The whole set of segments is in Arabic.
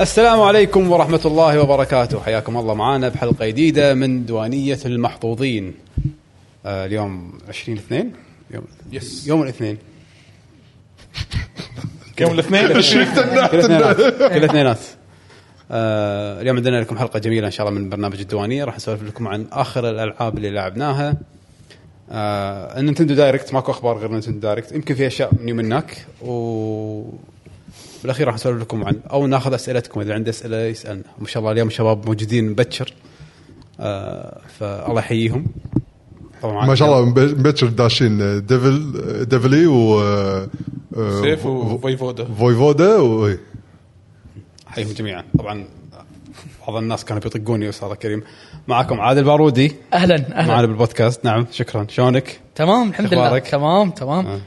السلام عليكم ورحمة الله وبركاته حياكم الله معانا بحلقة جديدة من دوانية المحظوظين آه، اليوم 20 اثنين يوم يس. يوم الاثنين يوم الاثنين كل اثنينات كل اثنينات آه، اليوم عندنا لكم حلقه جميله ان شاء الله من برنامج الديوانيه راح نسولف لكم عن اخر الالعاب اللي لعبناها آه، النينتندو دايركت ماكو اخبار غير نينتندو دايركت يمكن في اشياء من منك و بالاخير راح نسولف لكم عن او ناخذ اسئلتكم اذا عنده اسئله يسالنا ما شاء الله اليوم شباب موجودين مبكر آه، فالله يحييهم طبعا ما شاء الله مب- مبكر داشين آه، ديفل ديفلي و آه، سيف وفيفودا فويفودا و إيه. حيهم جميعا طبعا بعض الناس كانوا بيطقوني استاذ كريم معاكم عادل بارودي اهلا معنا اهلا بالبودكاست نعم شكرا شلونك تمام الحمد لله أخبارك؟ تمام تمام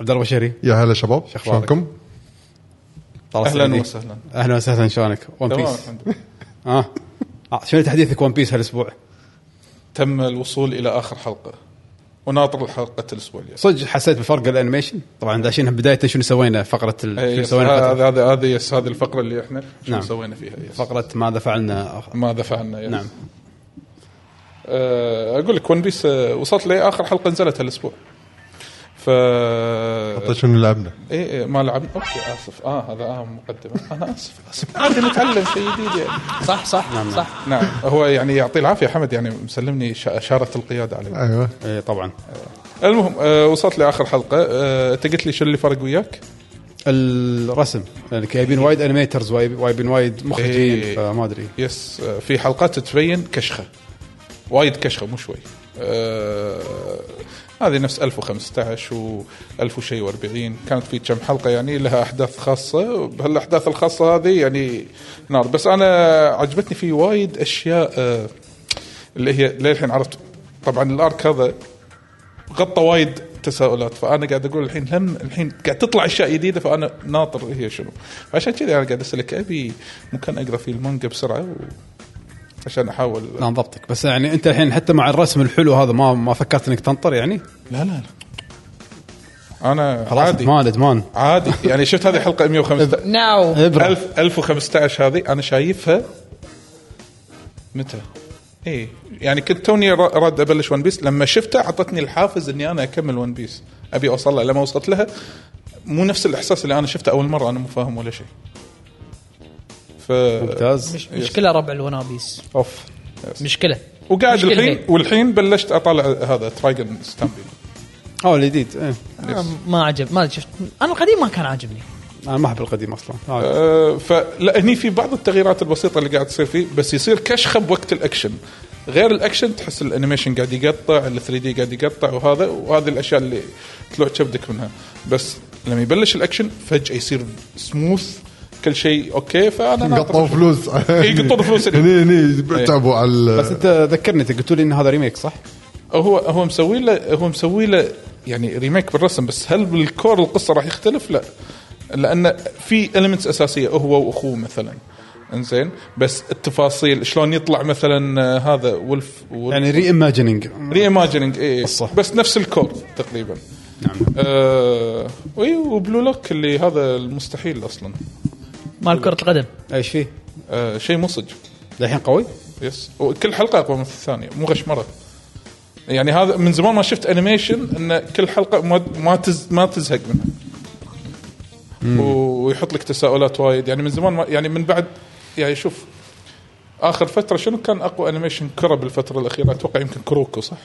عبد الله بشري يا هلا شباب شخبارك؟ شلونكم؟ طلال اهلا السعيدي. وسهلا اهلا وسهلا شلونك ون تمام بيس الحمد لله. اه آه، شنو تحديثك ون بيس هالاسبوع؟ تم الوصول الى اخر حلقه وناطر حلقه الاسبوع الجاي صدق حسيت بفرق الانيميشن طبعا داشين بدايه شنو سوينا فقره ال... إيه، شنو يس، سوينا الفترة- هذا هذا هذه يس، هذه الفقره اللي احنا شو نعم. سوينا فيها يس. فقره ماذا فعلنا آخر. ما دفعنا يس. نعم آه، اقول لك ون بيس آه، وصلت لاخر حلقه نزلت هالاسبوع ف حتى شنو لعبنا؟ ايه إيه، ما لعبنا اوكي اسف اه هذا اه مقدمه انا اسف اسف عادي نتعلم شيء جديد يعني صح صح صح نعم هو يعني يعطيه العافيه حمد يعني مسلمني شا- اشاره القياده عليه ايوه إيه طبعا المهم آه وصلت لاخر حلقه آه، انت قلت لي شو اللي فرق وياك؟ الرسم يعني جايبين وايد انيميترز وايب- وايبين وايد مخرجين إيه. فما ادري يس آه، في حلقات تبين كشخه وايد كشخه مو شوي آه، هذه نفس 1015 و 1000 وشيء و40 كانت في كم حلقه يعني لها احداث خاصه بهالاحداث الخاصه هذه يعني نار بس انا عجبتني في وايد اشياء آه، اللي هي للحين عرفت طبعا الارك هذا غطى وايد تساؤلات فانا قاعد اقول الحين هم الحين قاعد تطلع اشياء جديده فانا ناطر هي شنو فعشان كذا انا قاعد اسالك ابي مكان اقرا فيه المانجا بسرعه و... عشان احاول لا ضبطك بس يعني انت الحين حتى مع الرسم الحلو هذا ما ما فكرت انك تنطر يعني لا لا لا انا خلاص عادي ادمان ادمان عادي يعني شفت هذه حلقه 115 ناو ابره 1000 1015 هذه انا شايفها متى؟ اي يعني كنت توني را- راد ابلش ون بيس لما شفته اعطتني الحافز اني انا اكمل ون بيس ابي اوصل لها لما وصلت لها مو نفس الاحساس اللي انا شفته اول مره انا مو فاهم ولا شيء ف ممتاز مشكله ربع الونابيس اوف مشكله وقاعد مشكلة الحين هي. والحين بلشت اطالع هذا ترايجن ستامبي اه الجديد ايه آه، ما عجب ما شفت انا القديم ما كان عاجبني انا ما احب القديم اصلا آه. أه، فلا هني في بعض التغييرات البسيطه اللي قاعد تصير فيه بس يصير كشخه بوقت الاكشن غير الاكشن تحس الانيميشن قاعد يقطع ال 3 دي قاعد يقطع وهذا وهذه الاشياء اللي تلوع كبدك منها بس لما يبلش الاكشن فجاه يصير سموث كل شيء اوكي فانا ناطر. قطوا فلوس إي، قطوا إيه، فلوس هني. إيه. هني هني تعبوا على بس ال- انت ذكرني انت قلت لي ان هذا ريميك صح؟ هو هو مسوي له هو مسوي له يعني ريميك بالرسم بس هل بالكور القصه راح يختلف؟ لا لان في المنتس اساسيه هو واخوه مثلا انزين بس التفاصيل شلون يطلع مثلا آه، هذا ولف, ولف يعني ري ايماجيننج ري ايماجيننج اي قصة. إيه، بس نفس الكور تقريبا نعم آه وي وبلو لوك اللي هذا المستحيل اصلا مال كره القدم ايش فيه؟ آه شيء مصج للحين قوي؟ يس وكل حلقه اقوى من الثانيه مو غشمره يعني هذا من زمان ما شفت انيميشن ان كل حلقه ما ما تز ما تزهق منها و- ويحط لك تساؤلات وايد يعني من زمان ما يعني من بعد يعني شوف اخر فتره شنو كان اقوى انيميشن كره بالفتره الاخيره اتوقع يمكن كروكو صح؟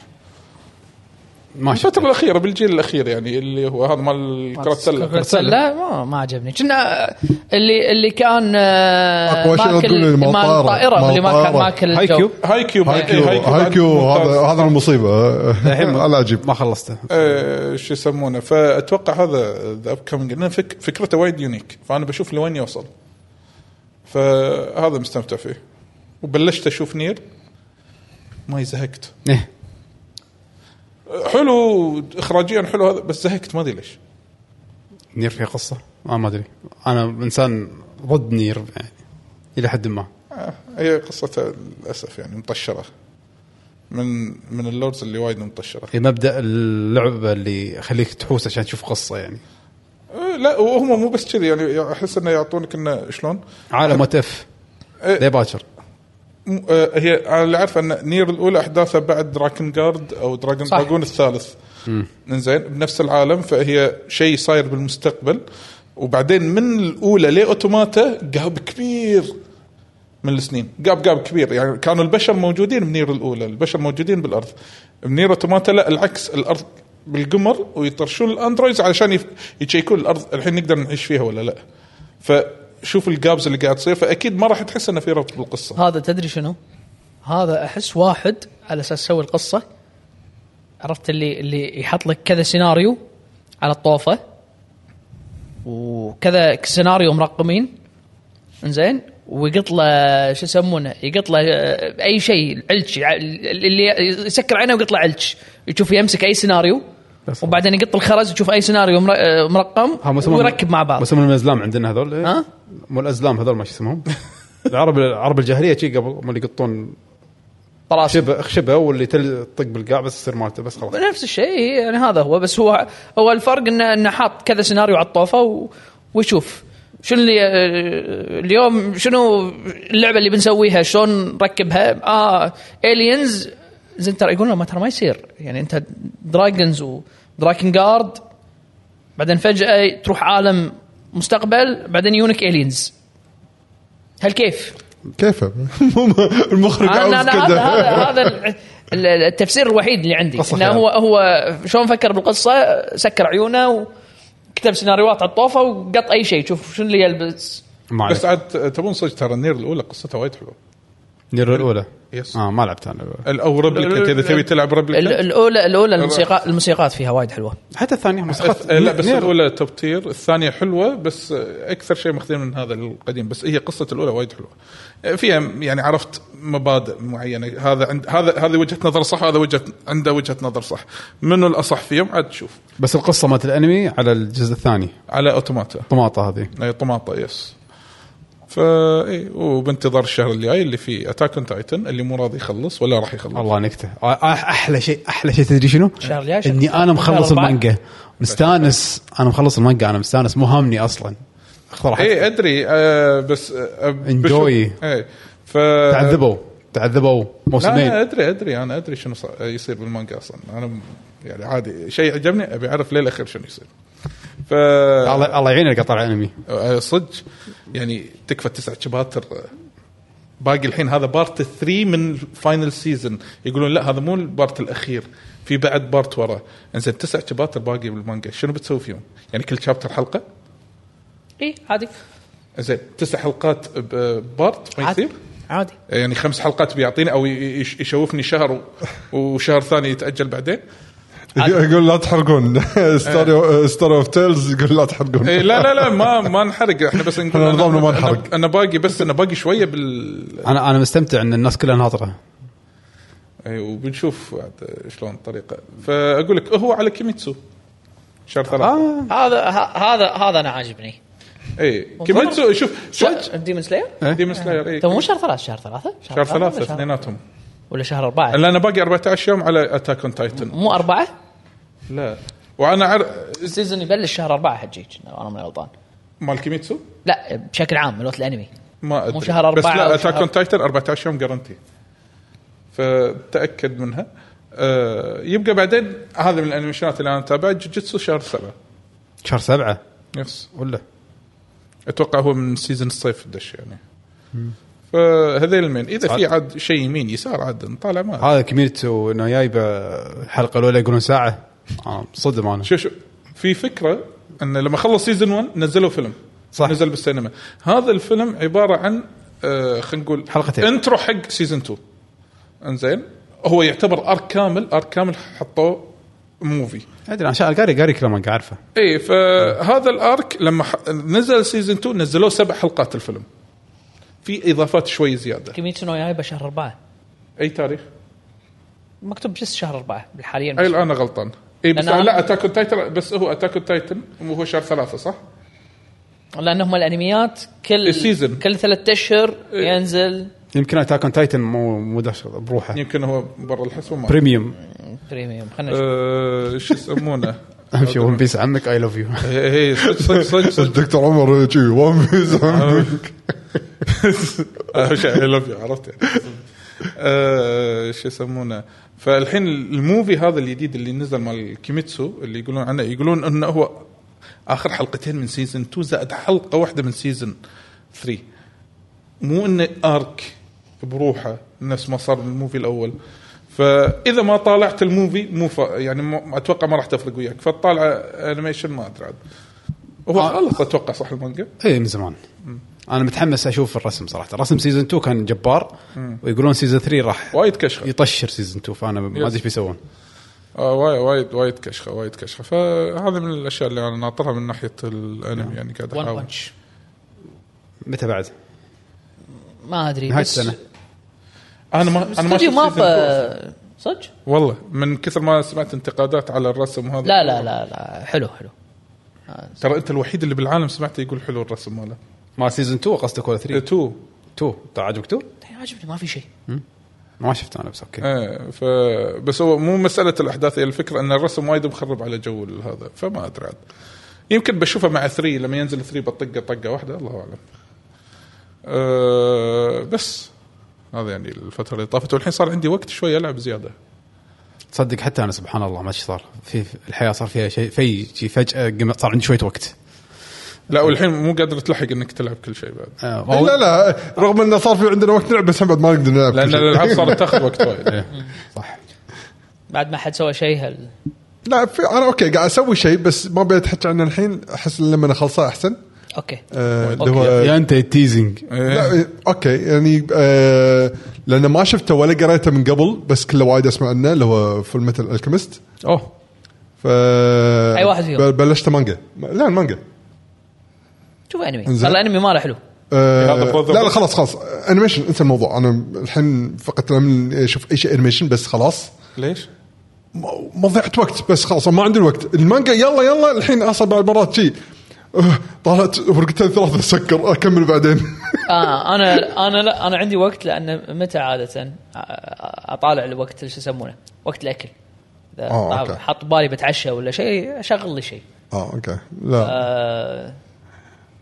ما الفتره شفته الاخيره بالجيل الاخير يعني اللي هو هذا مال كره السله لا ما ما عجبني كنا آه، اللي اللي كان آه، أقوى شيء لا تقول لي مال ماكل مال طائرة. الطائره مال اللي ما كان طائرة. ماكل هاي الجو. كيوب هاي كيوب إيه، هاي كيو هاي كيوب هاي كيو بعد ممتاز. هذا هذا المصيبه على عجيب ما خلصته آه، شو يسمونه فاتوقع هذا ذا اب كومينج فك فكرته وايد يونيك فانا بشوف لوين يوصل فهذا مستمتع فيه وبلشت اشوف نير ما زهقت إيه. حلو اخراجيا حلو هذا بس زهقت ما ادري ليش نير فيها قصه؟ آه ما ادري انا انسان ضد نير يعني الى حد ما آه، هي قصته للاسف يعني مطشره من من اللوردز اللي وايد مطشره هي مبدا اللعبه اللي يخليك تحوس عشان تشوف قصه يعني آه، لا وهم مو بس كذي يعني احس انه يعطونك انه شلون عالم وتف إيه. ليه باكر م- آه، هي انا اللي اعرفه ان نير الاولى احداثها بعد دراكن جارد او دراجون صح. دراجون الثالث انزين بنفس العالم فهي شيء صاير بالمستقبل وبعدين من الاولى لاوتوماتا قاب كبير من السنين قاب قاب كبير يعني كانوا البشر موجودين بنير الاولى البشر موجودين بالارض بنير اوتوماتا لا العكس الارض بالقمر ويطرشون الاندرويدز علشان يف- يشيكون الارض الحين نقدر نعيش فيها ولا لا فشوف الجابز اللي قاعد تصير فاكيد ما راح تحس انه في ربط بالقصه هذا تدري شنو؟ هذا احس واحد على اساس سوى القصه عرفت اللي اللي يحط لك كذا سيناريو على الطوفه وكذا سيناريو مرقمين انزين ويقط له شو يسمونه يقط له آه، اي شيء علش يع- اللي يسكر عينه ويقط له علش يشوف يمسك اي سيناريو وبعدين يقط الخرز يشوف اي سيناريو مر- آه، ها، مو مرقم اسمهم- ويركب مع بعض مو اسمهم الازلام عندنا هذول إيه؟ ها؟ مو الازلام هذول ما شو اسمهم العرب العرب الجاهليه شي قبل هم اللي يقطون طراس شبه شبه واللي تل- تطق بالقاع بس يصير مالته بس خلاص نفس الشيء يعني هذا هو بس هو هو الفرق انه انه حاط كذا سيناريو على الطوفه و- ويشوف شنو اللي آه، اليوم شنو اللعبه اللي بنسويها شلون نركبها اه الينز زين ترى يقول له ما ترى ما يصير يعني انت دراجونز ودراكن جارد بعدين فجاه تروح عالم مستقبل بعدين يونك الينز هل كيف؟ كيفه آه، المخرج عاوز انا انا هذا كذا هذا هذا ال- ال- التفسير الوحيد اللي عندي قصة انه خيال. هو هو شلون فكر بالقصه سكر عيونه وكتب سيناريوهات على الطوفه وقط اي شيء شوف شنو اللي يلبس ما بس عليك عاد تبون صدق ترى النير الاولى قصتها وايد حلوه نير الاولى يس. اه ما لعبت انا الأولى. ال- او ريبليكنت اذا تبي تلعب ال- ريبليكنت الاولى الاولى الموسيقى الموسيقات فيها وايد حلوه حتى الثانيه مسخات لا بس نير- الاولى توب تير الثانيه حلوه بس اكثر شيء ماخذين من هذا القديم بس هي قصه الاولى وايد حلوه فيها يعني عرفت مبادئ معينه هذا عند هذا هذه وجهه نظر صح هذا وجهه عنده وجهه نظر صح منو الاصح فيهم عاد تشوف بس القصه مالت الانمي على الجزء الثاني على اوتوماتا طماطه هذه اي طماطه يس فا اي وبانتظار الشهر الجاي اللي فيه اتاك اون تايتن اللي مو راضي يخلص ولا راح يخلص الله نكته آه، احلى شيء احلى شيء تدري شنو؟ شهر الجاي، شهر اني انا مخلص شهر أربعة. المانجا مستانس انا مخلص المانجا انا مستانس مو هامني اصلا اخذ راحتي اي ادري إيه، آه بس آه Enjoy. اي ف تعذبوا تعذبوا لا انا موسمين ادري ادري انا ادري شنو صار- يصير بالمانجا اصلا انا م- يعني عادي شيء عجبني ابي اعرف ليه الاخير شنو يصير ف الله الله يعينك قطع الانمي آه، صدق يعني تكفى تسعة شباتر آه، باقي الحين هذا بارت 3 من فاينل سيزون يقولون لا هذا مو البارت الاخير في بعد بارت وراه انزين تسع شباتر باقي بالمانجا شنو بتسوي فيهم؟ يعني كل شابتر حلقه؟ اي عادي زين تسع حلقات بارت ما عادي يصير؟ عادي يعني خمس حلقات بيعطيني او ي- يش- يشوفني شهر و- وشهر ثاني يتاجل بعدين يقول لا تحرقون ستوري اوف تيلز يقول لا تحرقون إيه لا لا لا ما ما نحرق احنا بس نقول إحنا نظامنا ما أنا- نحرق. أنا- انا باقي بس انا باقي شويه بال انا انا مستمتع ان الناس كلها ناطره إيه، وبنشوف عاد شلون الطريقه فاقول لك هو على كيميتسو شهر ثلاثة آه. هذا ه- هذا هذا انا عاجبني اي إيه، كيميتسو شوف صدق ديمون سلاير ديمون سلاير تو طيب، مو اي شهر ثلاث شهر ثلاثة شهر ولا ثلاثة شهر- اثنيناتهم ولا شهر أربعة لا انا باقي 14 يوم على اتاك اون تايتن مو أربعة لا وانا عر... السيزون يبلش شهر أربعة حجيج أنا من غلطان مال كيميتسو لا بشكل عام من وقت الأنمي ما ادري مو شهر بس أربعة لا أو اتاك شهر- اون تايتن 14 يوم جارنتي فتاكد منها آه، يبقى بعدين هذا من الانيميشنات اللي انا متابعها جوجيتسو شهر سبعه شهر سبعه يس ولا اتوقع هو من سيزون الصيف دش يعني فهذيل المين اذا في عاد شيء يمين يسار عاد نطالع ما هذا كميرتو انه جايبه الحلقه الاولى يقولون ساعه آه، صدم انا شو شو في فكره ان لما خلص سيزون 1 نزلوا فيلم صح. نزل بالسينما هذا الفيلم عباره عن آه خلينا نقول حلقتين. انترو حق سيزون 2 انزين هو يعتبر ارك كامل ارك كامل حطوه موفي ادري انا شا- قاري قاري كلام عارفه اي إيه، فهذا الارك لما ح... نزل سيزون 2 نزلوه سبع حلقات الفيلم في اضافات شوي زياده كيميتسو نو يايبا شهر أربعة اي تاريخ؟ مكتوب بس شهر أربعة حاليا اي الان غلطان اي بس لأن أنا- لا اتاك اون تايتن بس هو اتاك اون تايتن وهو شهر ثلاثه صح؟ لأن هم الأنميات كل السيزون. كل ثلاثة أشهر إيه. ينزل يمكن اتاك اون تايتن مو مو دش بروحه يمكن هو برا الحسبه ما بريميوم بريميوم خلينا نشوف أه، شو يسمونه اهم شيء ون بيس عمك اي لاف يو هي هي صدق صدق صدق صدق الدكتور عمر جي وان بيس آه. اهم شيء اي لاف يو عرفت يعني. آه، شو يسمونه فالحين الموفي هذا الجديد اللي نزل مال كيميتسو اللي يقولون عنه يقولون انه هو اخر حلقتين من سيزون 2 زائد حلقه واحده من سيزون 3 مو انه ارك بروحه نفس ما صار بالموفي الاول فاذا ما طالعت الموفي مو ف... يعني ما اتوقع ما راح تفرق وياك فتطالع انيميشن ما ادري عاد هو آه. خلص اتوقع صح المانجا اي إيه، من زمان انا متحمس اشوف الرسم صراحه رسم سيزون 2 كان جبار ويقولون سيزون 3 راح وايد كشخه يطشر سيزون 2 فانا ما ادري ايش بيسوون آه وايد وايد وايد كشخه وايد كشخه فهذا من الاشياء اللي انا ناطرها من ناحيه الانمي يعني قاعد إيه. ون احاول بانش متى بعد؟ ما ادري نهايه بس السنه انا ما انا ما شفت استوديو season two. ماب صدق؟ والله من كثر ما سمعت انتقادات على الرسم وهذا لا لا لا لا حلو حلو ترى انت الوحيد اللي بالعالم سمعته يقول حلو الرسم ماله ما سيزون 2 قصدك ولا 3 تو 2 طيب عجبك 2 عجبني ما في شيء ما شفت انا بس اوكي ايه ف بس هو مو مساله الاحداث هي الفكره ان الرسم وايد مخرب على جو هذا فما ادري عاد يمكن بشوفه مع 3 لما ينزل 3 بطقه طقه واحده الله اعلم. أه بس هذا يعني الفتره اللي طافت والحين صار عندي وقت شوي العب زياده. تصدق حتى انا سبحان الله ما ادري إيش صار في في الحياه صار فيها شيء في شيء فجاه قمت- صار عندي شويه وقت لا والحين مو قادر تلحق انك تلعب كل شيء بعد آه، أو- لا لا رغم انه صار في عندنا وقت نلعب بس بعد ما نقدر نلعب كل لان شيء. الالعاب صارت تاخذ وقت وايد. إيه. صح بعد ما حد سوى شيء هل لا في انا اوكي قاعد اسوي شيء بس ما بدي اتحكى عنه الحين احس إن لما انا خلصه احسن اوكي آه، اللي أوكي. هو يا انت تيزنج إيه. لا اوكي يعني آه لان ما شفته ولا قريته من قبل بس كله وايد اسمع عنه اللي هو فول ميتال الكيمست اوه ف أي واحد فيهم؟ بل- بلشت مانجا لا المانجا شوف انمي إنزين. والله الانمي ماله حلو آه هذا فوز- لا لا خلاص خلاص انيميشن انسى الموضوع انا الحين فقط لم اشوف اي شيء انيميشن بس خلاص ليش؟ م- مضيعه وقت بس خلاص ما عندي الوقت المانجا يلا يلا الحين اصلا بعد مرات شي آه، طالعت ورقتين ثلاثه سكر اكمل بعدين آه انا انا لا انا عندي وقت لان متى عاده آه، اطالع الوقت شو يسمونه وقت الاكل إذا آه، طاب- أوكي. حط بالي بتعشى ولا شيء اشغل لي شيء اه اوكي لا آه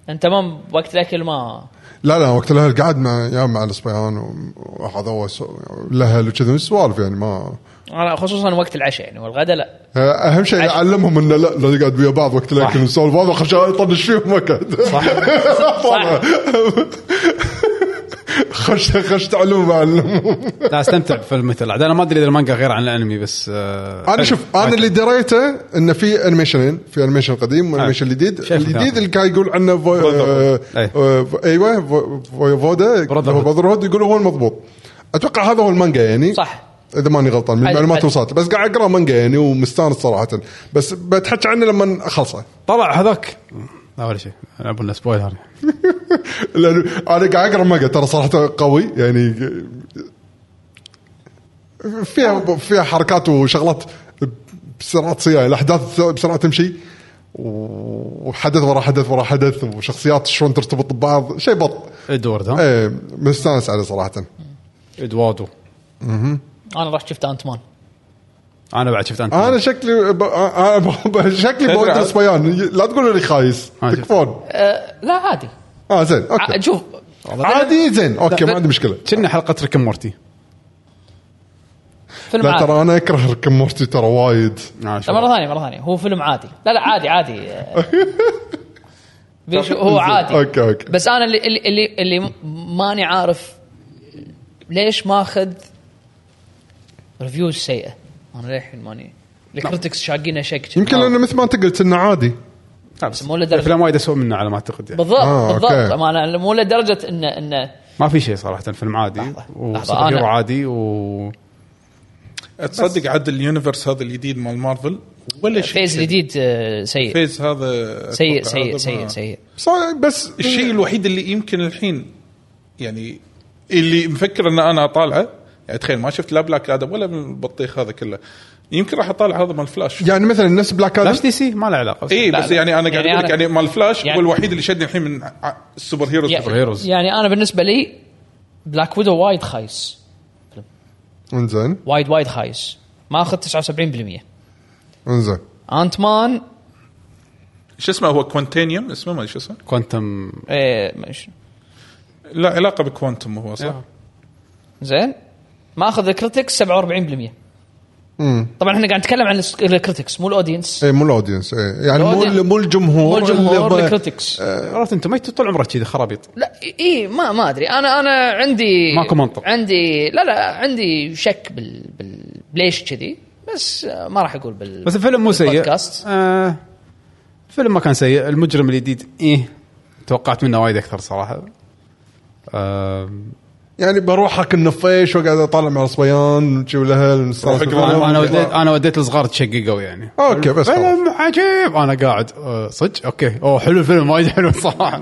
انت ما وقت الاكل ما لا لا وقت الاهل قاعد مع يا مع الصبيان و- وهذا هو س- الاهل وكذا سوالف يعني ما انا خصوصا وقت العشاء يعني والغداء لا آه، اهم شيء اعلمهم انه لا لا نقعد ويا بعض وقت الاكل نسولف هذا خش يطنش فيهم اكد صح صح خش خش تعلمهم اعلمهم لا استمتع بفيلم مثل انا ما ادري اذا المانجا غير عن الانمي بس آه انا شوف انا اللي دريته انه في انيميشنين في انيميشن قديم آه. وانيميشن جديد شايف الجديد مثال. اللي كان يقول عنه فو... آه... أي. آه... ايوه فو... فو... فودا Brotherhood. براذرهود يقول هو المضبوط اتوقع هذا هو المانجا يعني صح. اذا ماني غلطان من حلو، المعلومات حلو. اللي وصلت بس قاعد اقرا مانجا يعني ومستانس صراحه بس بتحكي عنه لما اخلصه طلع هذاك لا ولا شيء العبوا لنا سبويلر لانه انا قاعد اقرا مانجا ترى صراحه قوي يعني فيها فيها حركات وشغلات بسرعه تصير الاحداث بسرعه تمشي وحدث ورا حدث ورا حدث وشخصيات شلون ترتبط ببعض شيء بط ادوارد ها ايه مستانس عليه صراحه ادواردو انا رحت شفت انت مان انا بعد شفت انت انا شكلي ب... أنا ب... شكلي بدرس بيان لا تقول لي خايس آه، شوف. تكفون آه لا عادي اه زين ع- اوكي شوف عادي زين اوكي ما عندي مشكله كنا حلقه ريكم مورتي فيلم لا عادي ترى انا اكره ركم مورتي ترى وايد آه، لا شوف. مره ثانيه مره ثانيه هو فيلم عادي لا لا عادي عادي آه. بيشو- هو عادي اوكي اوكي بس انا اللي اللي اللي, اللي ماني عارف ليش ماخذ ريفيوز سيئه انا للحين ماني الكريتكس شاقينه شك يمكن لانه مثل ما انت قلت انه عادي لا، بس مو لدرجة. الافلام وايد اسوء منا على ما اعتقد يعني بالضبط آه، بالضبط أوكي. امانه مو لدرجه انه انه ما في شيء صراحه فيلم عادي لحظة، لحظة، وسوبر هيرو أنا- عادي و تصدق عد اليونيفرس هذا الجديد مال مارفل ولا شيء فيز جديد آه، سيء فيز هذا سيء أتوقع هذا سيء ما- سيء سيء بس بس الشيء الوحيد اللي يمكن الحين يعني اللي مفكر ان انا اطالعه يعني تخيل ما شفت لا بلاك ادم ولا من البطيخ هذا كله يمكن راح اطالع هذا مال فلاش يعني مثلا نفس بلاك لاش ادم دي سي ما له علاقه اي لا بس لا. يعني انا قاعد يعني اقول لك أنا- يعني مال فلاش يعني- هو الوحيد اللي شدني الحين من ع- السوبر هيروز يعني- هيروز. يعني انا بالنسبه لي بلاك ويدو وايد خايس انزين وايد وايد خايس ما اخذ 79% انزين انت مان شو اسمه هو كوانتينيوم اسمه ما ادري شو اسمه كوانتم ايه ما شنو لا علاقه بكوانتم هو صح؟ آه. زين ماخذ الكريتكس 47% طبعا احنا قاعد نتكلم عن الس- الكريتكس مو الاودينس اي إيه، مو الاودينس اي يعني مو الأودينس. ال- مو الجمهور مو اللي الجمهور ب- الكريتكس عرفت انت ما طول عمرك كذي خرابيط لا اي ما ما ادري انا انا عندي ماكو منطق. عندي لا لا عندي شك بال بال- ليش كذي بس آه، ما راح اقول بال بس الفيلم مو سيء البودكاست. آه الفيلم ما كان سيء المجرم الجديد ايه توقعت منه وايد اكثر صراحه آه يعني بروح اكل نفيش واقعد اطالع مع الصبيان وشي والاهل نستانس روح بالفيلم. انا انا وديت انا وديت الصغار تشققوا يعني اوكي بس خلاص. فيلم عجيب انا قاعد آه، صدق اوكي اوه حلو الفيلم وايد حلو صراحه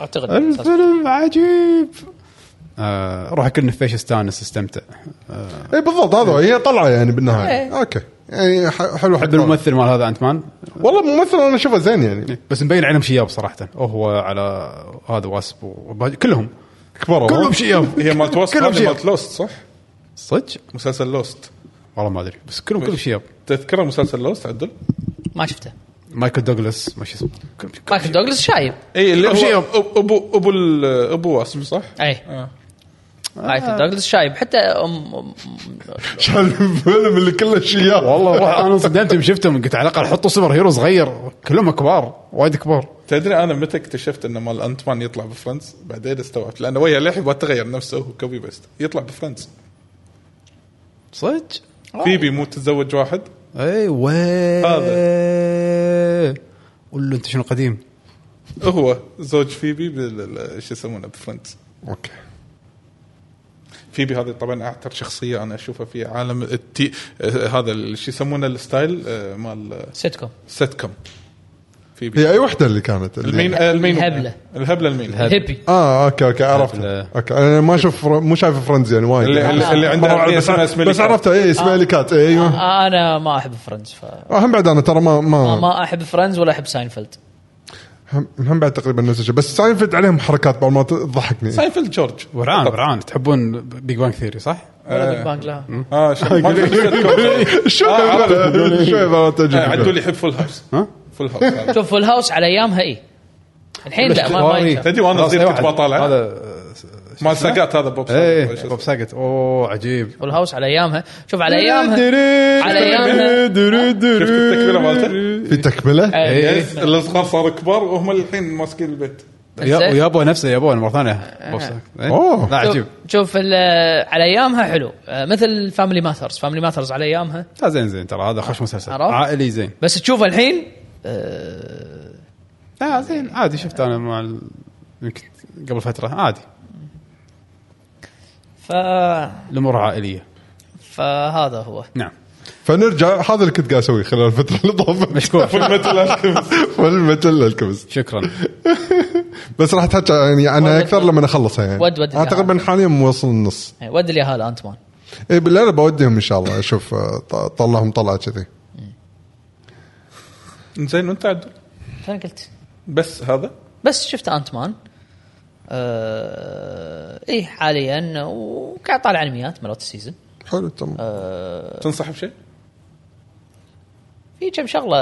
اعتقد الفيلم عجيب آه روح كل نفيش استانس استمتع آه، اي إيه، بالضبط هذا هو، هي طلعه يعني بالنهايه إيه. اوكي يعني ح- حلو حق احب الممثل إيه. مال هذا انت مان والله الممثل انا اشوفه زين يعني بس مبين عليهم شياب صراحه وهو على هذا واسب وباقي- كلهم كبروا كلهم شياب هي مالت وسط كلهم هذه شياب مالت لوست صح؟ صدق مسلسل لوست والله ما ادري بس كلهم كلهم شياب تذكر مسلسل لوست عدل؟ ما شفته مايكل دوغلاس ما شو اسمه كلهم شياب. مايكل دوغلاس شايب اي إيه، اللي هو شيب. أب- ابو ابو ال- ابو واسم صح؟ اي آه. إيه. مايكل دوغلاس شايب حتى ام ام شال الفيلم اللي كله شياب والله روح انا انصدمت يوم شفتهم قلت على الاقل حطوا سوبر هيرو صغير كلهم كبار وايد كبار تدري انا متى اكتشفت ان مال انت مان يطلع بفرنس بعدين استوعبت لانه ويا للحين ما تغير نفسه هو كوبي بيست يطلع بفرنس صدق آه. فيبي مو تتزوج واحد اي وين قول له انت شنو قديم هو زوج فيبي بال- ال- شو يسمونه بفرنس اوكي فيبي هذه طبعا اعتر شخصيه انا اشوفها في عالم التي آه، هذا ال- شو يسمونه الستايل آه، مال سيتكوم سيت كوم فيبي هي اي وحده اللي كانت اللي المين آه، المين الهبلة. الهبله المين هيبي اه اوكي اوكي عرفت لا. اوكي انا ما اشوف مو شايف فرندز يعني وايد اللي, اللي- اللي عندها بس, إيه، اسمها اسم بس عرفتها اي آه. اسمها اليكات إي، ايوه انا ما احب فريندز ف آه، هم بعد انا ترى ما ما ما احب فريندز ولا احب ساينفيلد هم- هم بعد تقريبا نفس الشيء بس ساينفيلد عليهم حركات بعض ما تضحكني ساينفيلد جورج ورعان ورعان تحبون بيج بانك ثيري صح؟ ولا بيج بانج لا اه شو- ما شفت السيت كوم. شو آه، عرفت. آه، عدول شوي اللي يحب فول هاوس ها؟ فول هاوس هذا. شوف فول هاوس على ايامها اي الحين لا ما- ما الاختياري. ينفع. تدري وانا خلاص، أي صغير كنت واحد. بطالع هذا مال ساقات هذا بوب ايه ساقات. بوب ساقت اوه عجيب فول هاوس على ايامها شوف على ايامها على أيامها. شفت التكبيره مالته؟ في آه. تكمله إيه. إيه. يس، الصغار صاروا كبار وهم الحين ماسكين البيت يا- زين. ويابا نفسه يابا مره ثانيه بوب ساقت إيه. أوه. لا عجيب شوف- شوف ال- على ايامها حلو آه، مثل فاميلي ماترز فاميلي ماترز على ايامها لا زين زين ترى هذا خوش مسلسل عرفت؟ عائلي زين بس تشوف الحين آه، لا زين عادي شفت انا مع ال- يمكن قبل فتره عادي ف الامور عائليه فهذا هو نعم فنرجع هذا اللي كنت قاعد اسويه خلال الفتره اللي طافت مشكور فول ميتال الكيمست والمتل الكبس شكرا بس راح تحكي يعني عنها ود- اكثر ود. لما اخلصها يعني ود- ود انا تقريبا حاليا موصل النص إيه، ود اليهال انت مان اي بالله بوديهم ان شاء الله اشوف آه، ط- طلعهم طلعه كذي زين وانت عدل فانا قلت بس هذا بس شفت انت مان آه... ايه حاليا وقاعد طالع انميات مرات السيزون حلو آه، تمام تنصح بشيء؟ في كم شغله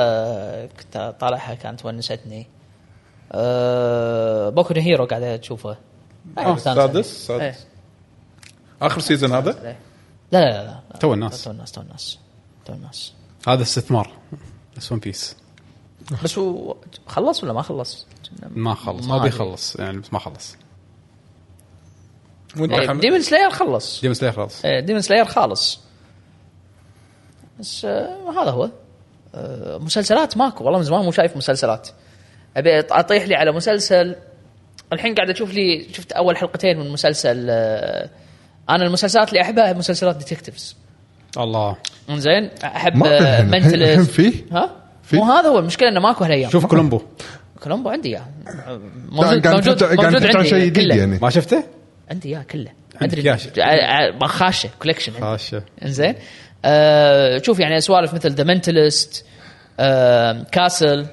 كنت طالعها كانت ونستني آه... بوكو نو هيرو قاعد اشوفه آه، سادس سادس إيه. اخر سيزون هذا لا لا لا, لا, لا. تو الناس. تو الناس تو الناس تو الناس هذا استثمار بس ون بيس بس هو خلص ولا ما خلص؟ ما خلص ما أدري. بيخلص يعني بس ما خلص وانت حمد؟ ديمون سلاير إيه، خلص جيمس ليه خلص ديمون سلاير آه، خالص بس آه، هذا هو آه، مسلسلات ماكو والله من زمان مو شايف مسلسلات ابي أط- اطيح لي على مسلسل الحين قاعد اشوف لي شفت اول حلقتين من مسلسل آه، انا المسلسلات اللي احبها مسلسلات ديتكتيفز الله زين احب ما في آه، الحين. الحين- Mentalist. الحين في؟ ها في؟ مو هذا هو المشكله انه ماكو هالايام شوف كولومبو كولومبو عندي اياه موجود قاعد موجود نفتح- قاعد موجود نفتح عن عندي شيء جديد كله. يعني ما شفته؟ عندي اياه كله آه، عندك ادري إياه شيء. ع- ع- خاشه كولكشن آه. عندي. خاشه انزين آه شوف يعني سوالف مثل ذا منتلست آه كاسل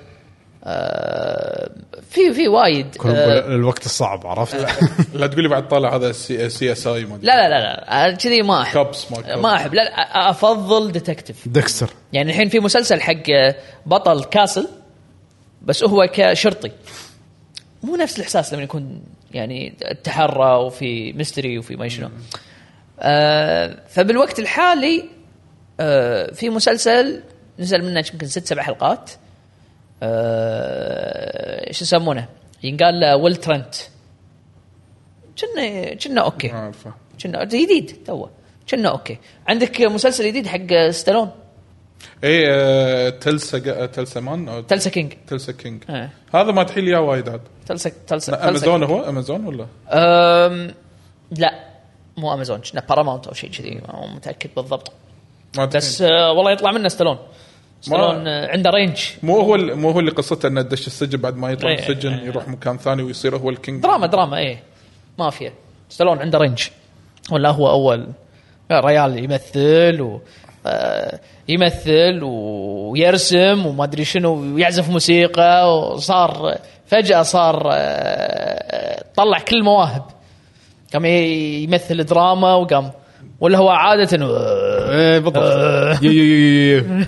آه، في في وايد كولومبو آه، الوقت الصعب عرفت أه. لا تقول لي بعد طالع هذا سي اس اي ما لا لا لا لا أنا كذي ما احب كابس ما ما احب لا, لا افضل ديتكتيف دكستر يعني الحين في مسلسل حق آه، بطل كاسل بس هو كشرطي مو نفس الاحساس لما يكون يعني تحرى وفي ميستري وفي ما شنو آه فبالوقت الحالي آه في مسلسل نزل منه يمكن ست سبع حلقات آه شو يسمونه ينقال له ويل ترنت كنا كنا اوكي ما أعرفه. كنا جديد توه كنا اوكي عندك مسلسل جديد حق ستالون اي آه، تلسا جا- تلسا مان أو تلسا كينج تلسا كينج آه. هذا ما تحيل يا وايد عاد تلسا تلسا لا، تلسا امازون هو امازون ولا أم لا مو امازون كنا باراماونت او شيء كذي مو متاكد بالضبط ما بس بس آه والله يطلع منه ستالون ستالون آه، عنده رينج مو هو ال- مو هو اللي قصته انه دش السجن بعد ما يطلع من إيه، السجن إيه. يروح مكان ثاني ويصير هو الكينج دراما دراما ايه مافيا ستالون عنده رينج ولا هو اول ريال يمثل و آه، يمثل ويرسم وما ادري شنو ويعزف موسيقى وصار فجاه صار آه، طلع كل المواهب قام ي- يمثل دراما وقام ولا هو عاده آه، ايه بالضبط يو يو يو يو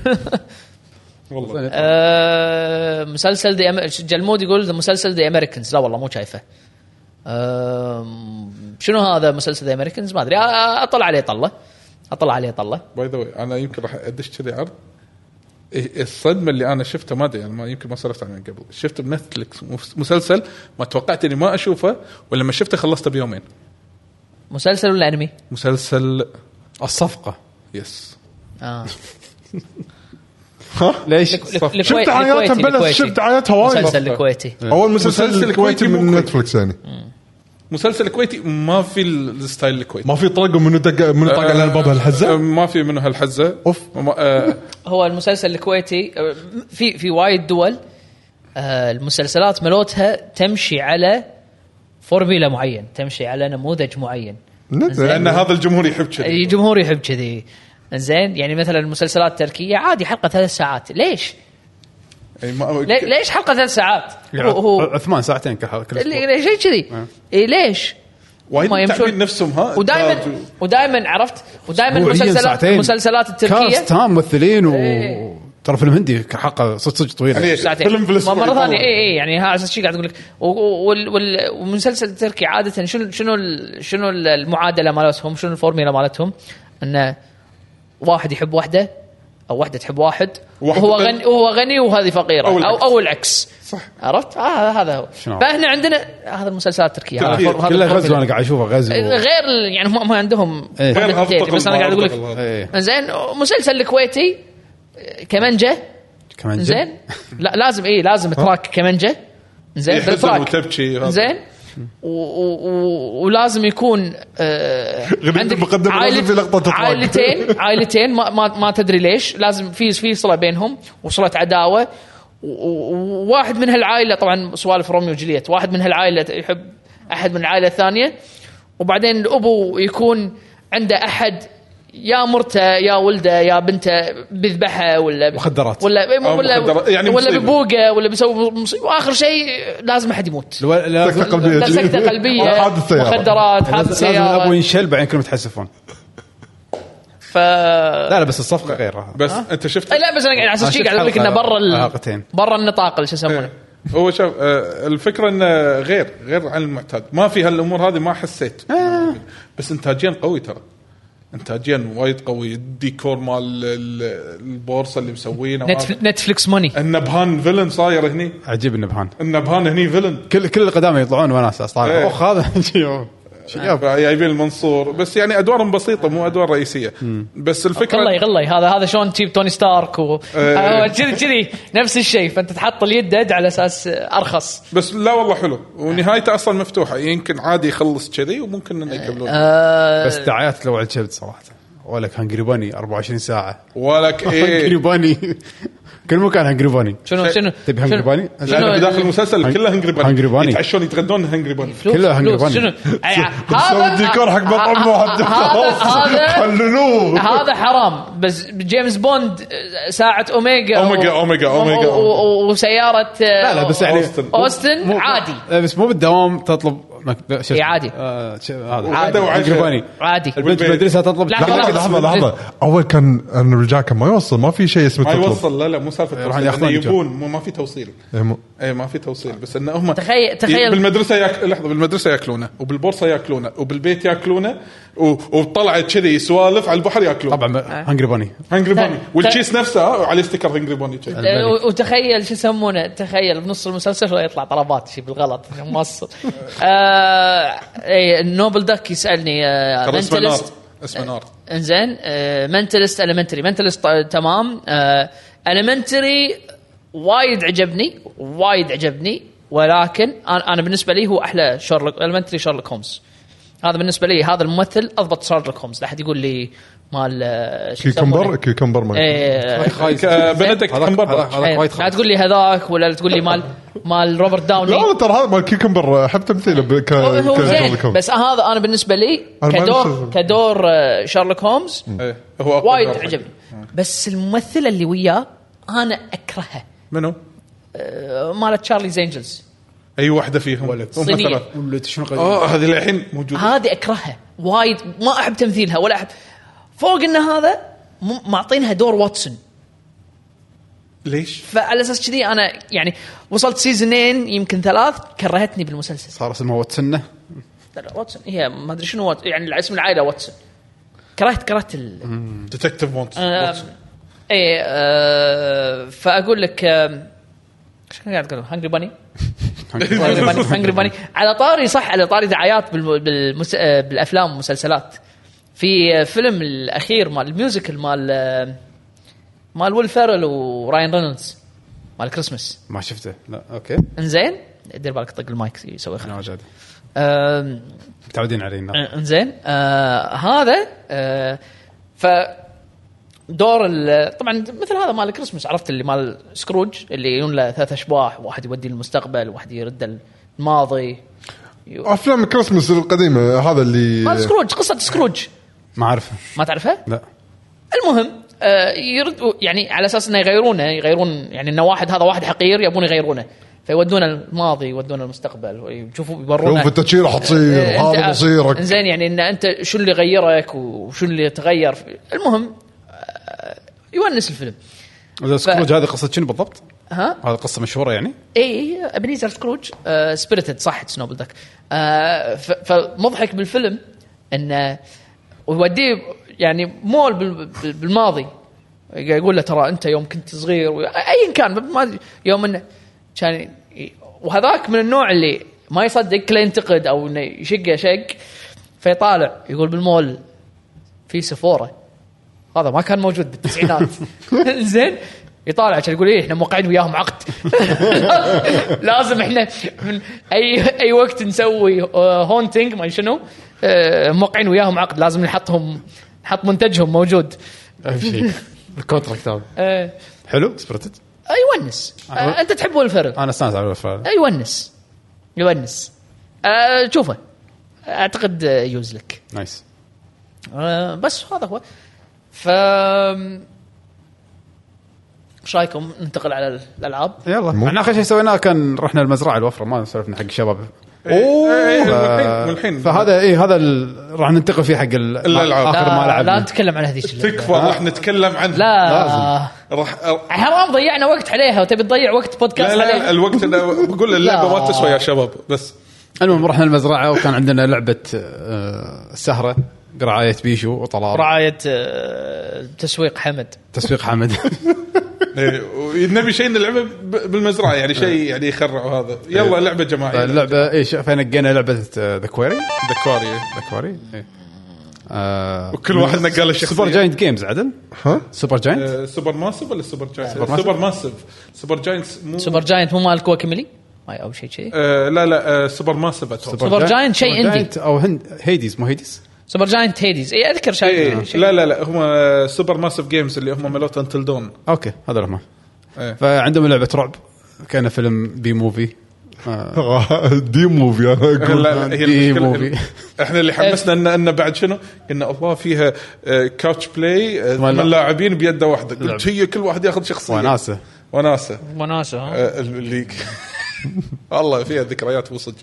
والله يو. آه، مسلسل دي أم... جلمود يقول ذا مسلسل دي امريكانز لا والله مو شايفه آم، شنو هذا مسلسل دي امريكانز ما ادري آه، آه، اطلع عليه طله اطلع عليه طله باي ذا واي انا يمكن راح ادش كذي عرض إيه، الصدمه اللي انا شفتها ما ادري يعني ما يمكن ما صرفت عنها من قبل شفت بنتفلكس مف- مسلسل ما توقعت اني ما اشوفه ولما شفته خلصته بيومين مسلسل ولا انمي؟ مسلسل الصفقه يس اه ليش؟ الكوي- شفت عياتها الكويتي- بلش الكويتي. شفت عياتها وايد مسلسل الكويتي اول مسلسل مسلسل كويتي كويتي من مو كويتي. نتفلكس يعني مسلسل كويتي ما في الستايل الكويتي ما في طرق منو دق منو طاق على الباب آه، هالحزه ما في منه هالحزه أوف. ما- آه، هو المسلسل الكويتي آه، في في وايد دول آه، المسلسلات ملوتها تمشي على فورميلا معين تمشي على نموذج معين لان نت- هذا الجمهور يحب كذي الجمهور يحب كذي زين يعني مثلا المسلسلات التركيه عادي حلقه ثلاث ساعات ليش؟ يعني ما- لي- ليش حلقه ثلاث ساعات؟ يعني هو هو عثمان يعني ساعتين كل حلقه كل أسبوع. اللي- شيء كذي آه. إيه ليش؟ وايد هم متعبين نفسهم ها ودائما ودائما عرفت ودائما أسبوعياً المسلسلات ساعتين. المسلسلات التركيه كاست هم ممثلين و إيه. ترى فيلم هندي حلقه صدق صدق طويله يعني ساعتين فيلم في ما- الأسبوع مره يطول. ثانيه اي اي يعني ها على اساس شي قاعد اقول لك والمسلسل التركي عاده شنو شنو ال- شنو ال- المعادله مالتهم شنو الفورميلا مالتهم انه واحد يحب واحده او واحده تحب واحد واحد وهو فقير. غني وهو غني وهذه فقيره أو او او, العكس. أو العكس صح. عرفت آه هذا هو شنو؟ فاحنا عندنا هذا المسلسلات التركيه آه، هذا تركية. الفور- هذا كلها غزو الفورميلا. انا قاعد اشوفه غزو غير ال- يعني هم ما عندهم إيه. غير عدة هالطقم ديتا، بس انا ما قاعد اقول لك هالطقم. ايه زين مسلسل الكويتي آه، كمانجه كمان زين لا لازم ايه لازم تراك كمانجه زين يحزن بالتراك وتبكي وهذا. زين و- و- و- ولازم يكون آه غريب المقدمة لازم في لقطة تطلع. عائلتين عائلتين ما, ما, ما تدري ليش لازم في في صله بينهم وصله عداوه و- و- وواحد من هالعائله طبعا سوالف روميو وجولييت واحد من هالعائله يحب احد من العائله الثانيه وبعدين الابو يكون عنده احد يا مرته يا ولده يا بنته بيذبحها ولا مخدرات. ولا أو ولا مخدرات، يعني ولا مصيبة. ببوقه ولا بيسوي مصيبه واخر شيء لازم احد يموت الو- لا- سكتة قلبية. لا، سكته قلبيه حادث سيارة. مخدرات حادث يعني لازم لازم الابو سياره ينشل بعدين كلهم يتحسفون ف لا لا بس الصفقه غير هذا. بس انت شفت أي لا بس انا قاعد على آه، اساس شي قاعد اقول لك انه برا ال... حلقتين. برا النطاق شو إيه، يسمونه إيه. هو شوف آه، الفكره انه غير غير عن المعتاد ما في هالامور هذه ما حسيت بس انتاجيا قوي ترى انتاجيا وايد قوي الديكور مال ال- البورصه اللي مسوينه نتفل... نتفلكس موني النبهان فيلن صاير هني عجيب النبهان النبهان هني فيلن كل كل القدامى يطلعون وناس إيه. طالع اخ هذا شيء شياب. جايبين المنصور بس يعني ادوارهم بسيطه مو ادوار رئيسيه بس غلي الفكره غلي هذا هذا شلون تجيب توني ستارك و إيه. هو كذي كذي نفس الشيء فانت تحط اليد يد على اساس ارخص بس لا والله حلو ونهايته اصلا مفتوحه يمكن عادي يخلص كذي وممكن انه يكملون آه. بس دعايات لو على الكبد صراحه ولك هنجري باني 24 ساعه ولك ايه هنجري باني كل مكان هنجرباني شنو شنو تبي شنو- هنجرباني؟ شنو لانه بداخل ال- هنج- المسلسل كله هنجرباني هنجرباني. يتعشون يتغدون هنجرباني فلوس- كلها فلوس، هنجرباني. شنو أي- سوي هذا آه، ديكور حق بطل واحد هذا- هذا حللوه هذا حرام بس جيمس بوند آه، ساعة اوميجا أوميجا- و- أوميجا- أوميجا. و- و- وسيارة لا لا بس يعني أوستن. اوستن مو- عادي لا بس مو بالدوام تطلب مك... شو إي عادي. آه شو- هذا وغدا وعشاء. هنجرباني عادي البنت بالمدرسه تطلب لحظة، لحظه لحظه لحظه اول كان أنا الرجال كان ما يوصل ما في شيء اسمه ما تطلب يوصل لا لا مو سالفه راح توصيل، ياخذون إنه الجو. يبون مو- ما في توصيل إيه، مو- اي ما في توصيل بس انه هم تخيل- تخيل- بالمدرسه ياك... لحظه بالمدرسه ياكلونه وبالبورصه ياكلونه وبالبيت ياكلونه و... وطلعت كذي سوالف على البحر ياكلونه طبعا هنجرباني هنجري بوني ت- والتشيس نفسه آه، عليه ستيكر هنجري بوني كذي. الملك. و- وتخيل شو يسمونه تخيل بنص المسلسل يطلع طلبات شي بالغلط مقصر آه اي النوبل دك يسالني آه ترى اسمه نار منتلست اسمه نار أه، انزين منتلست المنتري منتلست تمام المنتري وايد عجبني وايد عجبني ولكن انا أنا بالنسبه لي هو احلى شارلوك المنتري شارلوك هومز هذا بالنسبه لي هذا الممثل اضبط شارلوك هومز لا احد يقول لي مال آه، شو كيكمبر يسمونه؟ كيكمبر ما إيه، خايس بندك هذاك- كمبرباتش هذاك- هذاك إيه، وايد لا خايس تقول لي هذاك ولا تقول لي مال مال روبرت داوني لا أنا ترى هذا مال كيكمبر احب تمثيله ب- ك هو هو ك- زين كيكمبر. بس هذا انا بالنسبه لي أنا ما كدور أعرف شو- كدور آه، شارلوك هومز إيه، هو أقوى وايد دور حق. عجبني بس الممثله اللي وياه انا اكرهها منو؟ آه، مالت تشارلي زينجلز اي واحده فيهم ولد صينية. ولد شنو قديم اه هذه للحين موجوده هذه اكرهها وايد ما احب تمثيلها ولا احب فوق ان هذا م- معطينها دور واتسون ليش؟ فعلى اساس كذي انا يعني وصلت سيزونين يمكن ثلاث كرهتني بالمسلسل صار اسمه واتسنه لا، لا، واتسون هي ما ادري شنو وات... يعني اسم العائله واتسون كرهت كرهت ال... ديتكتيف مونت آه، ايه آه، فاقول لك آه، ايش كان قاعد تقول هنجري باني هنجري باني هنجري باني على طاري صح على طاري دعايات بالم- بالمس... آه، بالافلام والمسلسلات في آه، فيلم الاخير مال الميوزيكال مال آه، مال ويل فيرل وراين رينولدز مال كريسمس ما شفته لا اوكي انزين دير بالك طق المايك يسوي خلاص انا وجاد آم، متعودين علينا آه، انزين آه هذا آه ف دور ال- طبعا مثل هذا مال كريسمس عرفت اللي مال سكروج اللي يجون له ثلاث اشباح واحد يودي المستقبل واحد يرد الماضي افلام كريسمس القديمه هذا اللي مال سكروج قصه سكروج ما اعرفه ما تعرفها؟ لا المهم آه يرد يعني على اساس انه يغيرونه يغيرون يعني انه واحد هذا واحد حقير يبون يغيرونه فيودونه الماضي يودونه المستقبل ويشوفوا لو يبرونه في التشير حتصير أنت- هذا مصيرك إيه، زين يعني ان انت شو اللي غيرك وشو اللي تغير في- المهم آه، يونس الفيلم إذا سكروج هذه قصه شنو بالضبط؟ ها هذه قصه مشهوره يعني؟ اي ابنيزر سكروج إيه، آه سبيريتد صح سنوبل دك آه ف- فمضحك بالفيلم انه ويوديه يعني مول بال- بال- بالماضي يقول له ترى انت يوم كنت صغير و- ايا كان ما أدري، يوم انه كان ي- وهذاك من النوع اللي ما يصدق كله ينتقد او انه يشقه شق فيطالع يقول بالمول في سفوره هذا ما كان موجود بالتسعينات زين يطالع عشان يقول ايه احنا موقعين وياهم عقد لازم احنا من اي اي وقت نسوي هونتنج ما شنو آه، موقعين وياهم عقد لازم نحطهم نحط منتجهم موجود اهم شيء الكونتراكت هذا آه، حلو سبرتد آه، يونس آه، انت تحب الفرق انا استانس على الافلام آه، يونس يونس آه، شوفه اعتقد آه، يوز لك نايس آه، بس هذا هو ف ايش رايكم ننتقل على الالعاب؟ يلا مو- احنا اخر شيء سويناه كان رحنا المزرعه الوفره ما سولفنا حق الشباب آه، اوه إيه، والحين فهذا اي هذا ال- راح ننتقل فيه حق ال- الألعاب. اخر ما لا, لا لعبنا نتكلم عن هذيك اللعبة. تكفى راح نتكلم عنها لا لازم. راح حرام ضيعنا وقت عليها وتبي تضيع وقت بودكاست لا لا عليها الوقت انا بقول اللعبه لا. ما تسوى يا شباب بس المهم رحنا المزرعه وكان عندنا لعبه آه، السهره برعايه بيشو وطلال رعاية آه، تسويق حمد تسويق حمد إيه، ونبي شيء نلعبه ب- بالمزرعه يعني شيء يعني يخرع هذا يلا لعبه جماعيه اللعبه اي فنقينا آه، لعبه ذا كويري دكواري ذا كويري إي. إيه. آه، وكل واحد نقى له شخصية. سوبر جاينت جيمز عدل ها سوبر جاينت آه، سوبر ماسف ولا سوبر جاينت سوبر ماسف. سوبر ماسف سوبر جاينت مو سوبر جاينت مو مال كواكملي ماي او شيء كذي آه، لا لا آه، سوبر ماسف اتوقع سوبر جاينت شيء سوبر عندي. جاينت او هند هيديز مو هيديز سوبر جاينت هيديز اي اذكر شيء آه، إيه، لا لا لا هم آه، سوبر ماسف جيمز اللي هم ملوت انتل دون اوكي هذا الرحمن إيه. فعندهم لعبه رعب كان فيلم بي موفي آه، دي موفي انا لا، اقول لا، هي دي المشكلة- موفي. احنا اللي حمسنا ان ان بعد شنو؟ ان الله فيها آه، كاوتش بلاي آه، ثمان ثمان لاعب. لاعبين بيده واحده قلت لعب. هي كل واحد ياخذ شخصيه وناسه وناسه وناسه ها آه، اللي والله فيها ذكريات وصج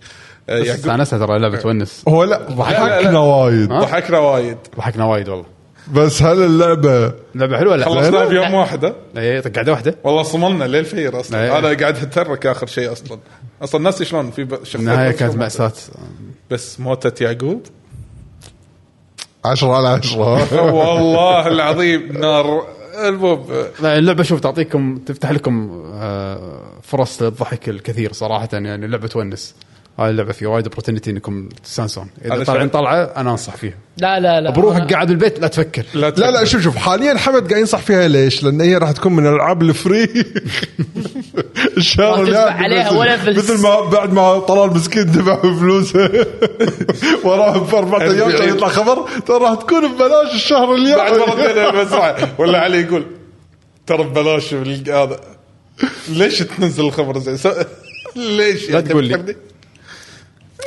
آه، بس يعقوب- استانسها ترى لعبه تونس هو لا لا، لا، ضحكنا لا. وايد ضحكنا وايد ضحكنا وايد والله بس هل اللعبه لعبه حلوه لا خلصناها لا، بيوم واحد ها؟ لا. إيه، قعده واحده والله صممنا ليل فير اصلا إيه. انا قاعد اترك اخر شيء اصلا اصلا ناسي شلون في ب- شخصيات النهايه شلون كانت ماتت. ماساه بس موتت يعقوب 10 على 10 والله العظيم نار المهم آه، لا، اللعبه شوف تعطيكم تفتح لكم آه، فرص للضحك الكثير صراحه يعني اللعبه تونس هاي اللعبه فيها وايد اوبورتونيتي انكم تستانسون هذا اذا طالعين شيء. طلعه انا انصح فيها لا لا لا بروحك قاعد بالبيت لا تفكر لا لا شوف شوف حاليا حمد قاعد ينصح فيها ليش؟ لان هي راح تكون من الالعاب الفري الشهر اللي قبل ما تدفع عليها مثل- ولا فلس. مثل ما بعد ما طلال مسكين دفع فلوسه وراه باربع ايام كان يطلع خبر ترى راح تكون ببلاش الشهر اليوم يعني بعد ما ردينا المزرعه ولا علي يقول ترى ببلاش ال- هذا ليش تنزل الخبر زي س- ليش لا تقول لي.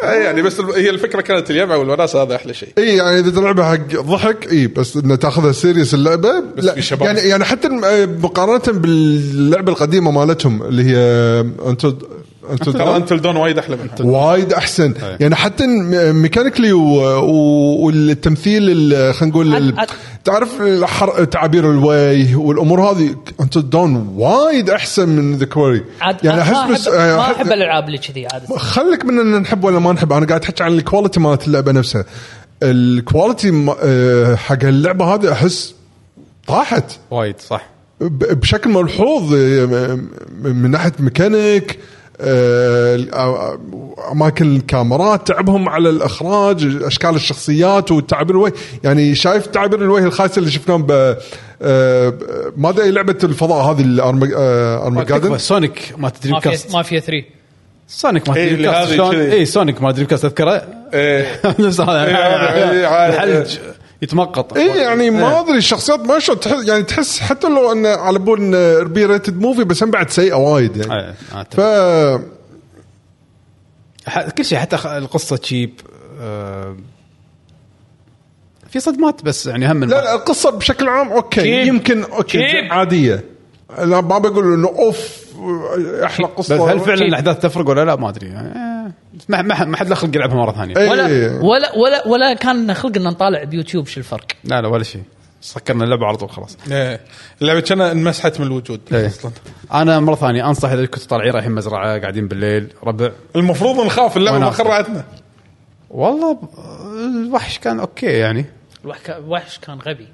إيه يعني بس الب- هي الفكره كانت اليمعه والوناسه هذا احلى شيء اي يعني اذا تلعبها حق ضحك اي بس انه تاخذها سيريس اللعبه بس في شباب. يعني يعني حتى الم- آه، مقارنه باللعبه القديمه مالتهم اللي هي انتو ترى انتل دون وايد احلى منها وايد احسن يعني حتى ميكانيكلي والتمثيل ال- خلينا نقول ال- أت- تعرف الحر- تعابير الوجه والامور هذه انت دون وايد احسن من ذا كوري عاد يعني أنا احس ما بس أحب- ما أحس- احب الالعاب اللي كذي عاده خلك من ان نحب ولا ما نحب انا قاعد احكي عن الكواليتي مالت اللعبه نفسها الكواليتي م- آه، حق اللعبه هذه احس طاحت وايد صح ب- بشكل ملحوظ آه، م- من ناحيه ميكانيك آه، ال- آه، اماكن الكاميرات تعبهم على الاخراج اشكال الشخصيات وتعبير الوجه يعني شايف تعبير الوجه الخايسه اللي شفناهم ب آه، ب- ما ادري لعبه الفضاء هذه آه، الارمجادن بس سونيك ما تدري ما في كاست ما في 3 سونيك ما إيه، تدري اللي كاست هذه شلون كذي. اي سونيك ما تدري كاست تذكره إيه. نفس إيه، هذا عارف. الحلج يتمقط اي يعني ما إيه. ادري الشخصيات ما شلون تحس يعني تحس حتى لو ان على بول إن بي ريتد موفي بس هم بعد سيئه وايد يعني إيه، أنا أتفق. ف ح- كل شيء حتى خ- القصه تشيب آه، في صدمات بس يعني هم من- لا لا القصه بشكل عام اوكي شيب. يمكن اوكي شيب. عاديه لا ما بقول انه اوف احلى بس قصه هل فعلا شيب. الاحداث تفرق ولا لا ما ادري يعني آه، ما ما- ما حد له خلق يلعبها مره ثانيه إيه. ولا ولا ولا ولا كان لنا خلق ان نطالع بيوتيوب شو الفرق لا لا ولا شيء سكرنا اللعبه على طول خلاص إيه. اللعبه كان انمسحت من الوجود إيه. اصلا انا مره ثانيه انصح اذا كنتوا طالعين رايحين مزرعه قاعدين بالليل ربع المفروض نخاف اللعبه ما وناسة. خرعتنا والله ب- الوحش كان اوكي يعني الوحش- الوحش كان غبي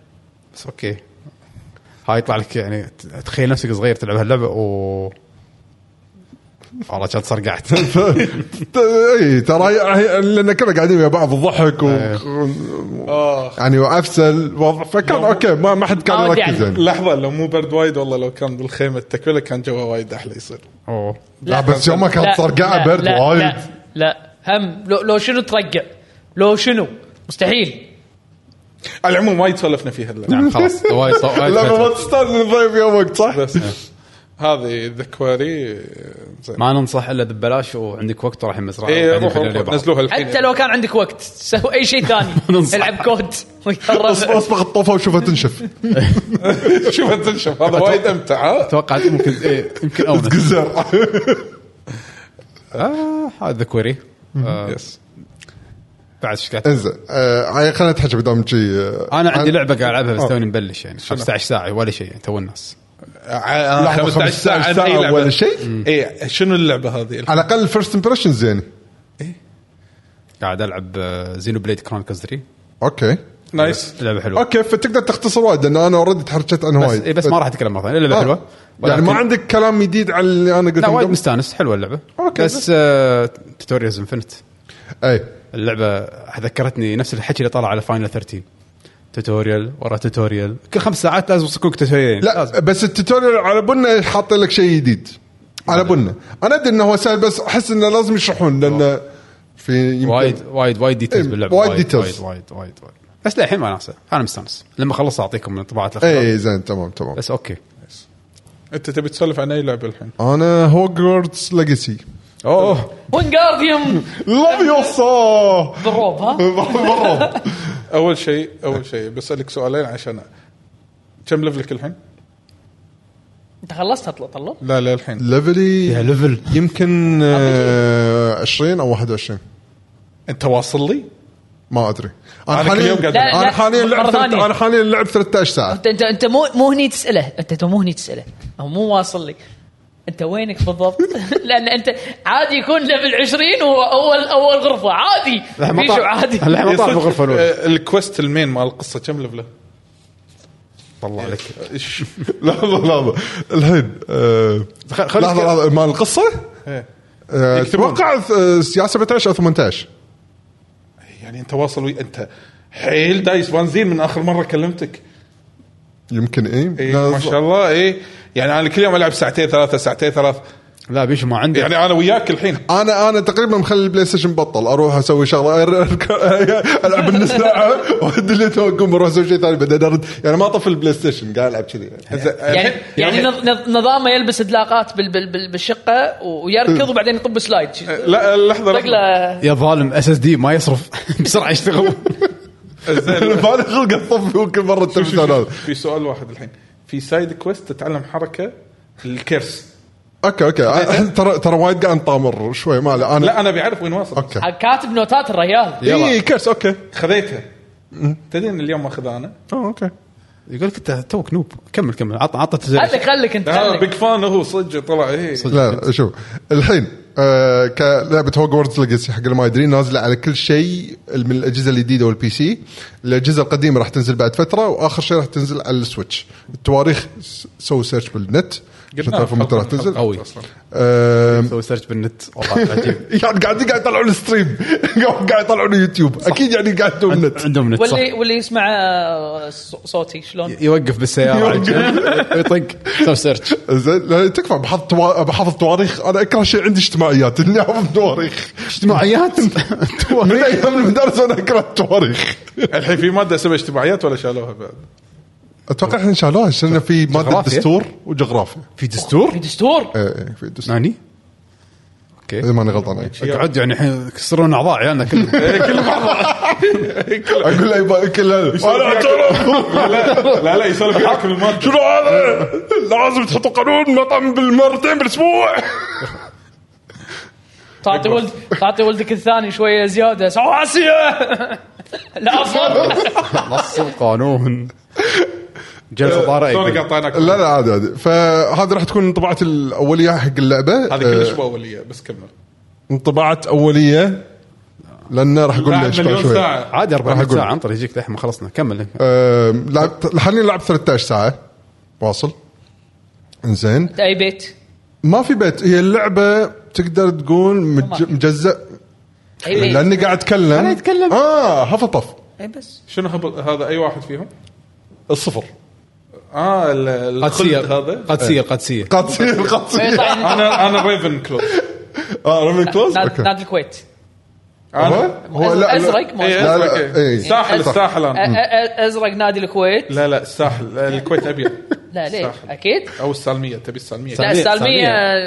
بس اوكي هاي يطلع لك يعني ت- تخيل نفسك صغير تلعب هاللعبه و والله كانت صرقعت اي إيه، ترى هي- لان كنا قاعدين ويا بعض الضحك و... آه. يعني وافسل وضع فكان اوكي ما, ما حد كان ما ودي يركز أعلم. يعني لحظه لو مو برد وايد والله لو كان بالخيمه التكمله كان جوها وايد احلى يصير اوه لا بس يومها كانت صرقعه برد لا، وايد لا, لا هم لو, لو شنو ترقع لو شنو مستحيل على العموم وايد سولفنا فيها اللعبه نعم خلاص وايد صو- وايد لا ما فاتت. تستاذن الضيف طيب، يومك صح؟ بس هذه ذا كواري زين ما ننصح الا ببلاش وعندك وقت رايحين مزرعه إيه، اي وقاعدين إيه، روحوا بالليل ويا روحوا بعض. يعني نزلوها الحين حتى لو كان عندك وقت سوي اي شيء ثاني ننصح. العب كود ويا أصبغ- الربع. اصبغ الطوفه وشوفها تنشف شوف انت شوف هذا وايد آه. امتع ها؟ اتوقع ممكن إيه، يمكن اونس تقزر آه، هذا كوري آه، يس بعد ايش قاعد- انزين آه خلينا نتحكي بدام شي آه، انا عندي عن- لعبه قاعد العبها بس توني مبلش يعني 15 ساعه ولا شيء يعني تو الناس ع- لحظة، 15 ساعه عن أي لعبة. ولا شيء اي شنو اللعبه هذه؟ على الاقل الفيرست امبريشنز يعني قاعد آه، العب زينو بليد كرونيكلز 3 اوكي نايس لعبه حلوه اوكي فتقدر تختصر وايد لان انا اوريدي تحركت عنها بس وايد إيه، بس ما راح اتكلم مره ثانيه لعبه آه. حلوه يعني ما ولكن- عندك كلام جديد على اللي انا قلته لا وايد قبل؟ مستانس حلوه اللعبه أوكي، بس آه، بس. توتوريالز انفنت اي اللعبه ذكرتني نفس الحكي اللي طلع على فاينل 13 توتوريال ورا توتوريال كل خمس ساعات لازم يصكوك توتوريالين لازم. لا بس التوتوريال على بنا حاط لك شيء جديد على بنا انا ادري انه هو سهل بس احس انه لازم يشرحون لان في يمكن- وايد وايد وايد ديتيلز إيه، باللعبه وايد وايد وايد details. وايد وايد وايد. بس للحين إيه. ما ناسه انا مستانس لما اخلص اعطيكم انطباعات الاخيره اي زين تمام تمام بس اوكي انت تبي تسولف عن اي لعبه الحين؟ انا هوجورتس ليجسي اوه وينجارديوم لا يوصا بالروب ها اول شيء اول شيء بسالك سؤالين عشان كم ليفلك الحين؟ انت خلصت هطلع طلع لا لا الحين يا ليفلي ليفل يمكن آه، 20 او 21 انت واصل لي؟ ما ادري انا أنا كل حاليا يوم قاعد- لا، انا لا، حاليا مرة لعب ثلاث- ثانية. انا حاليا لعب 13 ساعه انت انت انت مو مو هني تساله انت انت مو هني تساله او مو واصل لي انت وينك بالضبط؟ لان انت عادي يكون ليفل 20 وهو اول اول غرفه عادي بيشو عادي الحين ما طلع يصير- بالغرفه الاولى آه، الكويست المين مال القصه كم ليفله؟ طلع لك إيش؟ لحظه لحظه الحين آه، خ- لحظه خليك- لحظه مال القصه إيه. آه، يكتبون. اتوقع آه، يا 17 او 18 يعني انت واصل وي... انت حيل دايس بنزين من اخر مره كلمتك يمكن اي إيه ما شاء الله اي يعني انا كل يوم العب ساعتين ثلاثه ساعتين ثلاث لا بيشو ما إيه. عندك يعني انا وياك الحين انا انا تقريبا مخلي البلاي ستيشن بطل اروح اسوي شغله العب النص ساعه وادي اللي توقف اروح اسوي شيء ثاني بعدين ارد يعني ما طفي البلاي ستيشن قاعد العب كذي زين، يعني الحين- يعني نظ- نظ- نظامه يلبس دلاقات بال بال بال بالشقه ويركض وبعدين يطب سلايد لا لحظه لحظه شكله يا ظالم اس اس دي ما يصرف بسرعه يشتغل زين، ما لي خلق اطفي وكل مره شوف، شوف، التلفزيون هذا شوف، في سؤال واحد الحين في سايد كويست تتعلم حركه الكرس اوكي اوكي أنا- ترى ترى وايد قاعد طامر شوي ما له انا لا انا بعرف وين واصل اوكي كاتب نوتات الرجال اي كرس اوكي خذيتها تدري ان اليوم ماخذها انا أوه، اوكي يقول لك انت توك نوب كمل كمل عط عط خليك خليك انت لا، خليك بيج فان آه، هو صدق طلع ايه لا لا شوف الحين آه كلعبه هوجورتس ليجاسي حق اللي ما يدري نازله على كل شيء من الاجهزه الجديده والبي سي الاجهزه القديمه راح تنزل بعد فتره واخر شيء راح تنزل على السويتش التواريخ س- سووا سيرش بالنت عشان تعرفوا متى راح تنزل قوي. آم، سوي سيرش بالنت والله عجيب يعني قاعدين قاعد يطلعون الستريم قاعد يطلعون اليوتيوب اكيد يعني قاعد يسوون النت عندهم نت صح إيه. واللي واللي يسمع آه، ص- صوتي شلون يوقف بالسياره على الجنب، يطق سوي سيرش زين لا، تكفى بحفظ توا... بحفظ تواريخ انا اكره شيء عندي اجتماعيات اني احفظ تواريخ اجتماعيات من ايام المدارس وانا اكره التواريخ الحين في ماده اسمها اجتماعيات ولا شالوها بعد؟ اتوقع احنا شالوها عشان في ماده جغرافيا؟ دستور وجغرافيا في دستور في دستور ايه ايه في دستور ناني اذا اوكي ماني غلطان إيه. اقعد يعني الحين يكسرون اعضاء عيالنا كلهم اقول له يبا- كل هذا. انا اعترف لا لا لا يسولف ياكل الماده شنو هذا لازم تحطوا قانون مطعم بالمرتين بالاسبوع تعطي ولد تعطي ولدك الثاني شويه زياده سو عسيه لا اصلا نص القانون أه، جلسه طارئه سوني يقول. قطعناك لا لا عادي عادي فهذه راح تكون انطباعتي الاوليه حق اللعبه هذه كلش آه، مو اوليه بس كمل انطباعات اوليه لان راح اقول بعد ليش بعد مليون شوي ساعه عادي 40 أقول. ساعه انطر يجيك لحين ما خلصنا كمل أم، لعبت حاليا لعبت 13 ساعه واصل انزين اي بيت ما في بيت هي اللعبه تقدر تقول مج- ما في. مجزء اي بيت لاني قاعد اتكلم انا أتكلم. اه هفطف اي بس شنو هبل- هذا اي واحد فيهم؟ الصفر اه ال- الخلد قادسيه هذا قادسيه قادسيه قاطسين طيب، قاطسين انا انا ريفن كلوز اه رمي كلوز ناد- اوكي نادي الكويت هو انا هو لا أزرق لا ما- إيه، لا، لا، أزرق، إيه. إيه. الساحل صح. الساحل أ- انا أ- أ- ازرق نادي الكويت لا لا الساحل الكويت ابيض لا ليش صح. اكيد او السالميه تبي السالميه لا، السالمية-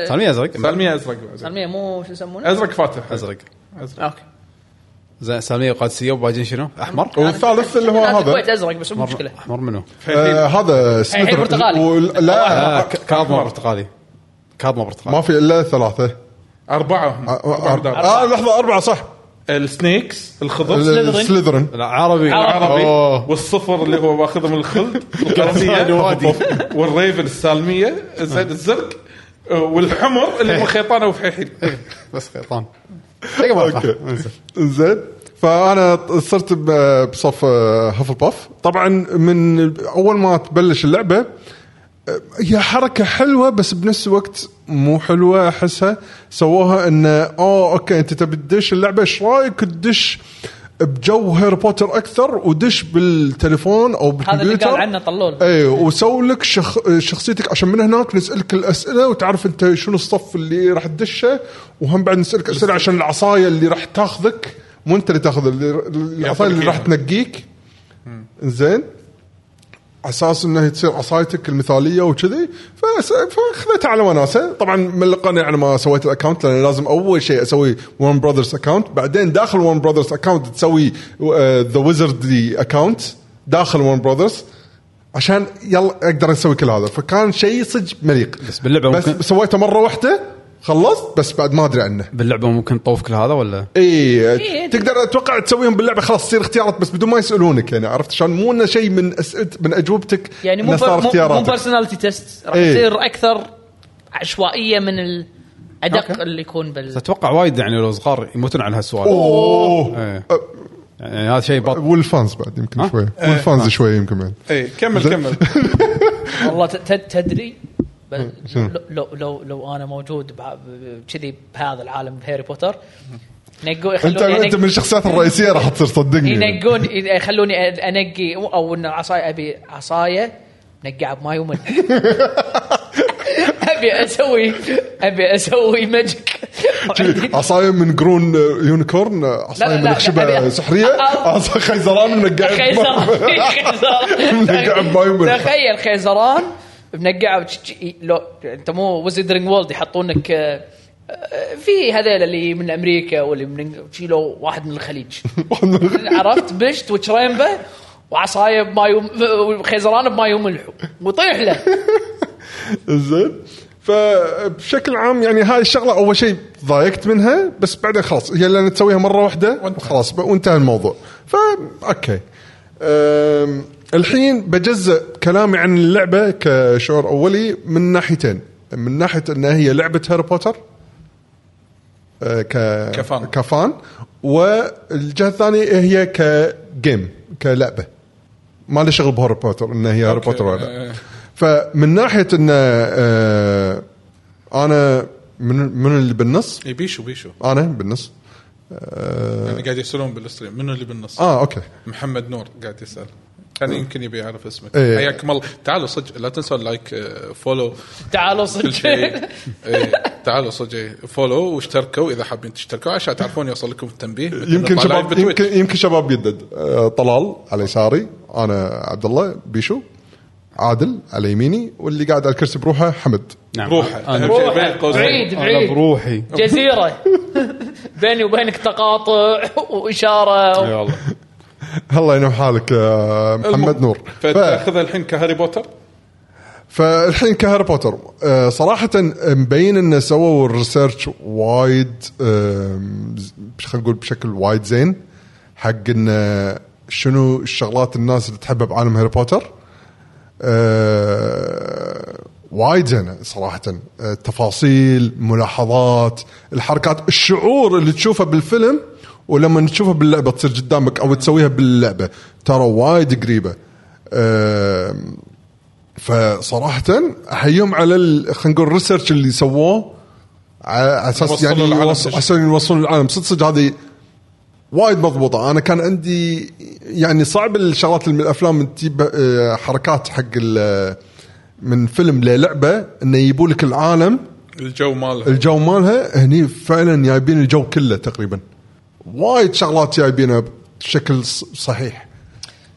سالميه ازرق السالميه ازرق بعد. سلمية مو شو يسمونه ازرق فاتح ازرق ازرق اوكي زين سالميه وقادسيه وبعدين شنو؟ احمر؟ والثالث اللي هو نادي هذا الكويت ازرق بس مو مشكله احمر منو؟ آه، هذا الحين سميث برتقالي. وال- آه، لا ك- كاظمه برتقالي كاظمه برتقالي ما في الا ثلاثه اربعه هم أربعة اه دار. آه، لحظه اربعه صح السنيكس الخضر سليذرين. سليذرين لا عربي عربي. العربي أوه. والصفر اللي هو ماخذه من الخلد الوادي. والقرنية والريفن السالميه أه. زين الزرق أه، والحمر إيه. اللي هو خيطانه وفحيحين بس خيطان دقيقة ما أفهم. اوكي زين فانا صرت ب- بصف آه، هفل باف طبعا من اول ما تبلش اللعبه آه، هي حركه حلوه بس بنفس الوقت مو حلوه احسها سووها انه اوه اوكي انت تبي تدش اللعبه ايش رايك تدش بجو هاري بوتر اكثر ودش بالتليفون او هذا بالكمبيوتر اللي قال عنه طلول اي وسوي إيه، لك شخ... شخصيتك عشان من هناك نسالك الاسئله وتعرف انت شنو الصف اللي راح تدشه وهم بعد نسالك اسئله عشان العصايه اللي راح تاخذك مو انت اللي تاخذ اللي... العصايه اللي راح إياها. تنقيك زين على اساس انها تصير عصايتك المثاليه وكذي فس- فاخذتها على وناسه طبعا ملقنا يعني ما سويت الاكونت لان لازم اول شيء اسوي ون براذرز اكونت بعدين داخل ون براذرز اكونت تسوي آه، ذا ويزردلي اكونت داخل ون براذرز عشان يلا اقدر اسوي كل هذا فكان شيء صدق مليق بس باللعبة بس ممكن- سويته مره واحده خلصت بس بعد ما ادري عنه باللعبه ممكن تطوف كل هذا ولا اي إيه، تقدر اتوقع تسويهم باللعبه خلاص تصير اختيارات بس بدون ما يسالونك يعني عرفت شلون مو انه شيء من أسئلة من اجوبتك يعني مو إنه صار بر- مو مو اختياراتك. بيرسوناليتي تيست راح إيه. يصير اكثر عشوائيه من الادق اللي يكون بال اتوقع وايد يعني لو صغار يموتون على هالسؤال اوه إيه. يعني هذا شيء بط والفانز أه، بعد يمكن ها؟ شوي والفانز شوي يمكن بعد اي إيه، كمل كمل والله ت- ت- تدري بل- إيه. شنو؟ لو- لو لو لو انا موجود بها- ب- كذي بهذا العالم بهاري بوتر نقول انت يخلوني انت أنقي- من الشخصيات الرئيسيه راح تصير صدقني ينقون يخلوني أ- انقي او ان العصايه ابي عصايه نقعها بماي وملح ابي اسوي ابي اسوي ماجيك عصايه من جرون آه، يونيكورن لا، عصايه لا، من لا، خشبه أبي- سحريه أو- عصايه خيزران منقعه خيزران منقعه بماي وملح. تخيل خيزران منقعه وتش- تش- لو انت مو وزدرنج وولد يحطونك آه، آه، في هذيل اللي من امريكا واللي من شيلوا واحد من الخليج عرفت بشت وشريمبه وعصايه بماي وخيزران بماي وملح وطيح له زين فبشكل عام يعني هاي الشغله اول شيء ضايقت منها بس بعدين خلاص هي لان تسويها مره واحده خلاص ب- وانتهى الموضوع فا اوكي أم، الحين بجزء كلامي عن اللعبه كشعور اولي من ناحيتين من ناحيه انها هي لعبه هاري بوتر أه، ك كفان. كفان والجهه الثانيه هي كجيم كلعبه ما لي شغل بهاري بوتر انه هي هاري أوكي. بوتر ولا لا إيه. فمن ناحيه انه آه، انا من من اللي بالنص اي إيه، بيشو بيشو انا بالنص آه. يعني قاعد يسالون بالستريم منو اللي بالنص؟ اه اوكي محمد نور قاعد يسال كان يمكن يبي يعرف اسمك آه. إيه. حياكم الله تعالوا صدق لا تنسوا اللايك آه، فولو تعالوا كل شيء صدق إيه، تعالوا صدق إيه، فولو واشتركوا اذا حابين تشتركوا عشان تعرفون يوصل لكم التنبيه مثل يمكن نطلع شباب لايف بتويتش. يمكن يمكن شباب جدد آه، طلال على يساري انا عبد الله بيشو عادل على يميني واللي قاعد على الكرسي بروحه حمد نعم روحه. أنا- أهم شيء. روح بين قوسين. بعيد انا بعيد بروحي جزيره بيني وبينك تقاطع واشاره اي و- والله الله ينوم حالك آه، محمد المهم. نور ف- فتاخذها الحين كهاري بوتر فالحين كهاري بوتر آه، صراحة مبين انه سووا الريسيرش وايد آم، ز- خلينا نقول بشكل وايد زين حق انه شنو الشغلات الناس اللي تحبها بعالم هاري بوتر آه، وايد زينه صراحه آه، التفاصيل ملاحظات الحركات الشعور اللي تشوفه بالفيلم ولما تشوفه باللعبه تصير قدامك او تسويها باللعبه ترى وايد قريبه آم، فصراحه احييهم على ال- خلينا نقول الريسيرش اللي سووه على اساس وصلوا يعني العالم يوص- بشكل. عشان يوصلون العالم صدق صدق هذه وايد مضبوطه انا كان عندي يعني صعب الشغلات اللي من الافلام إن تجيب آه، حركات حق ال- من فيلم للعبه انه يجيبوا لك العالم الجو ماله الجو مالها هني فعلا جايبين الجو كله تقريبا وايد شغلات جايبينها بشكل ص- صحيح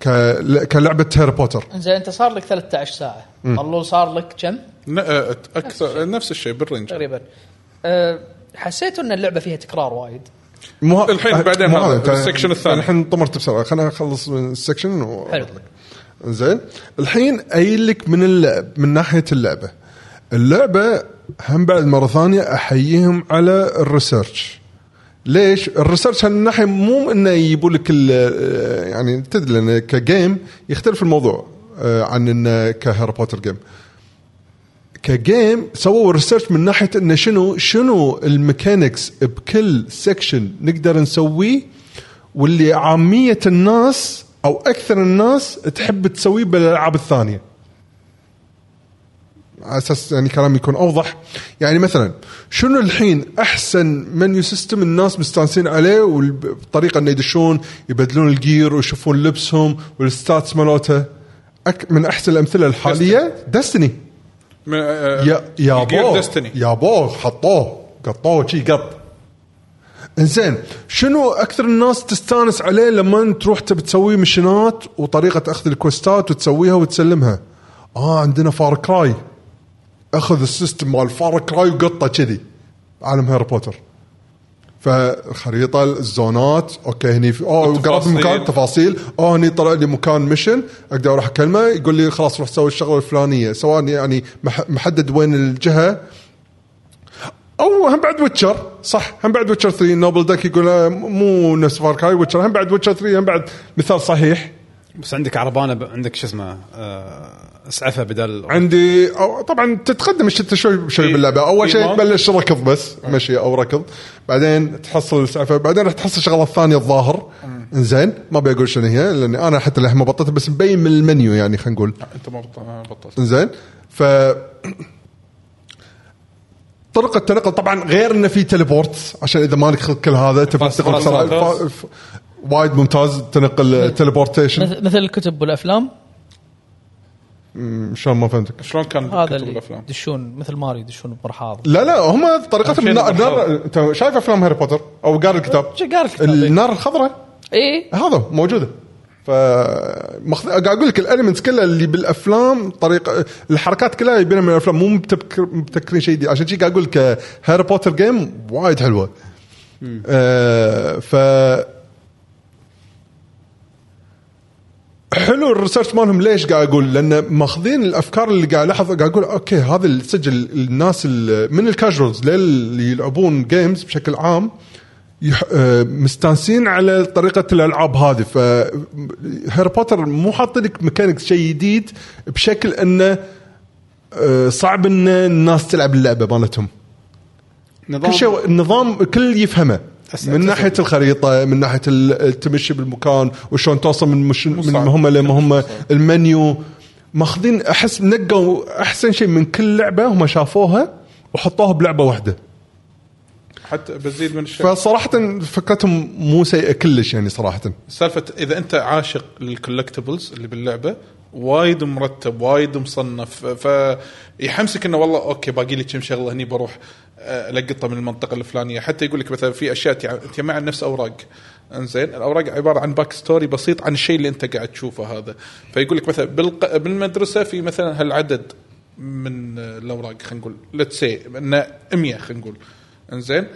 ك- كلعبه هاري بوتر زين انت صار لك 13 ساعه الله صار لك كم ن- آه، اكثر نفس الشيء بالرينج تقريبا أه، حسيت ان اللعبه فيها تكرار وايد مو أه، الحين بعدين مو هذا، أنت- السكشن الثاني. الحين طمرت بسرعه خلينا نخلص من السكشن و حلو زين الحين قايل لك من اللعب من ناحيه اللعبه اللعبه هم بعد مره ثانيه احييهم على الريسيرش ليش؟ الريسيرش من ناحيه مو انه يجيبوا لك ال- يعني تدري لان كجيم يختلف الموضوع آه، عن انه كهاري بوتر جيم. كجيم سووا ريسيرش من ناحيه انه شنو شنو الميكانكس بكل سكشن نقدر نسويه واللي عاميه الناس او اكثر الناس تحب تسويه بالالعاب الثانيه. على اساس يعني كلامي يكون اوضح يعني مثلا شنو الحين احسن منيو سيستم الناس مستانسين عليه والطريقه انه يدشون يبدلون الجير ويشوفون لبسهم والستاتس مالته أك- من احسن الامثله الحاليه دستني آه، يا يا بو ديستني يا بو حطوه قطوه شي قط انزين شنو اكثر الناس تستانس عليه لما تروح تبي تسوي مشنات وطريقه اخذ الكوستات وتسويها وتسلمها اه عندنا فار كراي اخذ السيستم مال فار كراي وقطه كذي عالم هاري بوتر فالخريطه الزونات اوكي هني في آه، اوه قرأت التفاصيل. مكان تفاصيل اوه آه، هني طلع لي مكان ميشن اقدر اروح اكلمه يقول لي خلاص روح سوي الشغله الفلانيه سواء يعني مح- محدد وين الجهه او هم بعد ويتشر صح هم بعد ويتشر 3 نوبل داك يقول آه، مو نفس فاركاي ويتشر هم بعد ويتشر 3 هم بعد مثال صحيح بس عندك عربانه ب... عندك شو اسمه آه، اسعفه بدل عندي أو طبعا تتقدم انت شوي شوي إيه. آه. باللعبه اول شيء إيمان. تبلش ركض بس مشي او ركض بعدين تحصل السعفه بعدين راح تحصل شغلات ثانيه الظاهر آه. زين ما بقول شنو هي لاني انا حتى الحين ما بطلتها بس مبين من المنيو يعني خلينا نقول انت ما بط- ما بطلت زين ف طرق التنقل طبعا غير انه في تليبورت عشان اذا مالك خلق كل هذا تبي فاست تنقل بسرعه ممتاز. فا- ف- وايد ممتاز إيه. تنقل تليبورتيشن مثل مثل الكتب والافلام شلون ما فهمتك شلون كان هذا كتب اللي الافلام؟ يدشون مثل ماري يدشون برحاض لا لا هم طريقتهم عشان النار, النار الخضرة. انت شايف افلام هاري بوتر او قاري الكتاب قاري الكتاب، إيه. النار الخضراء إيه. اي هذا موجوده ف مخ... قاعد اقول لك الاليمنتس كلها اللي بالافلام طريقه الحركات كلها يبينها من الافلام مو مبتكر... مبتكرين شيء جديد عشان شي قاعد اقول لك هاري بوتر جيم وايد حلوه آه ف حلو الريسيرش مالهم ليش قاعد اقول لان ماخذين الافكار اللي قاعد الاحظ قاعد اقول اوكي هذا السجل الناس ال- من الكاجوالز اللي يلعبون جيمز بشكل عام يح- آه، مستانسين على طريقه الالعاب هذه ف هاري بوتر مو حاطين لك ميكانكس شيء جديد بشكل انه آه، صعب ان الناس تلعب اللعبه مالتهم نظام كل شيء النظام كل يفهمه أس- من أس- ناحيه الخريطه من ناحيه ال- التمشي بالمكان وشلون توصل من مش من صعب. مهمه لمهمه المنيو ماخذين احس نقوا احسن شيء من كل لعبه هم شافوها وحطوها بلعبه واحده حتى بتزيد من الشيء فصراحه فكرتهم مو سيئه كلش يعني صراحه سالفه اذا انت عاشق للكولكتبلز اللي باللعبه وايد مرتب وايد مصنف فيحمسك انه والله اوكي باقي لي كم شغله هني بروح آه، القطها من المنطقه الفلانيه حتى يقول لك مثلا في اشياء تع- تجمع عن نفس اوراق انزين الاوراق عباره عن باك ستوري بسيط عن الشيء اللي انت قاعد تشوفه هذا فيقول لك مثلا بالق... بالمدرسه في مثلا هالعدد من آه، الاوراق خلينا نقول ليتس سي انه 100 خلينا نقول انزين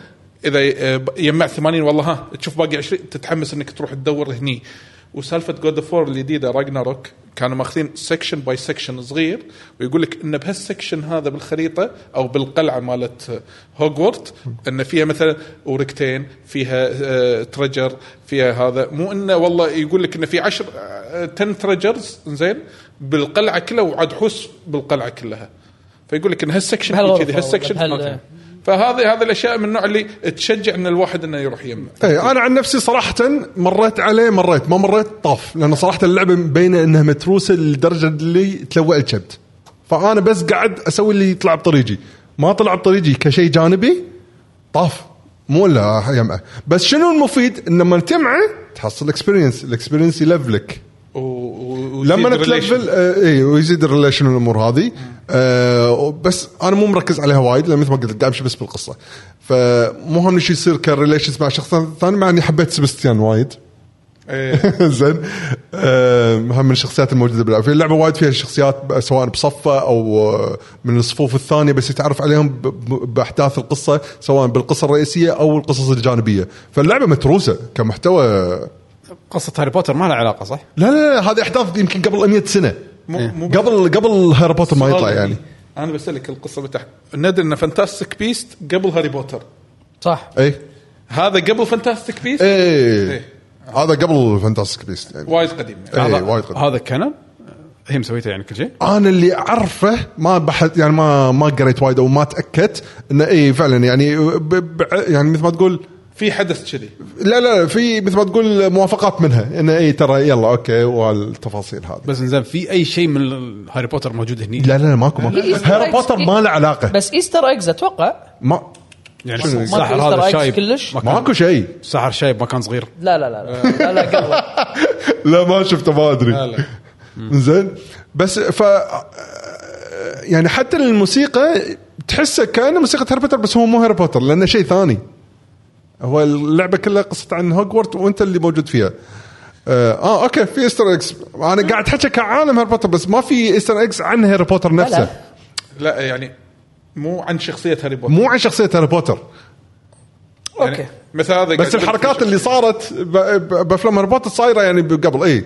اذا ي- آه، ب- يجمع 80 والله ها تشوف باقي 20 تتحمس انك تروح تدور هني وسالفه جود اوف وور الجديده راجناروك كانوا ماخذين سكشن باي سكشن صغير ويقول لك ان بهالسكشن هذا بالخريطه او بالقلعه مالت هوجورت ان فيها مثلا اوركتين فيها آه، تريجر فيها هذا مو انه والله يقول لك انه في آه، 10 10 تريجرز زين بالقلعه كلها وعاد حوس بالقلعه كلها فيقول لك ان هالسكشن بهالغرفة كذي هالسكشن ولا بهال- هذا. فهذه هذه الاشياء من النوع اللي تشجع ان الواحد انه يروح يمه اي انا إيه، عن نفسي صراحه مريت عليه مريت ما مريت طاف لان صراحه اللعبه مبينه انها متروسه لدرجه اللي تلوع الكبد فانا بس قاعد اسوي اللي يطلع بطريقي ما طلع بطريقي كشيء جانبي طاف مو لا يمعه بس شنو المفيد ان لما تمعه تحصل اكسبيرينس الاكسبيرينس يلفلك و... و... لما ويزيد تلفل relation. آه اي ويزيد الريليشن والامور هذه آه بس انا مو مركز عليها وايد لان مثل ما قلت قاعد امشي بس بالقصه فمو هم شيء يصير كريليشنز مع شخص ثاني مع اني حبيت سبستيان وايد إيه. زين آه هم من الشخصيات الموجوده باللعبه في اللعبه وايد فيها شخصيات ب- سواء بصفه او آه، من الصفوف الثانيه بس يتعرف عليهم ب- ب- باحداث القصه سواء بالقصه الرئيسيه او القصص الجانبيه فاللعبه متروسه كمحتوى قصه هاري بوتر ما لها علاقه صح؟ لا لا, لا هذه احداث يمكن قبل 100 سنه مو... مو قبل قبل هاري بوتر ما يطلع سؤال يعني انا بسالك القصه بتاعت ندري ان فانتاستيك بيست قبل هاري بوتر صح اي هذا قبل فانتاستيك بيست اي إيه. هذا قبل فانتاستيك بيست يعني وايد قديم يعني. اي هذا وايد قديم. هذا كانون هي مسويته يعني كل شيء انا اللي اعرفه ما بحث يعني ما ما قريت وايد او ما تاكدت انه اي فعلا يعني ب ب يعني مثل ما تقول في حدث كذي لا لا في مثل ما تقول موافقات منها انه اي ترى يلا اوكي والتفاصيل هذه بس زين في اي شيء من ال- هاري بوتر موجود هني لا لا ماكو ماكو إيستر هاري إكس- بوتر ما له علاقه بس ايستر ايجز اتوقع ما يعني شنو؟ الساحر ماكو هذا إيستر إيجز الشايب كلش؟ ما كان ماكو شيء الساحر الشايب ما كان صغير طيب، لا لا لا أه. لا لا, لا قبل لا ما شفته ما ادري لا لا زين بس ف يعني حتى الموسيقى تحسه كانه موسيقى هاري بوتر بس هو مو هاري بوتر لانه شيء ثاني هو اللعبه كلها قصه عن هوجورت وانت اللي موجود فيها آه, اه اوكي في استر اكس انا قاعد احكي كعالم هاري بوتر بس ما في استر اكس عن هاري بوتر نفسه لا يعني مو عن شخصيه هاري بوتر مو عن شخصيه هاري بوتر يعني اوكي مثل هذا بس الحركات اللي صارت ب- ب- بافلام هاري بوتر صايره يعني ب- قبل اي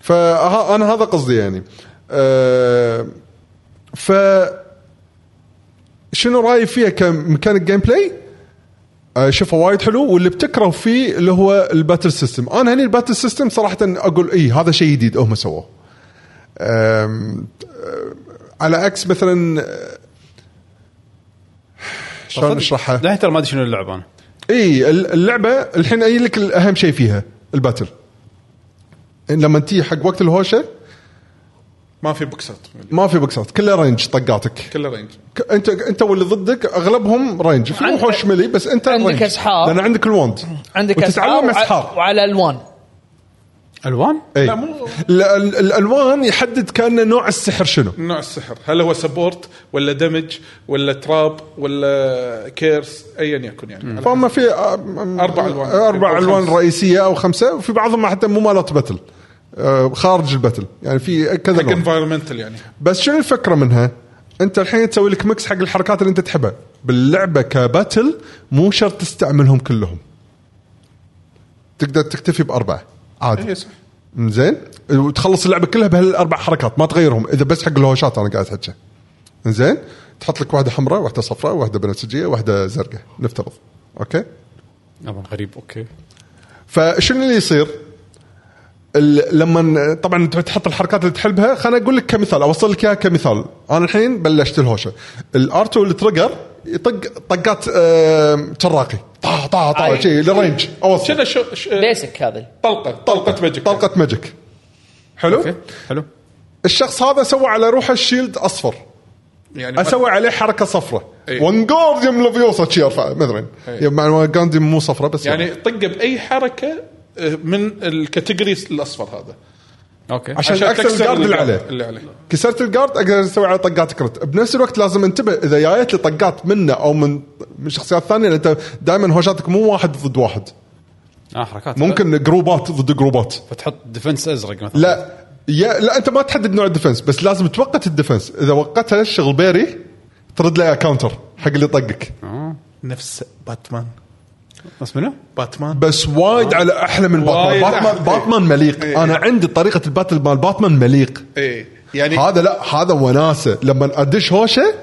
فانا هذا قصدي يعني آه، ف شنو رايي فيها كميكانيك جيم بلاي؟ آه، شوفه وايد حلو واللي بتكره فيه اللي هو الباتل سيستم، انا هني الباتل سيستم صراحه اقول اي هذا شيء جديد هم سووه. آم، آه، على عكس مثلا آه، شلون اشرحها؟ للحين ترى ما ادري شنو اللعبه انا اي اللعبه الحين اي لك اهم شيء فيها الباتل إن لما تيجي حق وقت الهوشه ما في بوكسات ما في بوكسات كلها رينج طقاتك كله رينج ك- انت انت واللي ضدك اغلبهم رينج في عندك- وحوش ملي بس انت عندك رينج. أسحار. لان عندك الوند عندك وتتعلم أسحار وع- اسحار وعلى الوان الوان؟ اي لا، مو- ال- ال- الالوان يحدد كانه نوع السحر شنو نوع السحر هل هو سبورت ولا دمج ولا تراب ولا كيرس ايا يكن يعني على فما في أربع ألوان. اربع أو الوان خمسة. رئيسيه او خمسه وفي بعضهم حتى مو مالت باتل آه، خارج الباتل يعني في كذا حق لون. انفايرمنتال يعني بس شنو الفكره منها؟ انت الحين تسوي لك ميكس حق الحركات اللي انت تحبها باللعبه كباتل مو شرط تستعملهم كلهم تقدر تكتفي باربعه اي عادي صح زين وتخلص اللعبه كلها بهالاربع حركات ما تغيرهم اذا بس حق الهوشات انا قاعد احكي زين تحط لك واحده حمراء واحده صفراء واحده بنفسجيه واحده زرقاء نفترض اوكي طبعا غريب اوكي فشنو اللي يصير؟ ال- لما طبعا انت تحط الحركات اللي تحبها خليني اقول لك كمثال اوصل لك اياها كمثال انا الحين بلشت الهوشه الار 2 التريجر يطق طقات آم، تراقي طا طا طا أي. شيء للرينج اوصل شنو شو ش- بيسك هذا طلقه طلقه ماجيك طلقه ماجيك حلو اوكي حلو الشخص هذا سوى على روحه الشيلد اصفر يعني ما- اسوي عليه حركه صفراء أي. ونجورديوم لوفيوسا شي ارفع مثلا أي. مع الونجورديوم مو صفراء بس يعني طقه باي حركه آه، من الكاتيجوري الاصفر هذا اوكي عشان اكسر الجارد اللي عليه اللي عليه كسرت الجارد اقدر اسوي على طقات كرت بنفس الوقت لازم انتبه اذا جايت لي طقات منه او من من شخصيات ثانيه لأن انت دائما هوشاتك مو واحد ضد واحد اه حركات ممكن جروبات ضد جروبات فتحط ديفنس ازرق مثلا لا يا لا انت ما تحدد نوع الديفنس بس لازم توقت الديفنس اذا وقتها الشغل بيري ترد له كاونتر حق اللي طقك آه. نفس باتمان بس منو؟ باتمان بس وايد على احلى من باتمان وايد باتمان, أحلى. باتمان مليق إيه. انا عندي طريقه الباتل مال باتمان مليق ايه يعني هذا لا هذا وناسه لما ادش هوشه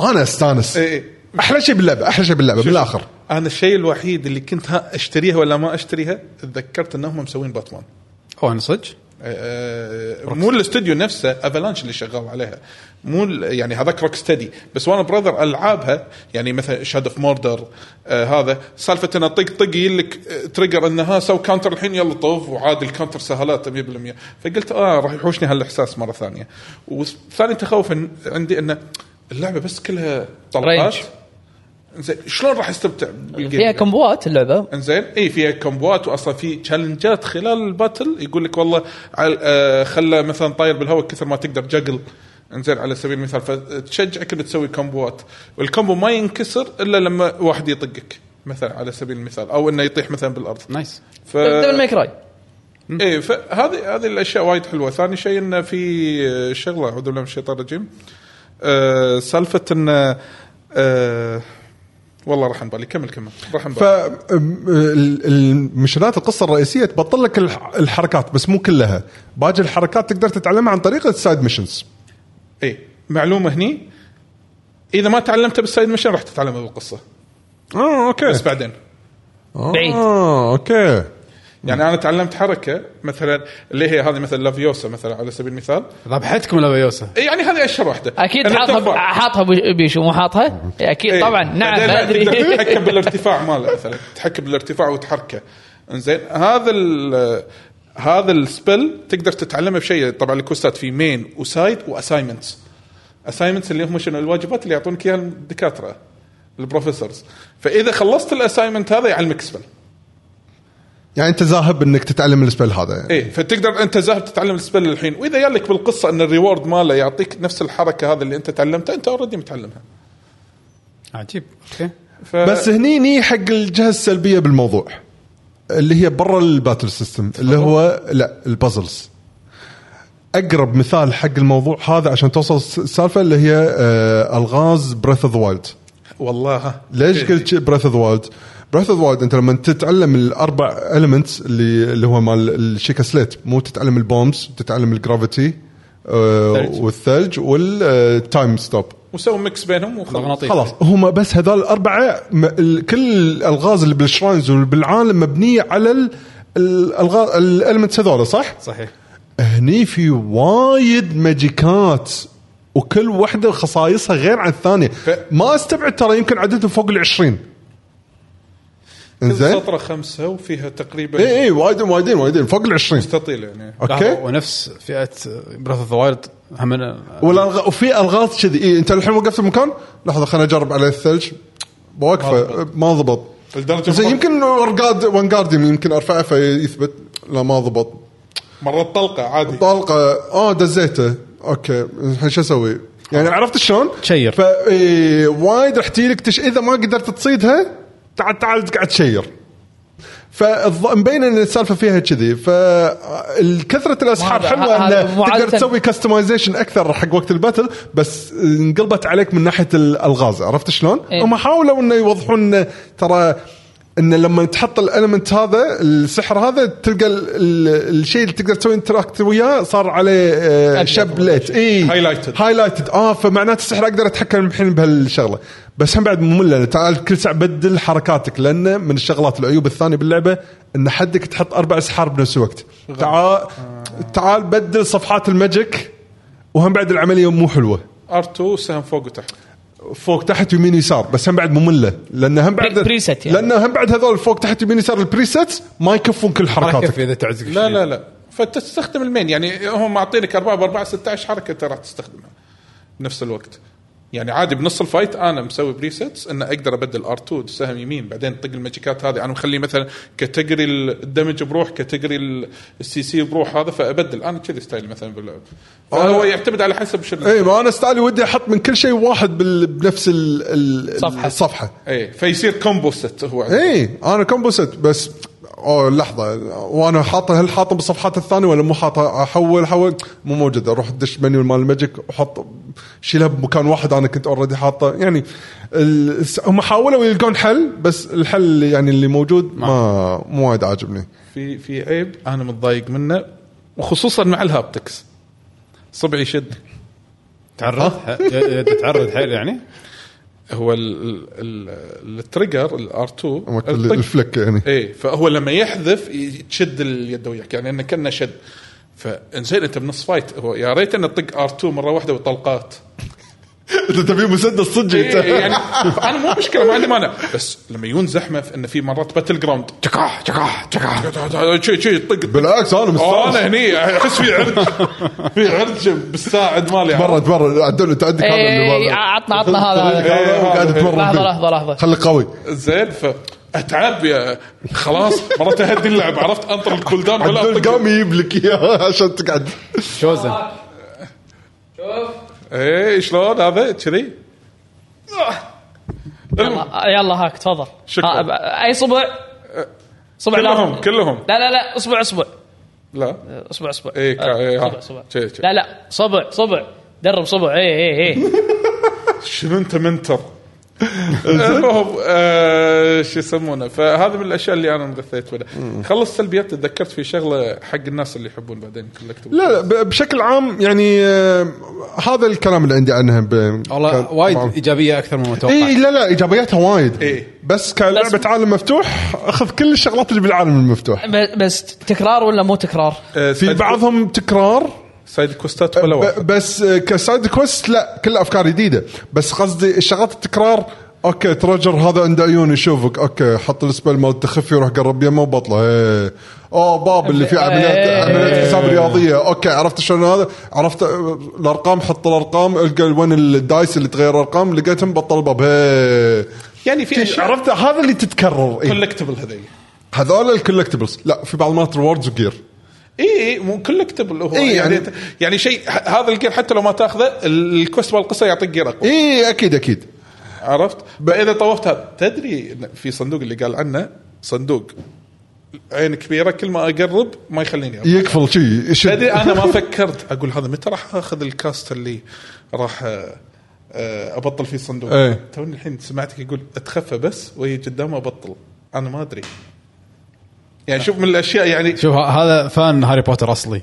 انا استانس إيه، إيه. احلى شيء باللعبه احلى شيء باللعبه بالاخر انا الشيء الوحيد اللي كنت ها اشتريها ولا ما اشتريها تذكرت انهم مسوين باتمان هو انا صدق؟ آه، مو الاستوديو نفسه افلانش اللي شغال عليها مو ال- يعني هذاك روك ستدي بس وانا براذر العابها يعني مثلا شاد اوف موردر آه هذا سالفه انه طق طق يلك آه، تريجر انه ها سو كاونتر الحين يلا طوف وعاد الكاونتر سهالات 100% فقلت اه راح يحوشني هالاحساس مره ثانيه وثاني تخوف إن- عندي انه اللعبه بس كلها طلقات رينج. زين شلون راح استمتع بالجيم فيها كمبوات اللعبه انزين اي فيها كومبوات واصلا في تشالنجات خلال الباتل يقول لك والله عل- آه خلى مثلا طاير بالهواء كثر ما تقدر جقل انزين على سبيل المثال فتشجعك انك تسوي كومبوات والكومبو ما ينكسر الا لما واحد يطقك مثلا على سبيل المثال او انه يطيح مثلا بالارض نايس ف... دبل مايكراي اي فهذه هذه الاشياء وايد حلوه، ثاني شيء انه في شغله اعوذ بالله من الشيطان الرجيم أه سالفه انه أه والله راح عن بالي كمل كمل راح عن بالي فالمشنات القصه الرئيسيه تبطل لك الح- الحركات بس مو كلها باقي الحركات تقدر تتعلمها عن طريق السايد ميشنز اي معلومه إيه. هني اذا ما تعلمتها بالسايد ميشن راح تتعلمها بالقصه اه اوكي بس بعدين بعيد. اه اوكي يعني انا تعلمت حركه مثلا اللي هي هذه مثلا لافيوسا مثلا على سبيل المثال ذبحتكم لو يوسا إي يعني هذه اشهر واحده اكيد إنك حاطها ترفع. حاطها بي- بيشو مو حاطها اكيد إي. طبعا نعم إيه. بعدين لا، ادري تقدر تتحكم بالارتفاع ماله مثلا تتحكم بالارتفاع وتحركه انزين هذا ال هذا السبل تقدر تتعلمه بشيء طبعا الكوستات في مين وسايد واساينمنتس اساينمنتس اللي هم شنو الواجبات اللي يعطونك اياها الدكاتره البروفيسورز فاذا خلصت الاساينمنت هذا يعلمك سبل يعني انت ذاهب انك تتعلم السبيل هذا يعني. ايه فبتقدر انت زاهر تتعلم السبل الحين واذا جالك بالقصه ان الريورد ماله يعطيك نفس الحركه هذا اللي انت تعلمتها انت اوريدي متعلمها عجيب اوكي ف... بس هني ني حق الجهه السلبيه بالموضوع اللي هي برا الباتل سيستم اللي هو لا البازلز اقرب مثال حق الموضوع هذا عشان توصل السالفه اللي هي آه الغاز بريث اوف وايلد والله ها. ليش قلت بريث اوف وايلد؟ بريث اوف وايلد انت لما تتعلم الاربع المنتس اللي اللي هو مال الشيكا سليت مو تتعلم البومز تتعلم الجرافيتي آه الثلج. والثلج والتايم ستوب وسوي ميكس بينهم وخلاص مغناطيس خلاص هم بس هذول الاربعه م- ال- كل الالغاز اللي بالشراينز وبالعالم مبنيه على ال- الالغاز الالمنتس هذول صح؟ صحيح هني في وايد ماجيكات وكل واحدة خصائصها غير عن الثانية ما استبعد ترى يمكن عددهم فوق العشرين كل انزين سطره خمسه وفيها تقريبا اي اي وايدين وايدين وايدين فوق العشرين مستطيل يعني اوكي اوكي ونفس فئه براث اوف ذا وايلد هم أنا- والألغ... وفي الغاز كذي إيه انت الحين وقفت المكان لحظه خليني اجرب على الثلج واقفه ما ضبط لدرجه زين مرة- يمكن ورقاد وان جارديوم يمكن ارفعه فيثبت لا ما ضبط مرات طلقه عادي طلقه اه دزيته اوكي الحين شو اسوي؟ يعني عرفت شلون؟ تشير. ف إيه، وايد راح تجيلك تش اذا ما قدرت تصيدها تعال تعال قاعد تشير فمبين ان السالفه فيها كذي فكثره الاسحاب هذا- حلوه هذا انه معادة- تقدر تسوي كستمايزيشن اكثر حق وقت الباتل بس انقلبت عليك من ناحيه الالغاز عرفت شلون؟ إيه. هم حاولوا انه يوضحون إنه ترى انه لما تحط الالمنت هذا السحر هذا تلقى ال- ال- الشيء اللي تقدر تسوي انتراكت وياه صار عليه آه، أبيض شب ولا ليت اي Highlighted. هايلايتد اه E. فمعناته السحر اقدر اتحكم الحين بهالشغله بس هم بعد ممل لأن تعال كل ساعه بدل حركاتك لانه من الشغلات العيوب الثانيه باللعبه ان حدك تحط اربع اسحار بنفس الوقت تعال تعال بدل صفحات الماجيك وهم بعد العمليه مو حلوه ار2 سهم فوق وتحت فوق تحت يمين يسار بس هم بعد ممله لان هم بعد بريست يعني. لان هم بعد هذول فوق تحت يمين يسار البريسيتس ما يكفون كل ما يكفي حركاتك اذا تعزق لا لا لا فتستخدم المين يعني هم معطينك 4 ب 4 16 حركه ترى تستخدمها نفس الوقت يعني عادي بنص الفايت انا مسوي بريسيتس ان اقدر ابدل ار2 سهم يمين بعدين طق الماجيكات هذه انا مخليه مثلا كاتيجوري الدمج بروح كاتيجوري السي سي بروح هذا فابدل انا كذي ستايل مثلا باللعب آه. فهو يعتمد على حسب شنو اي إيه، ما انا ستايلي ودي احط من كل شيء واحد بال... بنفس ال... ال... صفحة. الصفحه اي إيه، فيصير كومبو ست هو عنده. اي انا كومبو ست بس اوه لحظه وانا حاطه هل حاطه بالصفحات الثانيه ولا مو حاطه احول احول مو موجوده اروح دش منيو مال الماجيك وحط شيلها بمكان واحد انا كنت اوريدي حاطه يعني ال- هم حاولوا يلقون حل بس الحل يعني اللي موجود ما مو وايد عاجبني في في عيب انا متضايق منه وخصوصا مع الهابتكس صبعي يشد تعرض ح- ي- ي- تتعرض حيل يعني هو ال- ال- ال- التريجر الار 2 أما ال- الفلك يعني اي إيه، فهو لما يحذف ي- تشد اليد وياك يعني انه كانه شد فانزين انت بنص فايت هو يا ريت انه تطق ار 2 مره واحده وطلقات انت تبي مسدس صدق إيه، إيه، يعني انا مو مشكله ما عندي مانع بس لما يجون زحمه في- انه في مرات باتل جراوند تكاح تكاح تكاح شي شي طق بالعكس انا آه، مستانس انا هني احس في عرج في عرج بالساعد مالي مره مره عدل انت عندك هذا اللي إيه، بالك. عطنا عطنا هذا هذا إيه، وقاعد هذا. تمرن لحظه فيه. لحظه لحظه خلي قوي زين ف اتعب يا خلاص مرات اهدي اللعب عرفت انطر الكول داون ولا عدل اطق قام يجيب لك اياها عشان تقعد شوزن ايه شلون هذا كذي يلا يلا هاك تفضل شكراً. ها، ب- اي صبع صبع كلهم لا كلهم لا لا لا اصبع اصبع لا اصبع اصبع آه، إيه، كا- إيه، ها. صبع صبع شي- شي. لا لا صبع صبع درب صبع إيه، اي اي اي شنو انت منتر المهم آه، شو يسمونه فهذه من الاشياء اللي انا انغثيت منها خلص سلبيات تذكرت في شغله حق الناس اللي يحبون بعدين كولكتبل لا لا ب- بشكل عام يعني آه، هذا الكلام اللي عندي عنها ب... كان- إيه. والله وايد معروف. ايجابيه اكثر مما توقعت اي لا لا ايجابياتها وايد إيه. بس كلعبه بس- عالم مفتوح اخذ كل الشغلات اللي بالعالم المفتوح ب- بس تكرار ولا مو تكرار؟ في بعضهم تكرار آه، سايد كوستات ولا ب- واحد بس آه، كسايد كويست لا كل افكار جديده بس قصدي الشغلات التكرار اوكي ترجر هذا عنده عيون يشوفك اوكي حط السبل مال تخفي وروح قرب يمه وبطله ايه اوه باب اللي فيه عمليات إيه. عمليات حساب رياضيه اوكي عرفت شلون هذا عرفت آه، الارقام حط الارقام القى وين الدايس اللي تغير ارقام لقيتهم بطل الباب ايه يعني في اشياء عرفت هذا اللي تتكرر إيه. كولكتبل هذي هذول الكولكتبلز لا في بعض مرات ريوردز وجير إيه، اي اي مو كولكتبل هو إي، يعني يعني- يعني, إيه، يعني شيء ه- هذا الجير حتى لو ما تاخذه ال- الكوست مال القصه يعطيك جير اقوى اي اكيد اكيد عرفت؟ فاذا طوفت هذا تدري إن في صندوق اللي قال عنه صندوق عين كبيره كل ما اقرب ما يخليني أروح. يقفل شيء يشد. تدري انا ما فكرت اقول هذا متى راح اخذ الكاست اللي راح آه، آه، ابطل فيه الصندوق إيه. توني الحين سمعتك يقول اتخفى بس واجي قدامه ابطل انا ما ادري يعني شوف من الاشياء يعني شوف ه- هذا فان هاري بوتر اصلي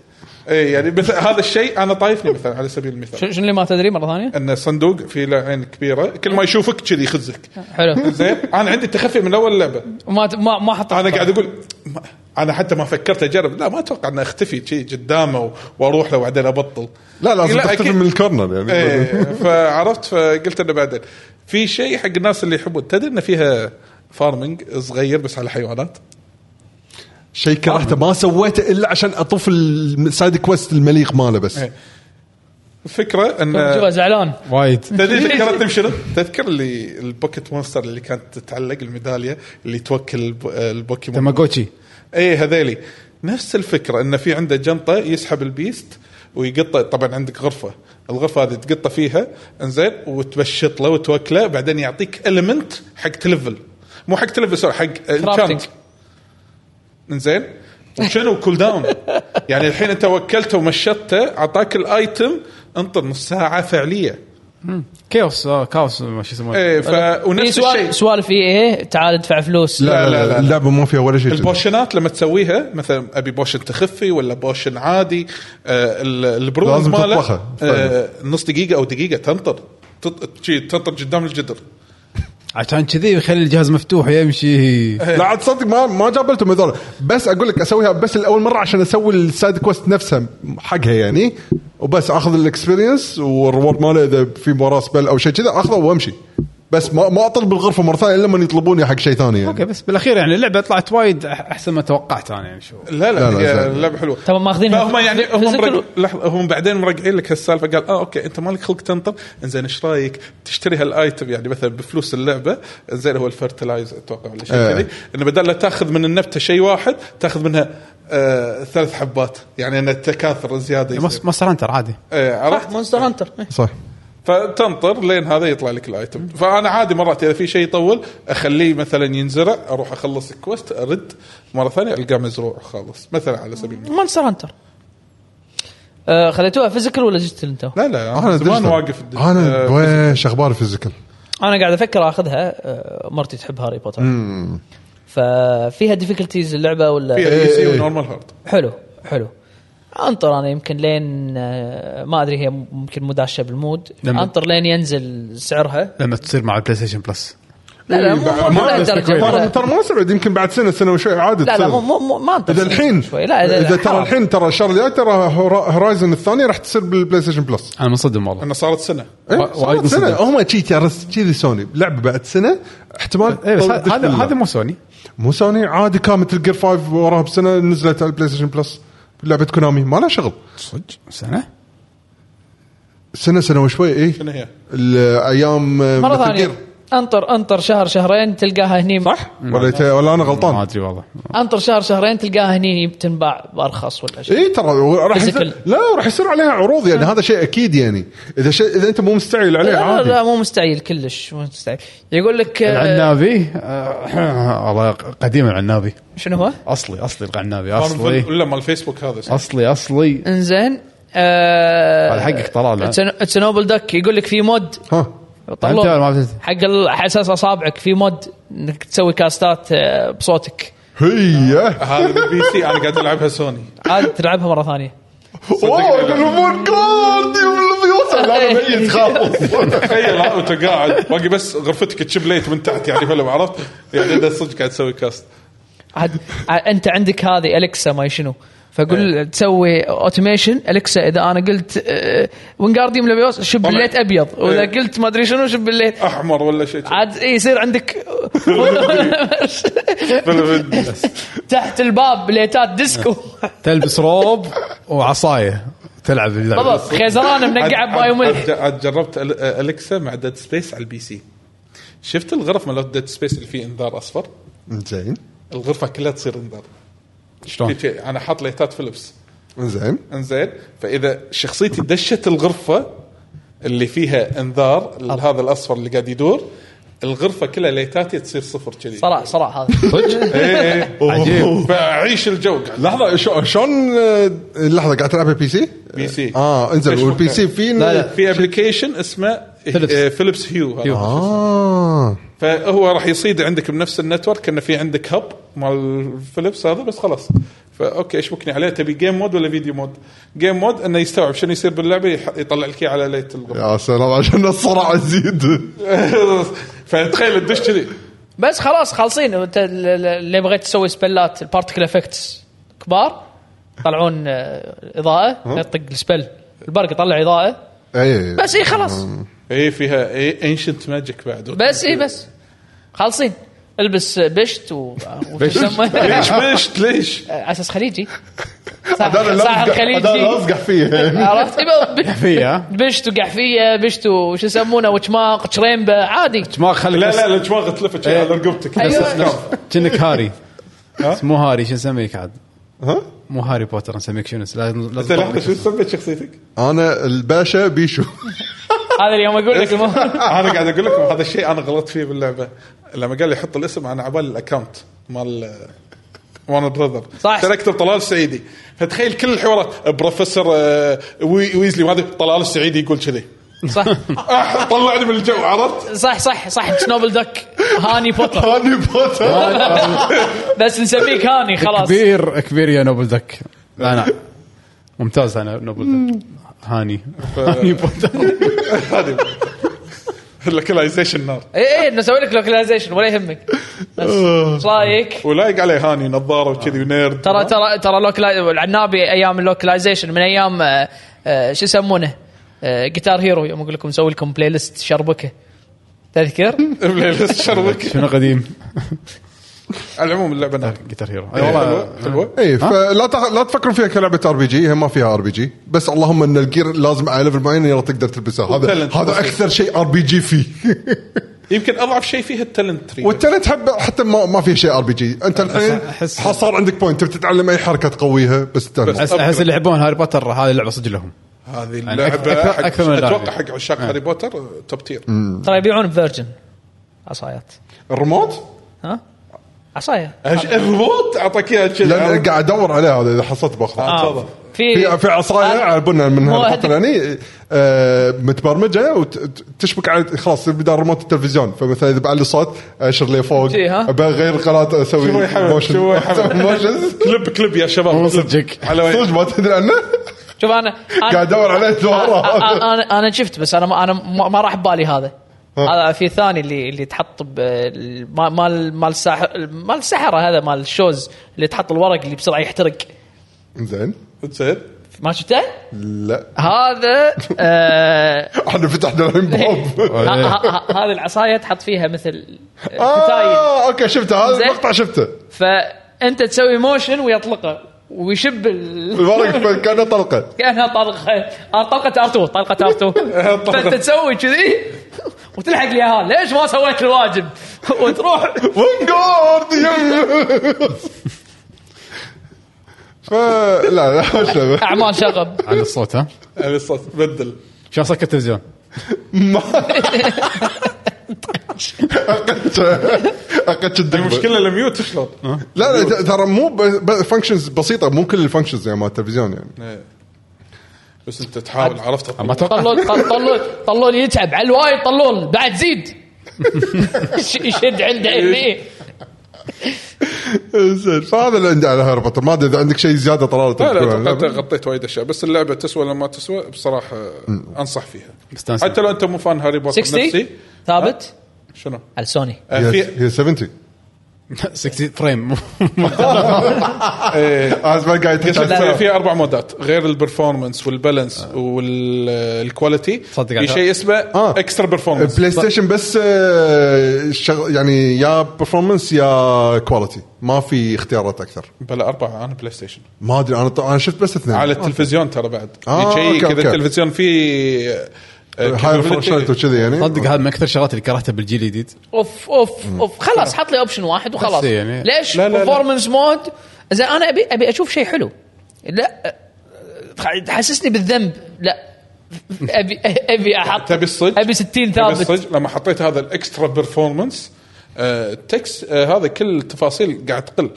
ايه يعني مثل هذا الشيء انا طايفني مثلا على سبيل المثال شنو شنو اللي ما تدري مره ثانيه؟ ان صندوق في له عين كبيره كل ما يشوفك كذي يخزك حلو زين انا عندي تخفي من اول لعبه ما ما ما حط انا قاعد اقول ما- انا حتى ما فكرت اجرب لا ما اتوقع ان اختفي شيء قدامه و- واروح له وبعدين ابطل لا لازم تختفي أكيد. من الكورنر يعني ايه فعرفت فقلت انه بعدين في شيء حق الناس اللي يحبون تدري ان فيها فارمنج صغير بس على حيوانات شيء كرهته ما سويته الا عشان اطف السايد كويست المليق ماله بس إيه. الفكره ان شوفه زعلان وايد تدري فكرتني بشنو؟ تذكر اللي البوكيت مونستر اللي كانت تتعلق الميداليه اللي توكل الب- البوكيمون تماجوتشي اي إيه، هذيلي نفس الفكره انه في عنده جنطه يسحب البيست ويقطه طبعا عندك غرفه الغرفه هذه تقطه فيها انزين وتبشط له وتوكله بعدين يعطيك المنت حق تلفل مو حق تلفل سوري حق Crafting. انشانت انزين وشنو كول داون يعني الحين انت وكلته ومشطته اعطاك الايتم انطر نص ساعه فعليه كاوس آه، كاوس ما شو يسمونه ايه ف في ونفس الشيء سؤال سؤال في ايه تعال ادفع فلوس لا, لا, لا, لا اللعبه ما فيها ولا شيء كذي. البوشنات لما تسويها مثلا ابي بوشن تخفي ولا بوشن عادي آه ال- البرونز لازم ماله تطبخه. آه نص دقيقه او دقيقه تنطر تط- شي تنطر قدام الجدر عشان كذي يخلي الجهاز مفتوح يمشي لا عاد صدق ما ما جابلتهم هذول بس اقول لك اسويها بس الاول مره عشان اسوي السايد كويست نفسها حقها يعني وبس اخذ الاكسبيرينس والريورد ماله اذا في وراه سبل او شيء كذا اخذه وامشي بس ما ما اطلب الغرفه مره ثانيه الا لما يطلبوني حق شيء ثاني يعني اوكي بس بالاخير يعني اللعبه طلعت وايد أح- احسن ما توقعت انا يعني شو لا، لا لا, لا، هي زين. اللعبه حلوه طبعا ماخذينها فهم يعني هم physical. مرق... لحظه هم بعدين مرقعين لك هالسالفه قال اه اوكي انت مالك خلق تنطر انزين ايش رايك تشتري هالايتم يعني مثلا بفلوس اللعبه انزين هو الفرتلايز اتوقع ولا شيء آه. كذي انه بدل لا تاخذ من النبته شيء واحد تاخذ منها آه ثلاث حبات يعني انه تكاثر زياده يصير. ما صار انتر عادي آه عرفت مونستر هانتر صح فتنطر لين هذا يطلع لك الايتم فانا عادي مرات اذا في شيء يطول اخليه مثلا ينزرع اروح اخلص الكوست ارد مره ثانيه القاه مزروع خالص مثلا على سبيل المثال مونستر هانتر آه، خذيتوها فيزيكال ولا ديجيتال انتوا؟ لا لا انا انا زمان ديجيتال. واقف الدج- انا آه، ويش اخبار الفيزيكال انا قاعد افكر اخذها آه، مرتي تحب هاري بوتر ففيها ديفيكولتيز اللعبه فيها ولا اي سي إيه. ونورمال هارد حلو حلو انطر انا يمكن لين آه، ما ادري هي ممكن مداشه بالمود نعم. لما- انطر لين ينزل سعرها لما تصير مع البلاي ستيشن بلس لا إيه، لا مو مو- مو لهالدرجة، مو ترى لا ترى ما سبعد يمكن بعد سنه سنه وشوي عادي لا لا تصير. مو مو- مو ما انطر اذا الحين شوي لا لا اذا ترى حرام. الحين ترى الشهر الجاي ترى هورا- هورايزن الثانيه راح تصير بالبلاي ستيشن بلس انا منصدم والله انه صارت سنه إيه، وا- صارت وايد سنه مصدق. هم شي ترى كذي سوني لعبه بعد سنه احتمال اي إيه، بس ه- تدش هذا بالله. هذا مو سوني مو سوني عادي كان مثل جير 5 وراها بسنه نزلت على البلاي ستيشن بلس لعبه كونامي ما لها شغل صدق سنه سنه سنه وشوي إيه. اي شنو هي؟ الايام مره ثانيه انطر انطر شهر شهرين تلقاها هني صح ولا ت- ولا انا ما غلطان ادري والله انطر شهر شهرين تلقاها هني بتنباع بارخص ولا شيء اي إيه، ترى راح يصير Physical. لا راح يصير عليها عروض يعني هذا شيء اكيد يعني اذا شيء اذا انت مو مستعجل إيه، عليه لا, عادي لا مو مستعجل كلش مو مستعجل يقول لك آه، العنابي آه، والله قديم العنابي شنو هو؟ اصلي اصلي العنابي فارمفيل اصلي ولا مال فيسبوك هذا اصلي اصلي انزين آه، هذا حقك طلال ها؟ طيب، It's an- It's نوبل دك يقول لك في مود ها انت طلع- ما بتت- حق ال- على اساس اصابعك في مود انك تسوي كاستات آه، بصوتك هي هذا بالبي سي انا قاعد العبها سوني عاد تلعبها مره ثانيه يعني. اوه الامور جولد يوصل انا ميت خلاص تخيل ها، وانت قاعد باقي بس غرفتك تشب ليت من تحت يعني فيلم عرفت يعني انت صدق قاعد تسوي كاست عاد عاد انت عندك هذه الكسا ما شنو إيه. فقول تسوي اوتوميشن الكسا اذا انا قلت آه، وينجارديوم لبيوس شب طبعاً. الليت ابيض واذا إيه. قلت ما ادري شنو شب الليت احمر ولا شيء عاد إيه، يصير عندك فيلم- تحت الباب ليتات ديسكو تلبس روب وعصايه تلعب بالضبط اللعبه خيزران منقعه عاد- بماي وملح عاد- عاد جربت ال- الكسا مع ديد سبيس على البي سي شفت الغرف مال ديد سبيس اللي فيه انذار اصفر زين الغرفه كلها تصير انذار شلون؟ في- في- انا حاط ليتات فيلبس زين انزين فاذا شخصيتي دشت الغرفه اللي فيها انذار هذا الاصفر اللي قاعد يدور الغرفه كلها ليتاتي تصير صفر كذي صراحه صراحه هذا صدق؟ إيه. عجيب. فاعيش الجو قاعد لحظه شو- شلون آه، لحظه قاعد تلعبها بي سي؟ بي سي اه انزل إيش والبي ممكن؟ سي في لا، لا. في ابلكيشن اسمه آه، فيليبس. فيليبس, فيليبس هيو, هيو. اه فهو راح يصيد عندك بنفس النتورك انه في عندك هب مال فيليبس هذا بس خلاص فاوكي اشبكني عليه تبي جيم مود ولا فيديو مود؟ جيم مود انه يستوعب شنو يصير باللعبه يح- يطلع لك إياه على ليت الغرفه يا سلام عشان الصراع يزيد فتخيل تدش كذي بس خلاص خالصين انت ال- ال- اللي بغيت تسوي سبلات البارتكل افكتس كبار يطلعون آه، اضاءه يطق السبل البرق يطلع اضاءه اي بس اي خلاص اي إيه، فيها انشنت ماجيك بعد بس اي بس خالصين البس بشت و بشت. ليش بشت ليش؟ على اساس خليجي هذا صح اللي صح أفقع- هذا اللي الخليجي افقع فيه عرفت فيها بشت وقحفيه بشت وش يسمونه وشماق شريمبه عادي ما خليك لا بس- لا لا دماغ تلفت شي على رقبتك أيوة. بس أفكار. كأنك هاري ها؟ مو هاري شو نسميك عاد؟ ها؟ مو هاري بوتر نسميك شنو لازم انت لحظه شو سميت شخصيتك؟ انا الباشا بيشو هذا اليوم اقول لك المهم. انا قاعد اقول لكم هذا الشيء انا غلطت فيه باللعبه لما قال لي حط الاسم انا عبال الاكونت مال وانا براذر صح. تركت طلال السعيدي فتخيل كل الحوارات بروفيسور آه، وي- ويزلي وهذا طلال السعيدي يقول كذي صح أح، طلعني من الجو عرفت؟ صح صح صح سنوبل دك هاني بوتر هاني بوتر بس نسميك هاني خلاص كبير كبير يا نوبل ذك لا لا ممتاز انا نوبل ذك هاني هاني بوتر هذه اللوكلايزيشن نار اي اي إيه، نسوي لك لوكلايزيشن ولا يهمك بس آه. ايش رايك؟ ولايق عليه هاني نظاره وكذي ونيرد ترى ترى ترى لوكلاي العنابي ايام اللوكلايزيشن من ايام آه، آه، شو يسمونه؟ آه، جيتار هيرو يوم اقول لكم نسوي لكم بلاي ليست شربكه تذكر؟ بلاي ليست شربك شنو قديم على العموم اللعبه نار جيتار هيرو اي حلوه والله حلوه اي فلا تخ... إيه، لا تفكرون فيها كلعبه ار بي جي هي ما فيها ار بي جي بس اللهم ان الجير لازم على ليفل معين يلا تقدر تلبسها هذا وتالنت هذا بس. اكثر شيء ار بي جي فيه يمكن اضعف شيء فيها التالنت تري والتالنت حب حتى ما, ما فيها شيء ار بي جي انت الحين أحس- حصار عندك بوينت تبي تتعلم اي حركه تقويها بس التالنت احس احس اللي يحبون هاري بوتر هذه اللعبه صدق لهم هذه يعني اللعبه أكثر- حق- أكثر من اتوقع اللعبة. حق عشاق هاري بوتر آه، توب تير ترى يبيعون فيرجن عصايات الريموت ها؟ عصايه أش- الريموت اعطاك اياها كذي لان عرفت؟ قاعد ادور عليها هذا اذا حصلت باخذها آه. تفضل. في في عصايه أنا- على بنا من مو هالفتره أدري. يعني آه، متبرمجه وتشبك على خلاص بدال ريموت التلفزيون فمثلا اذا بعلي صوت اشر لي فوق شي، ها؟ بغير قناه اسوي شو يا حمد؟ موشن شو يا حمد؟ موشنز كليب كليب يا شباب مو كليب. صدقك. على وين صدق ما تدري عنه شوف انا أنا- قاعد ادور عليه دوره انا انا انا شفت بس انا ما انا ما ما راح ببالي هذا هذا في ثاني اللي اللي تحط ب- ال- ما- مال مال الساحر مال السحره هذا مال الشوز اللي تحط الورق اللي بسرعه يحترق زين زين ما شفته؟ لا هذا آه احنا فتحنا الحين باب ه- ه- ه- هذه العصايه تحط فيها مثل آه، كتايل آه، اوكي شفته هذا زين. المقطع شفته فانت تسوي موشن ويطلقه ويشب ال... الورق كانه طلقه كانها طلقه طلقه ار 2 طلقه ار 2 فانت تسوي كذي وتلحق اليهال ليش ما سويت الواجب وتروح ونجارد فلا لا شبه. اعمال شغب عن الصوت ها على الصوت بدل شلون سكر التلفزيون ما اقتش اقتش الدقمه المشكله الميوت شلون؟ لا لا ت- ترى مو فانكشنز بسيطه مو كل الفانكشنز يعني مال التلفزيون يعني إيه. بس انت تحاول عرفت ما طلوا توقع طلوا طلوا يتعب على الوايد طلوا بعد زيد يش- يشد عنده هني زين فهذا اللي عندي على هاري بوتر ما ادري اذا عندك شيء زياده طلال إيه، لا تبي تقول لا أتوقع عنه. أنت غطيت وايد اشياء بس اللعبه تسوى ولا ما تسوى بصراحه آه، انصح فيها مستانس. حتى لو انت مو فان هاري بوتر 60 نفسي ثابت شنو؟ على سوني آه، هي في هي 70 60 فريم إيه. از ما قاعد قصدي يتحكى. في اربع مودات غير البرفورمانس والبالانس والكواليتي تصدق في على- شيء اسمه آه. اكسترا برفورمانس بلاي ستيشن بس آه، شغ... يعني يا برفورمانس يا كواليتي ما في اختيارات اكثر بلا اربعه انا بلاي ستيشن ما ادري انا ط... انا شفت بس اثنين على التلفزيون ترى بعد نعم. آه، في شيء أوكي، كذا أوكي. التلفزيون فيه آه، هاي capability. فرشات وكذي يعني صدق هذا من اكثر الشغلات اللي كرهتها بالجيل الجديد اوف اوف اوف خلاص حط لي اوبشن واحد وخلاص بس يعني. ليش لا، لا، لا. برفورمنس مود اذا انا ابي ابي اشوف شيء حلو لا أه، تحسسني بالذنب لا ابي ابي احط تبي الصج ابي 60 تبي ثابت الصج لما حطيت هذا الاكسترا بيرفورمانس آه، تكس آه، هذا كل التفاصيل قاعد تقل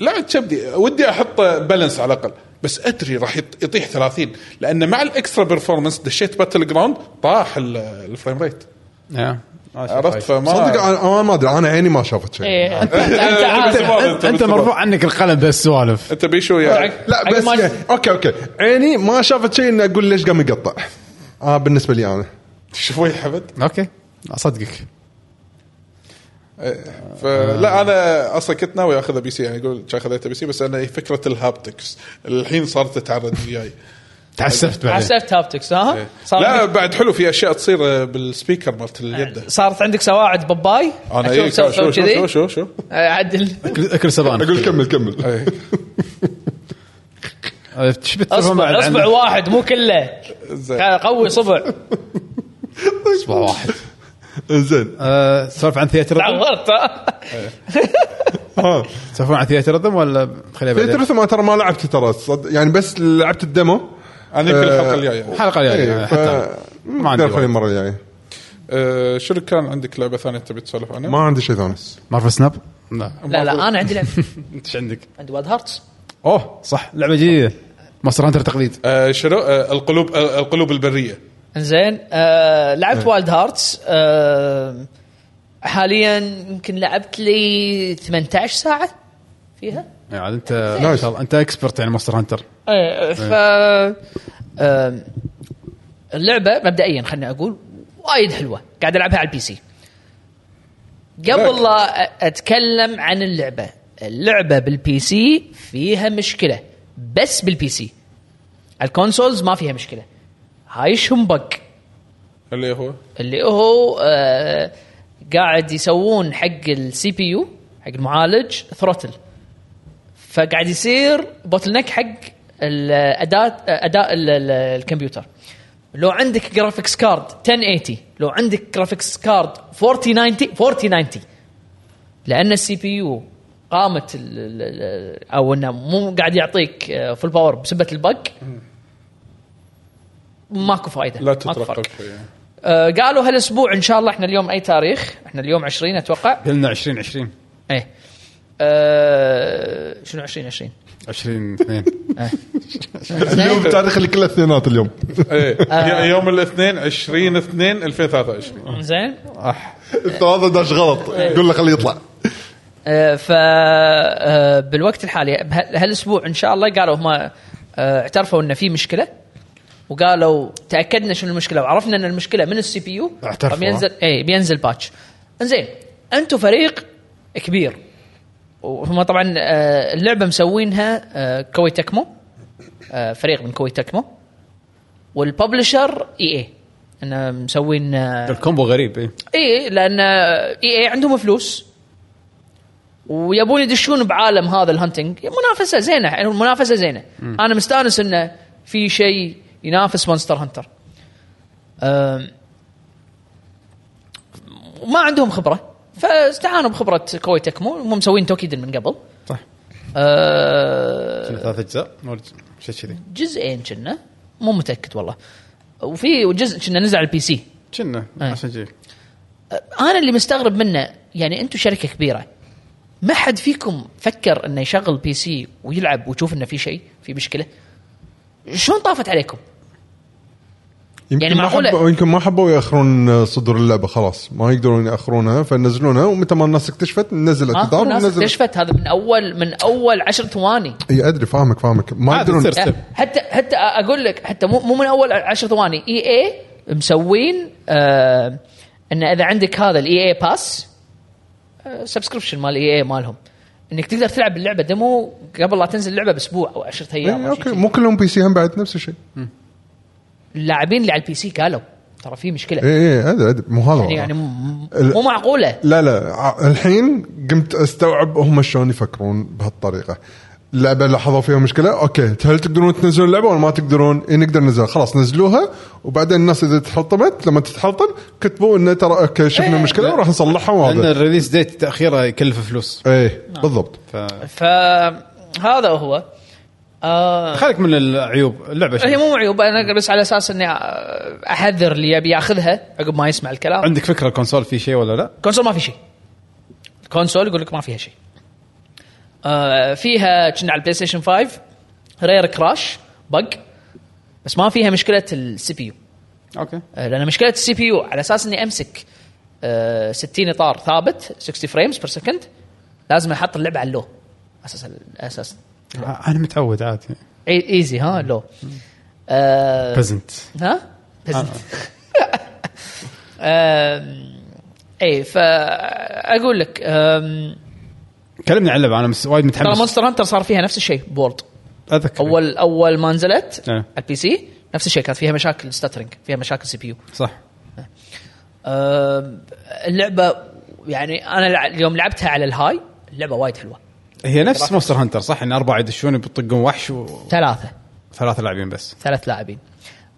لا كبدي ودي احط بالانس على الاقل بس ادري راح يط- يطيح 30 لان مع الاكسترا بيرفورمانس دشيت باتل جراوند طاح ال- الفريم ريت يا. ما شاء عرفت الله. فما صدق أنا- انا ما ادري انا عيني ما شافت شيء إيه، انت انت أنت عارف. انت انت مرفوع عنك القلم بس سوالف انت بيشو يا آه، لا عقب بس ما- اوكي اوكي عيني ما شافت شيء اني اقول ليش قام يقطع اه بالنسبه لي انا شوي حمد اوكي اصدقك فلا انا اصلا كنت ناوي اخذها بي سي يعني اقول كان خذيتها بي سي بس انا فكره الهابتكس الحين صارت تتعرض وياي تعسفت بعدين حسبت هابتكس ها صار إيه. لا عندك- بعد حلو في اشياء تصير آه، بالسبيكر مالت اليد صارت عندك سواعد باباي انا أشوف إيه، شو سو- سو شو كذي. شو آه، شو, شو. عدل اكل اكل سبانخ اقول كمل كمل إيه. عرفت شو بتسولفون بعد اصبع عن- اصبع واحد مو كله زين. قوي صبع اصبع واحد زين آه، سولف عن ثياتر رذم تعورت ها؟ سولفون عن ثياتر رذم ولا خليها بعدين ثيترث آه. ما ترى ما لعبت ترى صد- يعني بس لعبت الديمو انا يمكن الحلقه الجايه الحلقه الجايه إيه، ف- حتى ما عندي نقدر نخلي وقت. المره الجايه آه، شنو كان عندك لعبه ثانيه تبي تسولف عنها؟ ما عندي شيء ثاني مارفل سناب لا لا لا انا عندي لعب انت ايش عندك؟ عندي واد هارتس اوه صح لعبه جديده ماستر هانتر تقليد آه، شنو آه، القلوب آه، القلوب البريه انزين آه لعبت وايلد هارتس آه حاليا يمكن لعبت لي 18 ساعه فيها يعني عاد انت ما شاء الله انت اكسبرت يعني ماستر هانتر ايه ف آه، آم، اللعبه مبدئيا خليني اقول وايد حلوه قاعد العبها على البي سي قبل لا أ- اتكلم عن اللعبه اللعبه بالبي سي فيها مشكله بس بالبي سي الكونسولز ما فيها مشكله هاي شنبق اللي هو اللي هو آه، قاعد يسوون حق السي بي يو حق المعالج ثروتل فقاعد يصير بوتل نك حق آه، الاداه اداء ال- ال- الكمبيوتر لو عندك جرافيكس كارد 1080 لو عندك جرافيكس كارد 4090 4090 لان السي بي يو قامت ال ال ال او انه مو قاعد يعطيك آه، فول باور بسبه البق ماكو فائده لا ماكو فرق. تترقب شيء يعني. آه، قالوا هالاسبوع ان شاء الله احنا اليوم اي تاريخ؟ احنا اليوم 20 اتوقع قلنا 20 20 ايه أه شنو 20 20 20 2 اليوم التاريخ اللي كله اثنينات اليوم إيه. آه. ي- يوم الاثنين 20 2 2023 زين انت هذا داش غلط قول له خليه يطلع أه ف أه بالوقت الحالي بهال- هالاسبوع ان شاء الله قالوا هم أه اعترفوا ان في مشكله وقالوا تاكدنا شنو المشكله وعرفنا ان المشكله من السي بي يو اعترفوا، بينزل اي بينزل باتش انزين انتم فريق كبير وهم طبعا آه، اللعبه مسوينها آه، كوي تكمو آه، فريق من كوي تكمو والببلشر اي اي انه مسوين آه، الكومبو غريب إيه. اي اي لان اي اي إيه، عندهم فلوس ويبون يدشون بعالم هذا الهانتنج منافسه زينه يعني منافسه زينه انا مستانس انه في شيء ينافس مونستر هانتر أم، ما عندهم خبره فاستعانوا بخبره كوي تكمو هم مسوين توكيدن من قبل صح أه، ثلاث اجزاء ولا شيء كذي جزئين كنا مو متاكد والله وفي جزء كنا نزل على البي سي كنا إيه. عشان كذي انا اللي مستغرب منه يعني انتم شركه كبيره ما حد فيكم فكر انه يشغل بي سي ويلعب ويشوف انه في شيء في مشكله شلون طافت عليكم يمكن يعني ما معقولة- حبوا يمكن ما حبوا ياخرون صدور اللعبه خلاص ما يقدرون ياخرونها فنزلونها ومتى ما الناس اكتشفت نزل ها الكتاب الناس ونزل اكتشفت هذا من اول من اول عشر ثواني اي ادري إيه، فاهمك فاهمك ما عادي يقدرون تصير. ستيب. حتى حتى اقول لك حتى مو مو من اول عشر ثواني اي اي مسوين آه ان اذا عندك هذا الاي اي باس سبسكربشن آه، مال اي اي مالهم انك تقدر تلعب اللعبه ديمو قبل لا تنزل اللعبه باسبوع او 10 ايام إيه، أو شي اوكي مو كلهم بي سي هم بعد نفس الشيء اللاعبين اللي على البي سي قالوا ترى في مشكله اي اي ادري ادري مو هذا يعني يعني يعني م- إيه، ال- مو معقوله لا لا ع- الحين قمت استوعب هم شلون يفكرون بهالطريقه اللعبه لاحظوا فيها مشكله اوكي هل تقدرون تنزلون اللعبه ولا ما تقدرون؟ إيه نقدر ننزلها خلاص نزلوها وبعدين الناس اذا تحطمت لما تتحطم كتبوا انه ترى اوكي إيه. شفنا مشكله وراح نصلحها لان وهذا إيه، الريليس ديت نعم. تاخيره يكلف فلوس ايه بالضبط ف فهذا هو آه. خليك من العيوب اللعبه هي شنو؟ مو عيوب انا بس على اساس اني احذر اللي يبي ياخذها عقب ما يسمع الكلام عندك فكره الكونسول في شيء ولا لا؟ كونسول ما في شيء الكونسول يقول لك ما فيها شيء آه فيها كنا على البلاي ستيشن 5 رير كراش بق بس ما فيها مشكله السي بي يو اوكي آه، لان مشكله السي بي يو على اساس اني امسك آه، 60 اطار ثابت 60 فريمز بير سكند لازم احط اللعبه على اللو اساس اساس انا متعود عادي اي- ايزي ها لو آه، بزنت ها؟ بزنت آم، اي فاقول لك آم، كلمني عن اللعبه انا مس- وايد ترى متحمس مونستر هانتر صار فيها نفس الشيء بورد اذكر اول اول ما نزلت إيه. على البي سي نفس الشيء كانت فيها مشاكل ستاترنج فيها مشاكل سي بي يو صح أه، اللعبه يعني انا لع- اليوم لعبتها على الهاي اللعبه وايد حلوه هي نفس مونستر هانتر صح ان اربعه يدشون يطقون وحش ثلاثه وثلاثه لاعبين بس ثلاث لاعبين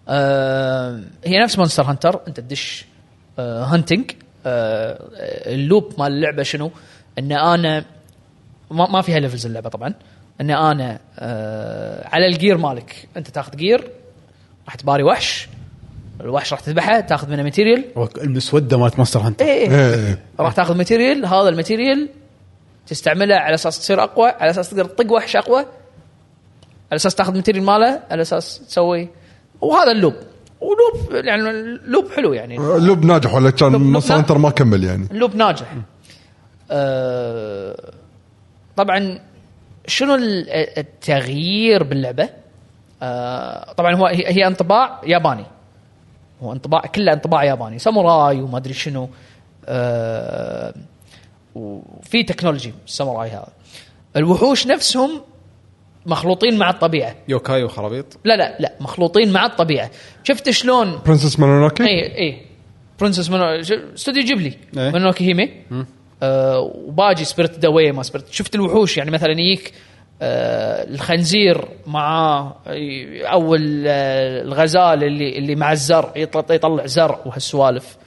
أه، هي نفس مونستر هانتر انت تدش أه، هانتنج أه، اللوب مال اللعبه شنو؟ ان انا ما ما فيها ليفلز اللعبه طبعا ان انا أه، على الجير مالك انت تاخذ جير راح تباري وحش الوحش راح تذبحه تاخذ منه ماتيريال المسوده مالت مونستر هانتر اي اي إيه. راح تاخذ ماتيريال هذا الماتيريال تستعمله على اساس تصير اقوى على اساس تقدر تطق وحش اقوى على اساس تاخذ ماتيريال ماله على اساس تسوي وهذا اللوب ولوب يعني اللوب حلو يعني لوب ناجح ولا كان لوب- لوب مونستر ناجح. هانتر ما كمل يعني اللوب ناجح أه طبعا شنو ال- التغيير باللعبه أه طبعا هو هي هي انطباع ياباني هو انطباع كله انطباع ياباني ساموراي وما ادري شنو أه وفي تكنولوجي الساموراي هذا الوحوش نفسهم مخلوطين مع الطبيعه يوكاي وخرابيط لا لا لا مخلوطين مع الطبيعه شفت شلون إيه، برنسس مانوناكي اي اي برنسس منو ش- استوديو جيبلي إيه. منوكي هيمي آه وباجي سبيرت داوي ما سبيرت شفت الوحوش يعني مثلا يجيك آه الخنزير مع او ال- آه، الغزال اللي اللي مع الزرع يطلع, يطلع زرع وهالسوالف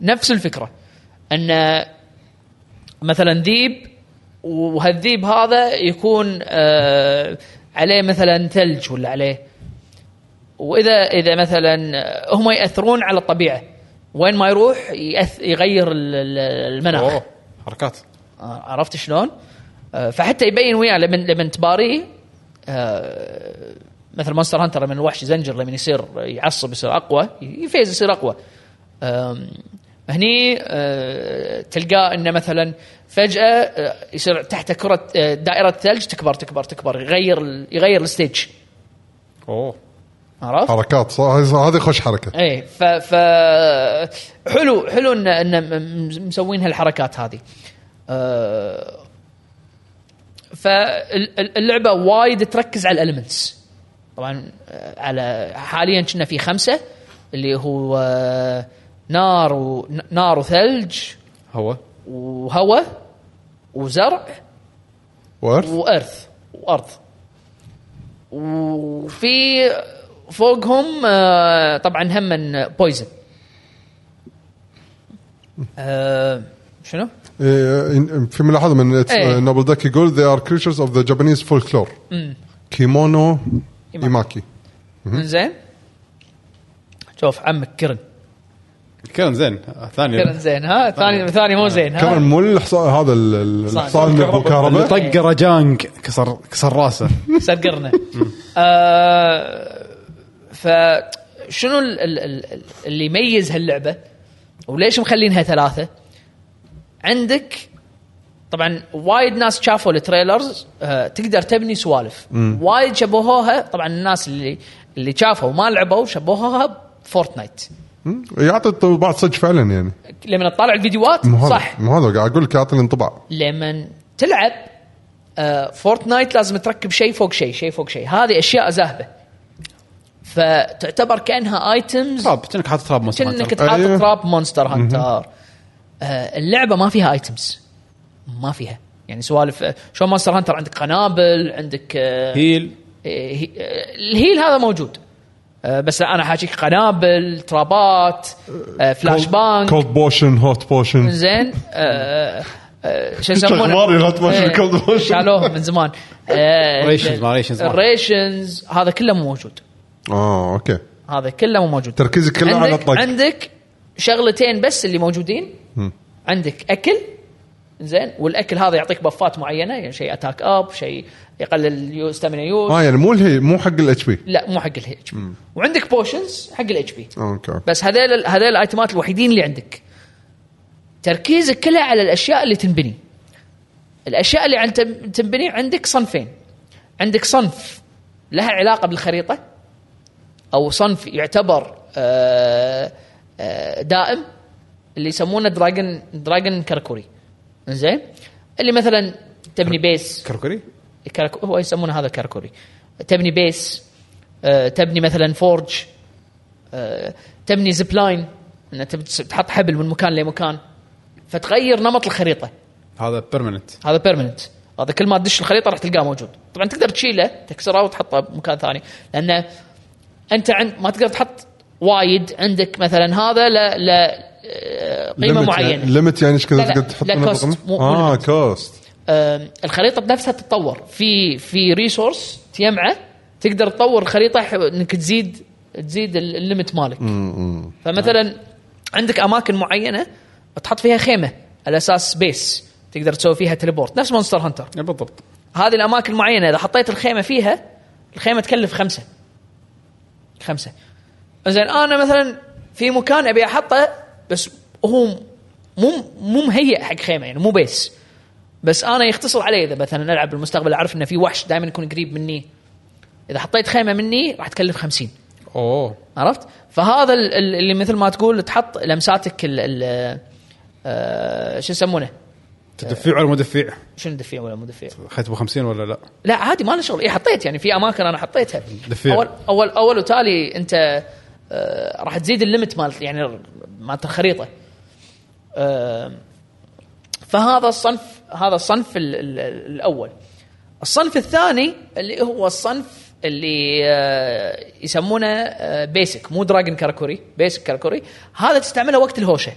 نفس الفكره ان مثلا ذيب وهالذيب هذا يكون آه عليه مثلا ثلج ولا عليه واذا اذا مثلا آه، هم ياثرون على الطبيعه وين ما يروح يأث يغير ال- ال- المناخ اوه حركات آه، عرفت شلون؟ آه، فحتى يبين وياه لما لما تباريه آه، مثل مونستر هانتر لما الوحش يزنجر لما يصير يعصب يصير اقوى يفيز يصير اقوى آم، هني آه، تلقاه انه مثلا فجاه آه، يصير تحت كره آه، دائره ثلج تكبر تكبر تكبر يغير ال- يغير الستيج اوه عرفت؟ حركات صح هذه خوش حركه ايه ف ف حلو حلو ان ان م- مسوين هالحركات هذه. أه فاللعبه وايد تركز على الالمنتس. طبعا آه، على حاليا كنا في خمسه اللي هو آه، نار و... نار وثلج هو وهواء وزرع وارث وارث وارض وفي فوقهم آه، طبعا هم بويزن آه، شنو؟ إيه، إن- في ملاحظه من إيه. نابل داك يقول they are creatures of the Japanese folklore كيمونو إيماكي. آه. ايماكي زين شوف عمك كرن كيرن زين كرن ثاني زين ها ثاني ثاني مو زين كمان ها مو الحصان هذا ال- ال- صح. الحصان اللي ابو اللي كهرباء طق رجانج كسر كسر راسه سرقرنا آه، فشنو ال- ال- ال- اللي يميز هاللعبه وليش مخلينها ثلاثه عندك طبعا وايد ناس شافوا التريلرز آه، تقدر تبني سوالف وايد شبهوها طبعا الناس اللي اللي شافوا وما لعبوا شبهوها بفورتنايت مم. يعطي انطباع صدق فعلا يعني لما تطالع الفيديوهات مو هذا صح مو هذا قاعد اقول لك يعطي الانطباع لما تلعب آه، فورتنايت لازم تركب شيء فوق شيء شيء فوق شيء هذه اشياء زاهبه فتعتبر كانها ايتمز تراب كأنك حاط تراب مونستر كأنك هانتر. تحاط أيوه. تراب مونستر هانتر آه، اللعبه ما فيها ايتمز ما فيها يعني سوالف آه، شو مونستر هانتر عندك قنابل عندك آه، هيل آه، هي- آه، الهيل هذا موجود آه، بس انا حاجيك قنابل ترابات آه، فلاش بانك كولد بوشن هوت بوشن زين آه، آه، شو أخبار يسمونه يرتبون في الكولد وور. إيه، شالوه من زمان آه، ريشنز، ما ريشنز ما. الريشنز هذا كله مو موجود اه اوكي هذا كله مو موجود تركيزك كله على عندك الطق عندك شغلتين بس اللي موجودين عندك اكل زين والاكل هذا يعطيك بفات معينه يعني شيء اتاك اب شيء يقلل ستامينا يوز اه يعني مو الهي مو حق الاتش بي لا مو حق الهيج وعندك بوشنز حق الاتش بي اوكي اوكي بس هذيل هذيل الايتمات الوحيدين اللي عندك تركيزك كله على الاشياء اللي تنبني الاشياء اللي عن تم- تنبني عندك صنفين عندك صنف لها علاقه بالخريطه او صنف يعتبر آه، آه، دائم اللي يسمونه دراجن دراجن كركوري زين اللي مثلا تبني بيس كركري كرك... هو يسمونه هذا كركوري تبني بيس آه، تبني مثلا فورج آه، تبني زيب لاين انك تحط حبل من مكان لمكان فتغير نمط الخريطه هذا بيرمننت هذا بيرمننت هذا كل ما تدش الخريطه راح تلقاه موجود طبعا تقدر تشيله تكسره وتحطه بمكان ثاني لانه انت عند ما تقدر تحط وايد عندك مثلا هذا ل ل آه، قيمه معينه ليمت يعني ايش لا، كذا لا، تقدر تحط لا، منها cost، رقم؟ مو- مو اه limit. كوست آم، الخريطه بنفسها تتطور في في ريسورس تجمعه تقدر تطور الخريطه ح- انك تزيد تزيد ال- الليمت مالك فمثلا عندك اماكن معينه تحط فيها خيمه على اساس سبيس تقدر تسوي فيها تليبورت نفس مونستر هانتر إيه، بالضبط هذه الاماكن معينه اذا حطيت الخيمه فيها الخيمه تكلف خمسه خمسه زين انا مثلا في مكان ابي احطه بس هو مو مو مهيئ حق خيمه يعني مو بيس بس انا يختصر علي اذا مثلا العب بالمستقبل اعرف انه في وحش دائما يكون قريب مني اذا حطيت خيمه مني راح تكلف خمسين اوه عرفت؟ فهذا ال- ال- اللي مثل ما تقول تحط لمساتك ال ال- آه، شو يسمونه؟ تدفيع ولا مدفيع؟ شنو دفيع ولا مو دفيع؟ اخذت ابو 50 ولا لا؟ لا عادي ما له شغل اي حطيت يعني في اماكن انا حطيتها دفيع. اول اول اول وتالي انت آه راح تزيد الليمت مال يعني مالت الخريطه آه فهذا الصنف هذا الصنف ال ال الاول الصنف الثاني اللي هو الصنف اللي آه يسمونه آه بيسك مو دراجن كاركوري بيسك كاركوري هذا تستعمله وقت الهوشه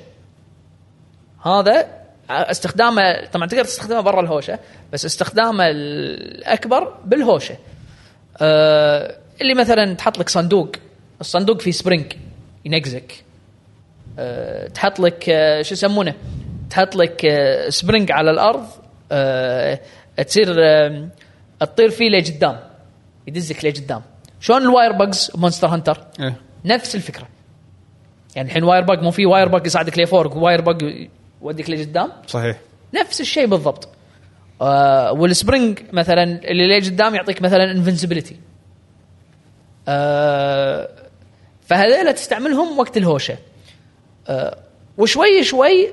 هذا استخدامه طبعا تقدر تستخدمه برا الهوشه بس استخدامه الاكبر بالهوشه أه اللي مثلا تحط لك صندوق الصندوق فيه سبرينج ينقزك أه تحط لك أه شو يسمونه تحط لك أه سبرينج على الارض أه تصير أه تطير فيه لقدام يدزك لقدام شلون الواير بجز مونستر هانتر ايه نفس الفكره يعني الحين واير باج مو في واير باج يساعدك لفوق واير باج يوديك لقدام صحيح نفس الشيء بالضبط آه والسبرينج مثلا اللي لقدام يعطيك مثلا انفنسبيلتي آه فهذيلا تستعملهم وقت الهوشه آه وشوي شوي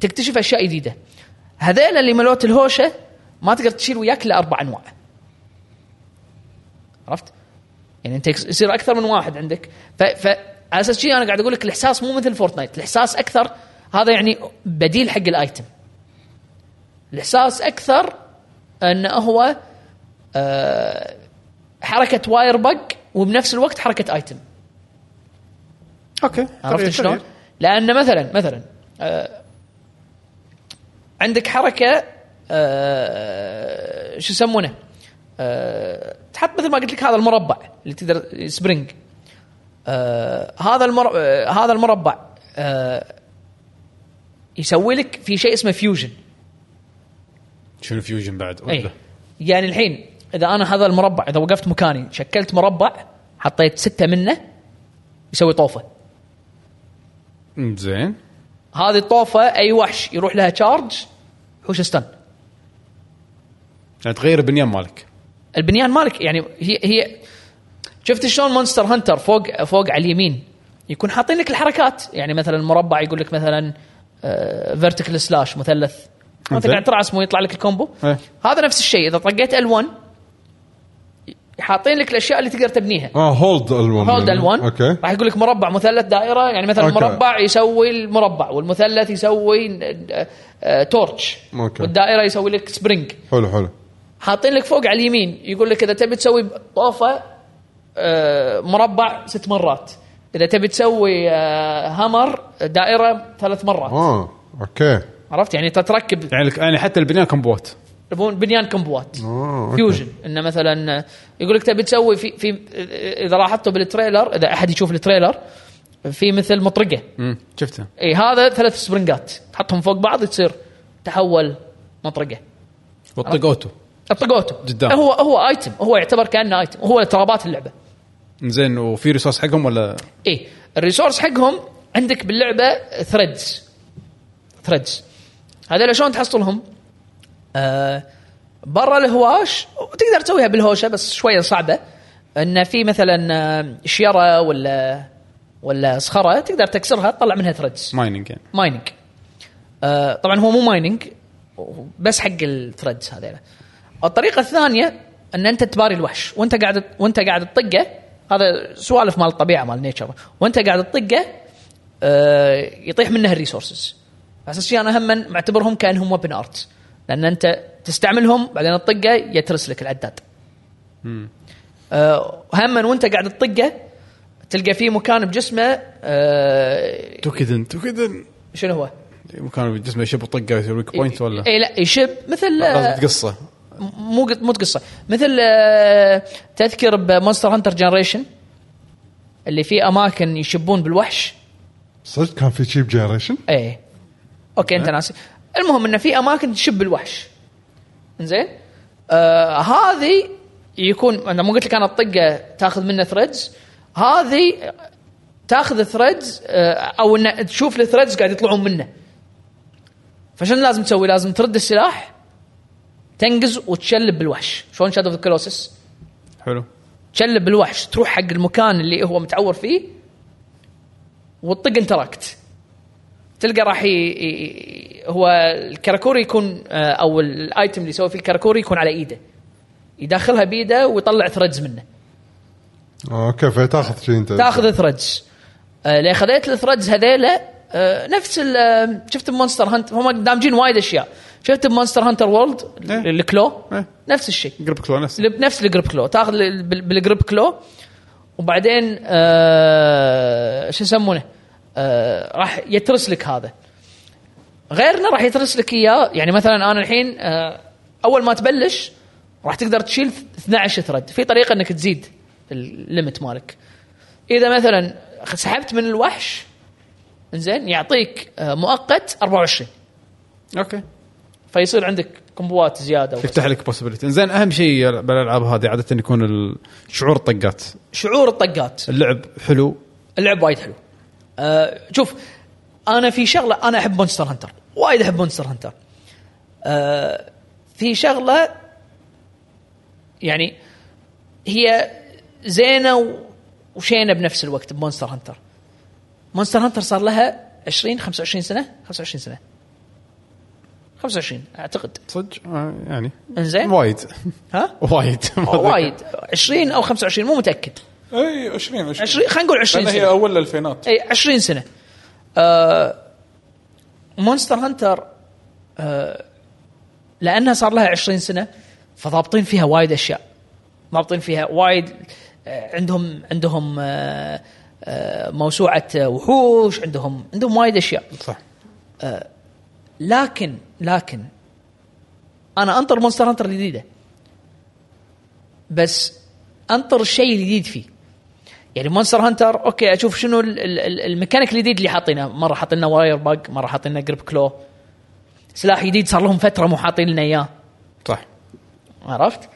تكتشف اشياء جديده هذيلا اللي ملوت الهوشه ما تقدر تشيل وياك الا اربع انواع عرفت؟ يعني انت يكس- يصير اكثر من واحد عندك ف, ف... على اساس شي انا قاعد اقول لك الاحساس مو مثل فورتنايت، الاحساس اكثر هذا يعني بديل حق الايتم. الاحساس اكثر انه هو آه، حركه واير بق وبنفس الوقت حركه ايتم. اوكي عرفت تغيير- شلون؟ تغيير. لان مثلا مثلا آه، عندك حركه آه، شو يسمونه؟ آه، تحط مثل ما قلت لك هذا المربع اللي تقدر سبرينج آه، هذا المر... آه، هذا المربع آه، يسوي لك في شيء اسمه فيوجن شنو فيوجن بعد؟ اي يعني الحين اذا انا هذا المربع اذا وقفت مكاني شكلت مربع حطيت سته منه يسوي طوفه أمم، زين هذه الطوفه اي وحش يروح لها تشارج وحوش ستان يعني تغير البنيان مالك البنيان مالك يعني هي هي شفت شلون مونستر هانتر فوق فوق على اليمين يكون حاطين لك الحركات يعني مثلا المربع يقول لك مثلا فيرتيكال سلاش مثلث انت إنزين. قاعد ترعس مو يطلع لك الكومبو إيه. هذا نفس الشيء اذا طقيت ال1 حاطين لك الاشياء اللي تقدر تبنيها اه هولد الون هولد ال1 اوكي راح يقول لك مربع مثلث دائره يعني مثلا أوكي. المربع يسوي المربع والمثلث يسوي آه، آه، تورتش أوكي. والدائره يسوي لك سبرينج حلو حلو حاطين لك فوق على اليمين يقول لك اذا تبي تسوي طوفه آه، مربع ست مرات اذا تبي تسوي آه، هامر دائره ثلاث مرات اه اوكي عرفت يعني تتركب يعني لك- يعني حتى البنيان كمبوات يبون بنيان كمبوات آه، فيوجن انه مثلا آه، يقول لك تبي تسوي في آه، في اذا لاحظتوا بالتريلر اذا احد يشوف التريلر في مثل مطرقه مم، شفته اي إيه، هذا ثلاث سبرنجات تحطهم فوق بعض تصير تحول مطرقه والطق اوتو الطقوته قدام. هو هو ايتم هو يعتبر كانه ايتم هو ترابات اللعبه زين وفي ريسورس حقهم ولا اي إيه، الريسورس حقهم عندك باللعبه ثريدز ثريدز هذول شلون تحصلهم؟ آه برا الهواش وتقدر تسويها بالهوشه بس شويه صعبه ان في مثلا آه، شيره ولا ولا صخره تقدر تكسرها تطلع منها ثريدز مايننج يعني مايننج آه طبعا هو مو مايننج بس حق الثريدز هذيلا الطريقه الثانيه ان انت تباري الوحش وانت قاعد وانت قاعد تطقه هذا سوالف مال الطبيعه مال نيتشر وانت قاعد تطقه آه يطيح منه الريسورسز على اساس شي انا هم معتبرهم كانهم ويبن ارت لان انت تستعملهم بعدين تطقه يترس لك العداد آه هم وانت قاعد تطقه تلقى فيه مكان بجسمه آه توكيدن توكيدن شنو هو؟ مكان جسمه يشب طقه يصير ويك بوينت ولا آه، اي إيه، لا يشب مثل آه، لازم قصه مو مو قصه مثل آه، تذكر بمونستر هانتر جنريشن اللي فيه اماكن يشبون بالوحش صدق كان في شيب جنريشن ايه اوكي انت ناسي المهم انه في اماكن تشب الوحش زين آه هذه يكون انا مو قلت لك انا الطقه تاخذ منه ثريدز هذه تاخذ ثريدز آه او انه تشوف الثريدز قاعد يطلعون منه فشنو لازم تسوي؟ لازم ترد السلاح تنقز وتشلب بالوحش شلون شادو اوف كلوسس حلو تشلب الوحش تروح حق المكان اللي هو متعور فيه وتطق انتراكت تلقى راح ي... ي- هو الكراكوري يكون آه، او الايتم اللي يسوي فيه الكراكوري يكون على ايده يدخلها بايده ويطلع ثريدز منه اوكي فتاخذ آه، شيء انت تاخذ ثريدز اللي آه، خذيت الثريدز هذيلا آه، نفس ال- آه، شفت بمونستر هانتر هم دامجين وايد اشياء شفت بمونستر هانتر وورلد إيه. الكلو إيه. نفس الشيء قرب كلو نفس لب- نفس الجريب كلو تاخذ ال- بال- بالجريب كلو وبعدين آه شو يسمونه آه راح يترس لك هذا غيرنا راح يترس لك اياه يعني مثلا انا الحين آه اول ما تبلش راح تقدر تشيل 12 ثرد في طريقه انك تزيد الليمت مالك اذا مثلا سحبت من الوحش زين يعطيك آه مؤقت 24 اوكي فيصير عندك كومبوات زياده يفتح لك بوسيبيليتي زين اهم شيء بالالعاب هذه عاده يكون ال- شعور الطقات شعور الطقات اللعب حلو اللعب وايد حلو أه شوف انا في شغله انا احب مونستر هانتر وايد احب مونستر هانتر أه في شغله يعني هي زينه و- وشينه بنفس الوقت بمونستر هانتر مونستر هانتر صار لها 20 25 سنه 25 سنه 25 اعتقد صدق آه، يعني انزين وايد إيه. ها وايد ما أدري. وايد 20 او 25 مو متاكد اي 20 20 خلينا نقول 20 لان سنه هي اول الالفينات اي 20 سنه آه مونستر هانتر آه لانها آه، صار لها 20 سنه فضابطين فيها وايد اشياء ضابطين فيها وايد آه عندهم عندهم آه آه موسوعه آه، وحوش عندهم عندهم وايد اشياء صح لكن لكن انا انطر مونستر هانتر الجديده بس انطر الشيء الجديد فيه يعني مونستر هانتر اوكي اشوف شنو ال- ال- ال- الميكانيك الجديد اللي حاطينه مره حاطين لنا واير باج مره حاطين لنا جريب كلو سلاح جديد صار لهم فتره مو حاطين لنا اياه صح عرفت؟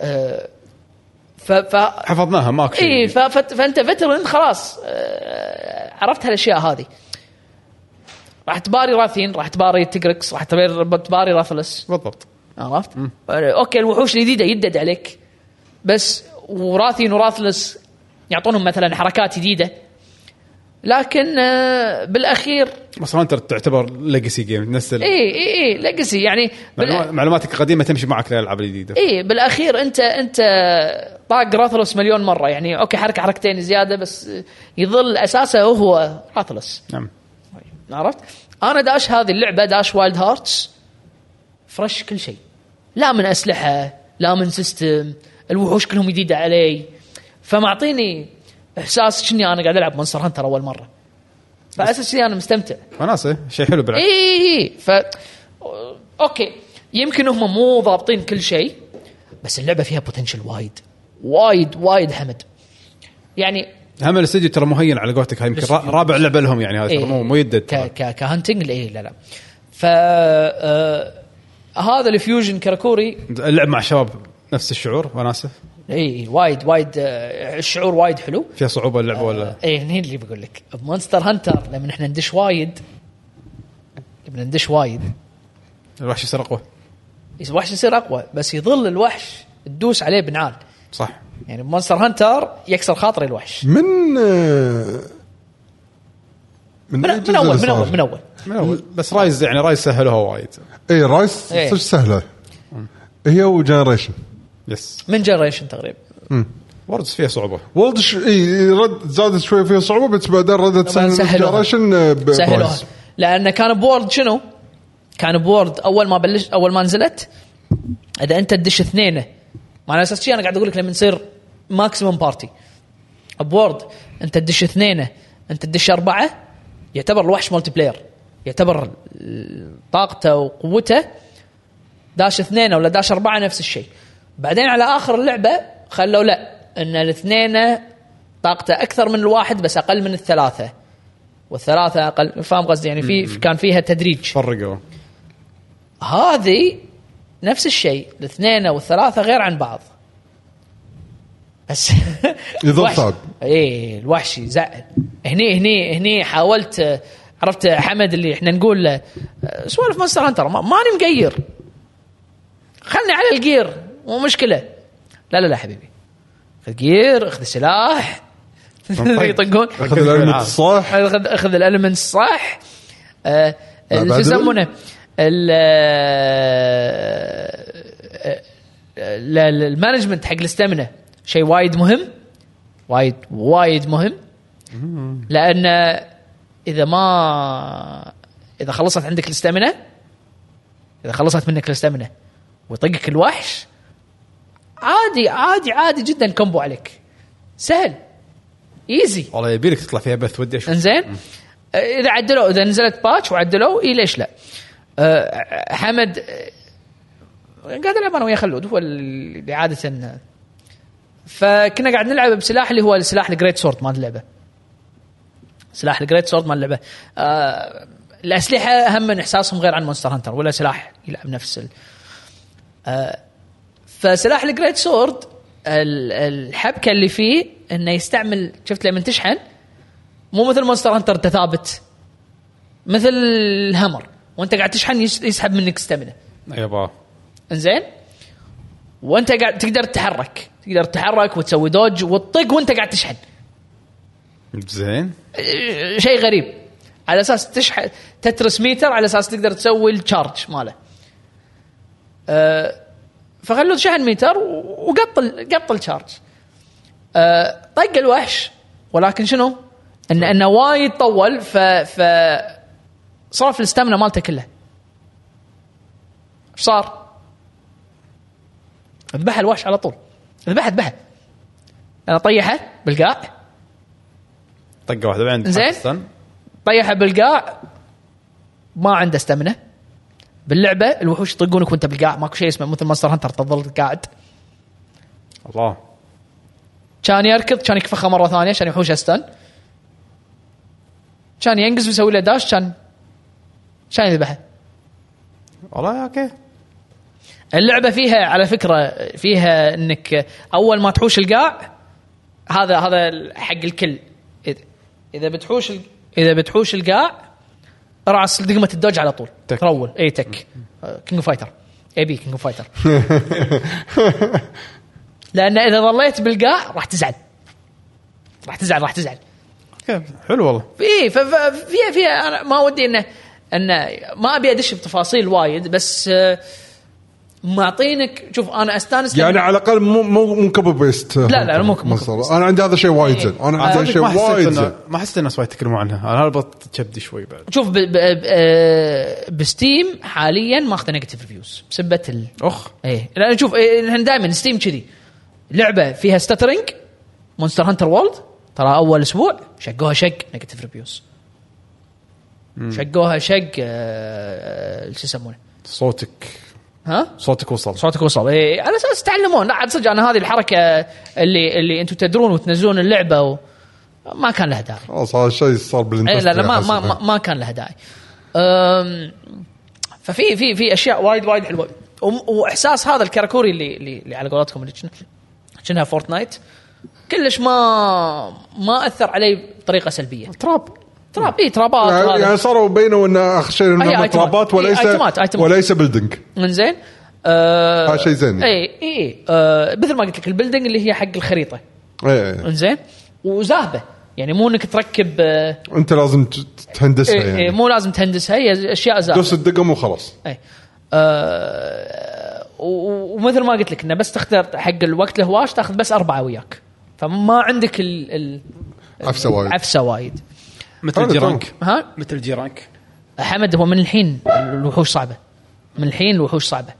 أه ف ف حفظناها ماك شيء اي ف- فت- فانت فترن خلاص آه، عرفت هالاشياء هذه راح تباري راثين راح تباري تجركس راح تباري تباري راثلس بالضبط عرفت؟ اوكي الوحوش الجديده يدد عليك بس وراثين وراثلس يعطونهم مثلا حركات جديده لكن آه، بالاخير اصلا انت تعتبر ليجسي جيم تنزل اي اي اي ليجسي إيه، يعني إيه، بالأ- معلومات- معلوماتك القديمه تمشي معك للالعاب الجديده اي بالاخير انت انت طاق راثلس مليون مره يعني اوكي حركه حركتين زياده بس يظل اساسه هو راثلس نعم عرفت؟ انا داش هذه اللعبه داش وايلد هارتس فرش كل شيء لا من اسلحه لا من سيستم الوحوش كلهم جديده علي فمعطيني احساس كني انا قاعد العب مونستر هانتر اول مره فعلى اساس كذي انا مستمتع وناسه شيء حلو بالعكس اي اي اي ف اوكي يمكن هم مو ضابطين كل شيء بس اللعبه فيها بوتنشل وايد وايد وايد حمد يعني هم الاستديو ترى مهين على قولتك هاي يمكن بس- را- رابع لعبه لهم يعني إيه. هاي ترى مو مو يدد ك ترى. ك كهانتنج لا إيه، لا لا ف آه، هذا الفيوجن كراكوري اللعب مع الشباب نفس الشعور وناسه اي إيه، وايد وايد آه، الشعور وايد حلو فيها صعوبه اللعبه ولا اي هني اللي بقول لك بمونستر هانتر لما احنا ندش وايد لما ندش وايد الوحش يصير اقوى الوحش يصير اقوى بس يظل الوحش تدوس عليه بنعال صح يعني مونستر هانتر يكسر خاطري الوحش من آه، من, أي جزء من اول من اللي اول صار؟ من اول من أول. بس رايز يعني رايز سهلوها وايد اي رايس صدق إيه. سهله هي وجنريشن يس من جنريشن تقريبا وردز فيها صعوبه وولد ش... اي رد زادت شوي فيها صعوبه بس بعدين ردت آه، طبعاً سهلوها. جنريشن سهلوها لان كان بورد شنو؟ كان بورد اول ما بلش اول ما نزلت اذا انت تدش اثنين ما على اساس شي انا قاعد اقول لك لما نصير ماكسيموم بارتي بورد انت تدش اثنين انت تدش اربعه يعتبر الوحش مالتي بلاير يعتبر ال- طاقته وقوته داش اثنين ولا داش اربعه نفس الشيء بعدين على اخر اللعبه خلوا لا ان الاثنين طاقته اكثر من الواحد بس اقل من الثلاثه والثلاثه اقل فاهم قصدي يعني في في- كان فيها تدريج فرقوا هذه نفس الشيء الاثنين والثلاثه غير عن بعض بس يظل الوحش- صعب. اي الوحش يزعل هني هني هني حاولت آه، عرفت آه، حمد اللي احنا نقول له، آه، سوالف مونستر هانتر ما- ماني مقير خلني على الجير مو مشكله لا لا لا حبيبي خذ جير اخذ سلاح يطقون اخذ العلم الصح اخذ اخذ الالمنت صح آه، بعد شو ال- يسمونه ال- آه، ال- ال- المانجمنت حق الاستمنه شيء وايد مهم وايد وايد مهم لان اذا ما اذا خلصت عندك الاستمنه اذا خلصت منك الاستمنه ويطقك الوحش عادي عادي عادي جدا كومبو عليك سهل ايزي والله يبي لك تطلع فيها بث ودي اشوف انزين اذا آه، عدلوا اذا نزلت باتش وعدلوا اي ليش لا أه حمد أه، قاعد العب انا ويا خلود هو اللي عاده فكنا قاعد نلعب بسلاح اللي هو سلاح الجريت سورد مال اللعبه سلاح الجريت سورد مال اللعبه أه الاسلحه هم من احساسهم غير عن مونستر هانتر ولا سلاح يلعب نفس ال... أه، فسلاح الجريت سورد ال- الحبكه اللي فيه انه يستعمل شفت لما تشحن مو مثل مونستر هانتر انت ثابت مثل الهمر وانت قاعد تشحن يس- يسحب منك ستامنا يابا انزين وانت قاعد تقدر تتحرك تقدر تتحرك وتسوي دوج وتطق وانت قاعد تشحن زين إيه، شيء غريب على اساس تشحن تترس ميتر على اساس تقدر تسوي التشارج ماله أه فخلوه شحن ميتر و- وقطل قطل تشارج أه طق الوحش ولكن شنو؟ انه انه وايد طول ف ف صرف الاستامنا مالته كله ايش صار؟ ذبح الوحش على طول ذبح ذبحه انا طيحه بالقاع طقه واحده بعدين زين. باكستان. طيحه بالقاع ما عنده استمنه باللعبه الوحوش يطقونك وانت بالقاع ماكو شيء اسمه مثل ماستر هانتر تظل قاعد الله كان يركض كان يكفخه مره ثانيه عشان يحوش استن كان ينقز ويسوي له داش كان كان يذبحه والله اوكي اللعبه فيها على فكره فيها انك اول ما تحوش القاع هذا هذا حق الكل إذا- اذا بتحوش ال- اذا بتحوش القاع رعس دقمه الدوج على طول تك. ترول اي تك آه، كينج أوف فايتر اي بي كينج أوف فايتر لان اذا ظليت بالقاع راح تزعل راح تزعل راح تزعل اوكي حلو والله في ف- ف- فيها فيها انا ما ودي انه انه ما ابي ادش بتفاصيل وايد بس آه، معطينك شوف انا استانس يعني لما- على الاقل مو مو مو كوبي بيست لا، لا، مو إيه. كوبي مصر. بيست. انا عندي هذا شيء وايد زين انا عندي هذا صدق شيء ما حسيت وايد زين إنه- ما حسيت الناس وايد يتكلمون عنها انا هربت كبدي شوي بعد شوف ب... ب... آه، بستيم حاليا ماخذه نيجاتيف ريفيوز بسبه ال... اخ ايه لان شوف إيه، احنا دائما ستيم كذي لعبه فيها ستاترينج مونستر هانتر وولد ترى اول اسبوع شقوها شق نيجاتيف ريفيوز شقوها شق آه، شو يسمونه صوتك ها صوتك وصل صوتك وصل اي على اساس تعلمون لا عاد صدق انا هذه الحركه اللي اللي انتم تدرون وتنزلون اللعبه و... ما كان لها داعي خلاص هذا الشيء صار اي بالانترنت إيه، لا لا ما ما ما, ما كان لها داعي أم، ففي في في اشياء وايد وايد حلوه وم- واحساس هذا الكراكوري اللي اللي, اللي على قولتكم اللي شن- شنها فورتنايت كلش ما ما اثر علي بطريقه سلبيه تراب تراب اي ترابات يعني آه، هذا. يعني صاروا بينوا ان اخر شيء أي انهم آيتمات. اطرابات أي وليس آيتمات، آيتمات. وليس بلدنج انزين آه هذا شيء زين. يعني. اي اي آه مثل ما قلت لك البلدنج اللي هي حق الخريطه إيه، إيه. انزين وزاهبه يعني مو انك تركب آه انت لازم ت- تهندسها إيه إيه يعني مو لازم تهندسها هي اشياء زاهبه دوس الدقم وخلاص اي إيه. آه و- ومثل ما قلت لك انه بس تختار حق الوقت الهواش تاخذ بس اربعه وياك فما عندك ال- ال- عفسه وايد العفسه وايد مثل طيب، جيرانك ها مثل جيرانك حمد هو من الحين الوحوش صعبه من الحين الوحوش صعبه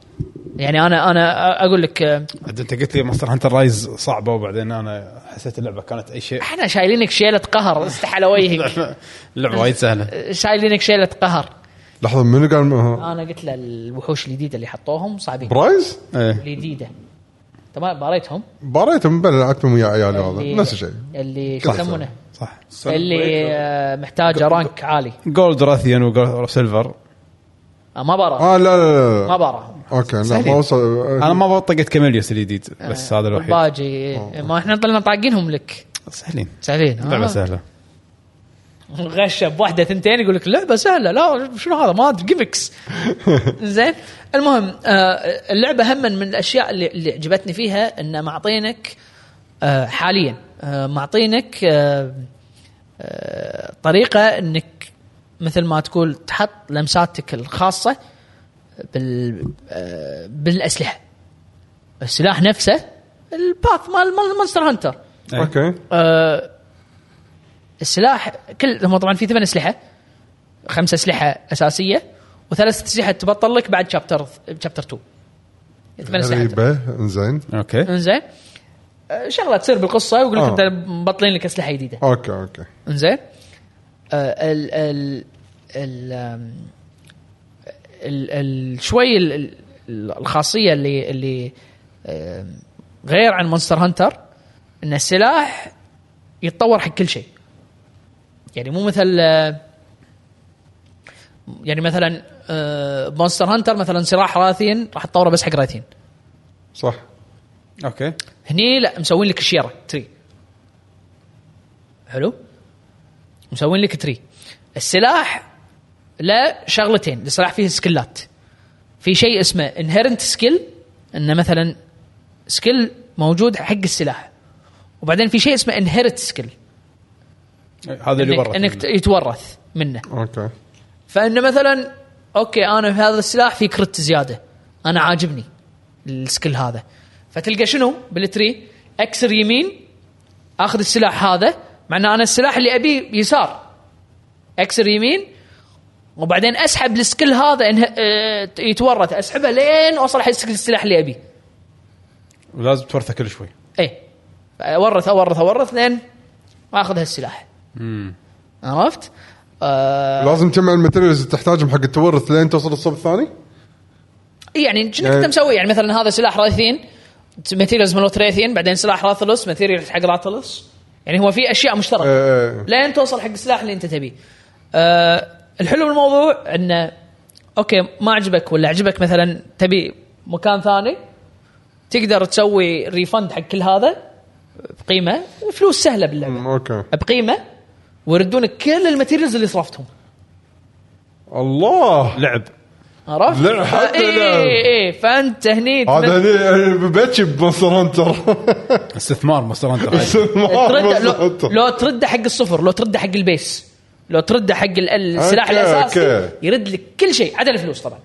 يعني انا انا اقول لك آه، عاد انت قلت لي ماستر هانتر رايز صعبه وبعدين انا حسيت اللعبه كانت اي شيء احنا شايلينك شيله قهر استحى وجهك اللعبه وايد سهله شايلينك شيله قهر لحظه منو قال م- انا قلت له الوحوش الجديده اللي حطوهم صعبين برايز؟ ايه الجديده تمام باريتهم باريتهم بلا لعبتهم ويا عيالي اللي- هذا نفس الشيء اللي شو صح، صح. يسمونه صح اللي آه، محتاجه رانك عالي جولد راثيون وسيلفر آه، ما براهم اه لا لا ما لا براهم اوكي لا سهلين. ما وصل انا ما بطقت كاميليوس الجديد بس آه. هذا الوحيد آه. الباجي ما احنا طلعنا طاقينهم لك سهلين سهلين آه. لعبه سهله غشه بواحده ثنتين يقول لك لعبه سهله لا شنو هذا ما ادري جيمكس زين المهم آه، اللعبه هم من الاشياء اللي, اللي عجبتني فيها انه معطينك آه، حاليا آه، معطينك آه، آه، طريقه انك مثل ما تقول تحط لمساتك الخاصه بال آه، بالاسلحه السلاح نفسه الباث مال مال مونستر هانتر اوكي آه، السلاح كل هم طبعا في ثمان اسلحه خمسه اسلحه اساسيه وثلاث اسلحه تبطل لك بعد شابتر شابتر 2 ثمان اسلحه غريبه انزين اوكي انزين آه، شغله تصير بالقصه ويقول لك آه. انت مبطلين لك اسلحه جديده اوكي اوكي انزين آه، ال ال ال آم، ال- ال شوي ال- ال- ال- الخاصيه اللي اللي آم، غير عن مونستر هانتر ان السلاح يتطور حق كل شيء يعني مو مثل آه، يعني مثلا آه، مونستر هانتر مثلا سلاح راثين راح تطوره بس حق راثين صح اوكي هني لا مسوين لك الشيره تري حلو مسوين لك تري السلاح لا شغلتين السلاح فيه سكلات في شيء اسمه انهرنت سكيل انه مثلا سكيل موجود حق السلاح وبعدين في شيء اسمه انهرت سكيل هذا اللي انك, برا إنك يتورث منه اوكي فانه مثلا اوكي انا في هذا السلاح في كرت زياده انا عاجبني السكيل هذا فتلقى شنو بالتري اكسر يمين اخذ السلاح هذا مع ان انا السلاح اللي ابيه يسار اكسر يمين وبعدين اسحب السكيل هذا انه آه، يتورث اسحبه لين اوصل حق السلاح اللي ابيه لازم تورثه كل شوي اي اورث اورث اورث لين اخذ هالسلاح عرفت؟ آه لازم تجمع الماتيريالز اللي تحتاجهم حق التورث لين توصل للصوب الثاني يعني شنو يعني- كنت مسوي يعني مثلا هذا سلاح رايثين ماتيريالز مالو تريثين بعدين سلاح راثلوس ماتيريالز حق راثلوس يعني هو في اشياء مشتركه إيه، إيه. لين توصل حق السلاح اللي انت تبيه. أه الحلو بالموضوع انه اوكي ما عجبك ولا عجبك مثلا تبي مكان ثاني تقدر تسوي ريفند حق كل هذا بقيمه وفلوس سهله باللعبه أمم، اوكي بقيمه ويردونك كل الماتيريالز اللي صرفتهم الله لعب عرفت؟ لا، حتى اي لا. اي اي فانت هني هذا هني ببكي بمونستر هانتر استثمار مونستر هانتر استثمار ترد مونستر لو, هانتر. لو ترده حق الصفر لو ترده حق البيس لو ترده حق ال- السلاح أوكي، الاساسي أوكي. يرد لك كل شيء عدا الفلوس طبعا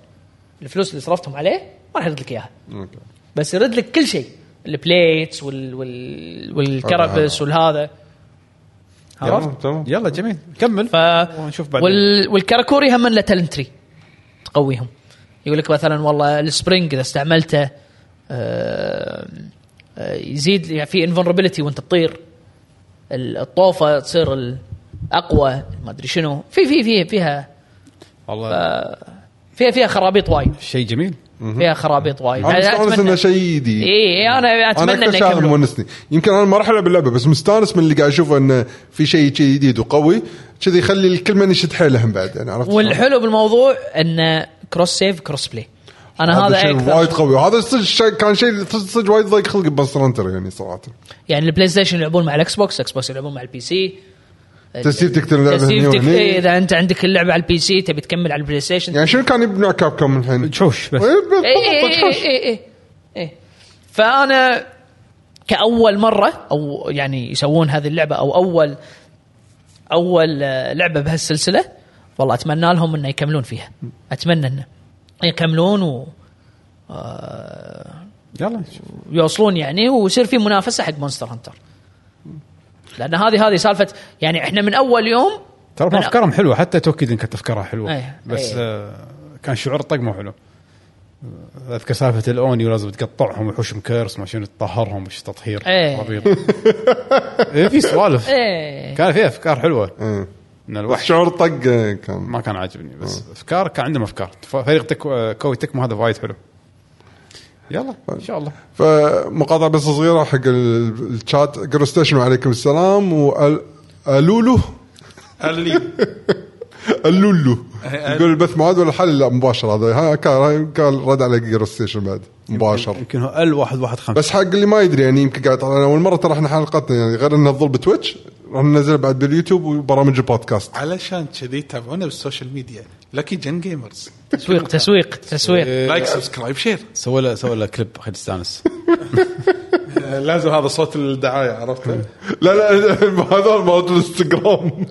الفلوس اللي صرفتهم عليه ما راح يرد لك اياها أوكي. بس يرد لك كل شيء البليتس وال وال آه. والكربس والهذا عرفت؟ تمام تمام يلا جميل كمل ف ونشوف بعدين وال والكراكوري هم له تالنتري تقويهم يقول لك مثلا والله السبرينج اذا استعملته آه، آه، يزيد يعني في انفنربيلتي وانت تطير ال- الطوفه تصير ال- اقوى ما ادري شنو في في في فيها والله فيها فيها خرابيط وايد شيء جميل فيها خرابيط وايد إيه، انا مستانس انه شيء جديد اي انا انا اتمنى اكثر انه شيء هذا يكملون. مونسني يمكن انا ما راح العب اللعبه بس مستانس من اللي قاعد اشوفه انه في شيء شيء جديد وقوي كذي يخلي الكل من يشد حيله هم بعد يعني عرفت شلون؟ والحلو بالموضوع انه كروس سيف كروس بلاي انا هذا هذا شيء وايد اكثر قوي هذا صج- شيء- كان شيء صج- صج وايد ضيق خلق بمونستر هنتر يعني صراحه يعني البلاي ستيشن يلعبون مع الاكس بوكس الاكس بوكس يلعبون مع البي سي تسيفتك تلعب هني تسيفتك وهني. إيه، اذا انت عندك اللعبه على البي سي تبي تكمل على البلاي ستيشن يعني شنو كان يبنوا كاب كوم الحين؟ جحوش بس إيه، بالضبط، اي جحوش. اي اي اي فانا كاول مره او يعني يسوون هذه اللعبه او اول اول آه، لعبه بهالسلسله والله اتمنى لهم انه يكملون فيها اتمنى انه يكملون و آه، يلا شوف. ويوصلون يعني ويصير في منافسه حق مونستر هانتر لان هذه هذه سالفه يعني احنا من اول يوم ترى من- افكارهم حلوه حتى توكيد كانت افكارها حلوه إيه، بس إيه. آه، كان شعور الطقمه حلو اذكر سالفه الاونيو لازم تقطعهم وحوشهم كيرس ما شنو تطهرهم وش تطهير إيه. ربيض. إيه، في سوالف ايه كان في افكار حلوه إيه. من الوحش شعور طق آه، كان ما كان عاجبني بس إيه. افكار كان عندهم افكار ف- فريق تك... آه، كوي تكمو هذا وايد حلو يلا طيب. ان شاء الله فمقاطعه بس صغيره حق ال- الشات جرو ستيشن وعليكم السلام والولو اللي اللولو أه. يقول البث معاد ولا حل لا مباشر هذا ها، كان كان رد على جرو ستيشن بعد مباشر يمكن هو ال 115 بس حق اللي ما يدري يعني يمكن قاعد طلعنا اول مره ترى احنا حلقتنا يعني غير انها تظل بتويتش راح ننزلها بعد باليوتيوب وبرامج البودكاست علشان كذي تابعونا بالسوشيال ميديا لكي جن جيمرز تسويق تسويق تسويق لايك سبسكرايب شير سوى له سوى له كليب خلي تستانس إيه، لازم هذا صوت الدعايه عرفته لا لا هذول مالت الانستغرام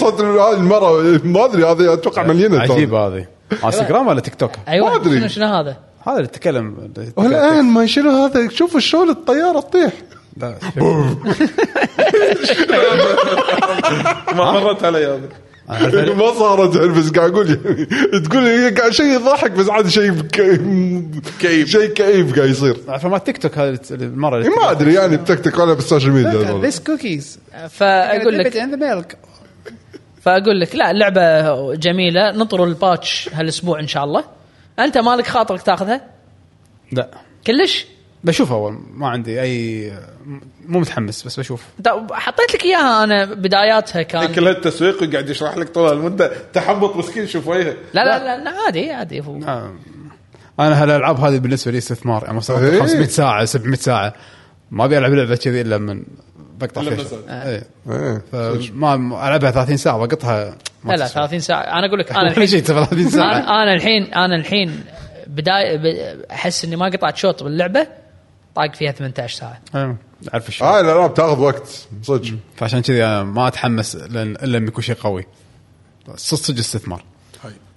صوت هذه المره ما ادري هذه اتوقع مليانه ترى. عجيبه هذه انستغرام ولا تيك توك؟ ايوه ما أدري. شنو شنو هذا؟ هذا اللي تكلم والان ما شنو هذا شوفوا شلون الطياره تطيح لا، ما مرت علي هذا ما صارت يعني بس قاعد اقول يعني تقول هي قاعد شيء يضحك بس عاد شيء كئيب شيء كئيب قاعد يصير عارف ما تيك توك هذه الت- المره اللي ما ادري يعني بتكتك ولا بالسوشيال ميديا هذول. كوكيز يعني فاقول لك فاقول لك لا اللعبه جميله نطروا الباتش هالاسبوع ان شاء الله انت مالك خاطرك تاخذها لا كلش بشوف اول ما عندي اي مو متحمس بس بشوف طب حطيت لك اياها انا بداياتها كان كل هالتسويق وقاعد يشرح لك طول المده تحبط مسكين شوف وجهه لا لا لا, لا عادي عادي هو آه. انا هالالعاب هذه بالنسبه لي استثمار يعني مثلا إيه. 500 ساعه 700 ساعه ما ابي العب لعبه كذي الا من بقطع إلا فيها بس- شغل. إيه. إيه. فما ما- العبها 30 ساعه بقطها ما لا لا تسوى. 30 ساعه انا اقول لك انا ولا الحين شيء 30 ساعه انا أنا الحين انا الحين بدايه ب- احس اني ما قطعت شوط باللعبه طاق فيها 18 ساعه إيه. عارف الشيء اه الالعاب تاخذ وقت صدق فعشان كذي انا ما اتحمس لأن- الا لما يكون شيء قوي صدق صدق استثمار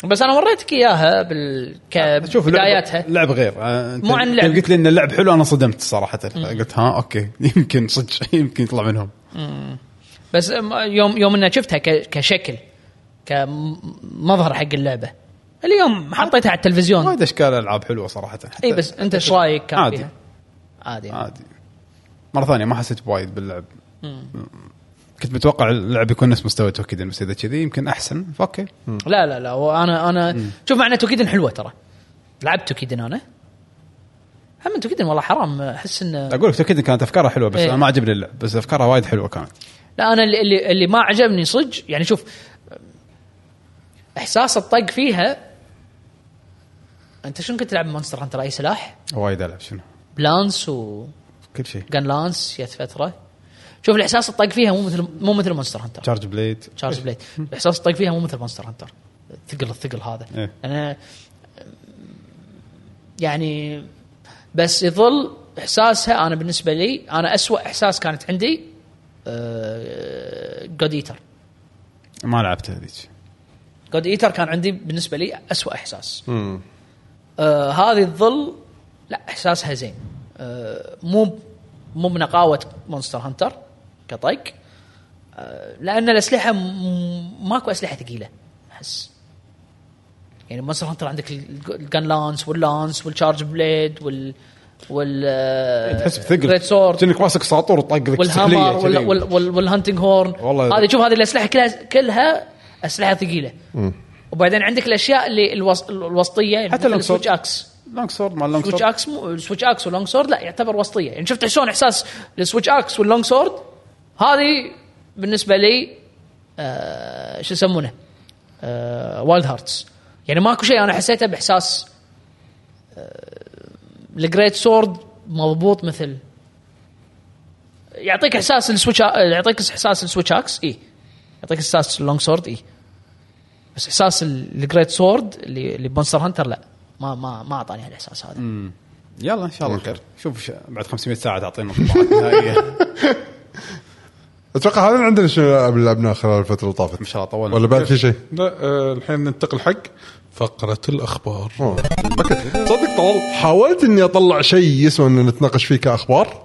بس انا وريتك اياها بال ك- شوف بداياتها لعب غير آه، انت مو عن لعب. أنت قلت لي ان اللعب حلو انا صدمت صراحه قلت ها اوكي يمكن صدق يمكن يطلع منهم بس يوم يوم اني شفتها ك- كشكل كمظهر حق اللعبه اليوم حطيتها على التلفزيون وايد اشكال العاب حلوه صراحه حتى اي بس انت ايش رايك كان عادي. عادي فيها؟ عادي عادي مره ثانيه ما حسيت بوايد باللعب كنت متوقع اللعب يكون نفس مستوى توكيدن بس اذا كذي يمكن احسن فاوكي لا لا لا وانا انا شوف معنى توكيدن حلوه ترى لعبت توكيدن انا هم توكيدن والله حرام احس انه اقول لك توكيدن كانت افكارها حلوه بس إيه. انا ما عجبني اللعب بس افكارها وايد حلوه كانت لا انا اللي اللي, اللي ما عجبني صج يعني شوف احساس الطق فيها انت شنو كنت تلعب مونستر هانتر اي سلاح؟ وايد العب شنو بلانس و كل شيء جان لانس جت فتره شوف الاحساس الطق فيها مو مثل مو مثل مونستر هانتر تشارج بليد تشارلز بليد الاحساس الطق فيها مو مثل مونستر هانتر الثقل الثقل هذا إيه. انا يعني بس يظل احساسها انا بالنسبه لي انا أسوأ احساس كانت عندي آه، جود ايتر ما لعبتها هذيك جود ايتر كان عندي بالنسبه لي أسوأ احساس آه هذه الظل لا احساسها زين آه مو مو بنقاوه مونستر هانتر كطق آه لان الاسلحه م- ماكو اسلحه ثقيله احس يعني مونستر هانتر عندك الجن لانس واللانس والشارج بليد وال وال آه، تحس بثقل Great sword. كأنك ماسك ساطور وطق لك والهامر سحلية وال- كذي. وال- وال- والهانتنج هورن والله- هذه شوف هذه الاسلحه كلها كلها اسلحه ثقيله وبعدين عندك الاشياء اللي الوس... الوسطيه يعني حتى حتى لونج سورد. السويتش اكس لونج سورد مال لونج سويتش سورد اكس مو... السويتش اكس واللونج سورد لا يعتبر وسطيه يعني شفت شلون احساس السويتش اكس واللونج سورد هذه بالنسبه لي آه... شو يسمونه آه... وايلد هارتس يعني ماكو شيء انا حسيته باحساس الجريت سورد مضبوط مثل يعطيك احساس السويتش يعطيك احساس السويتش اكس اي إيه. يعطيك احساس اللونج سورد اي إيه. بس احساس الجريت سورد اللي اللي بمونستر هانتر لا ما ما ما اعطاني هالاحساس هذا يلا ان شاء الله خير شوف ش- بعد 500 ساعه تعطينا الطبعات النهائيه اتوقع هذا عندنا شنو الالعاب اللي لعبناها خلال الفتره اللي طافت ان شاء الله طولنا ولا بعد في شيء؟ لا آه، الحين ننتقل حق فقره الاخبار أوه. أوكي. تصدق طال حاولت اني اطلع شيء يسوى ان نتناقش فيه كاخبار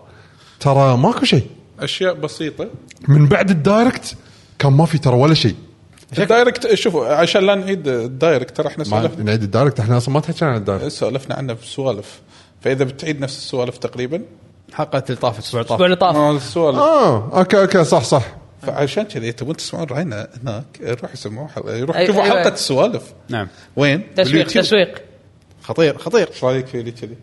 ترى ماكو شيء اشياء بسيطه من بعد الدايركت كان ما في ترى ولا شيء الدايركت شوفوا عشان لا نعيد الدايركت ترى احنا ما سولفنا نعيد الدايركت احنا اصلا ما تحكينا عن الدايركت سولفنا عنه بسوالف فاذا بتعيد نفس السوالف تقريبا حلقه اللي طافت الاسبوع اللي الاسبوع طاف اللي طاف آه، السوالف اه اوكي اوكي صح صح فعشان كذا تبون تسمعون راينا هناك روحوا يسمعوا حلقه روحوا أي- شوفوا أيوة. حلقه السوالف نعم وين؟ تسويق باليوتيوب. تسويق خطير خطير ايش رايك في اللي كذي؟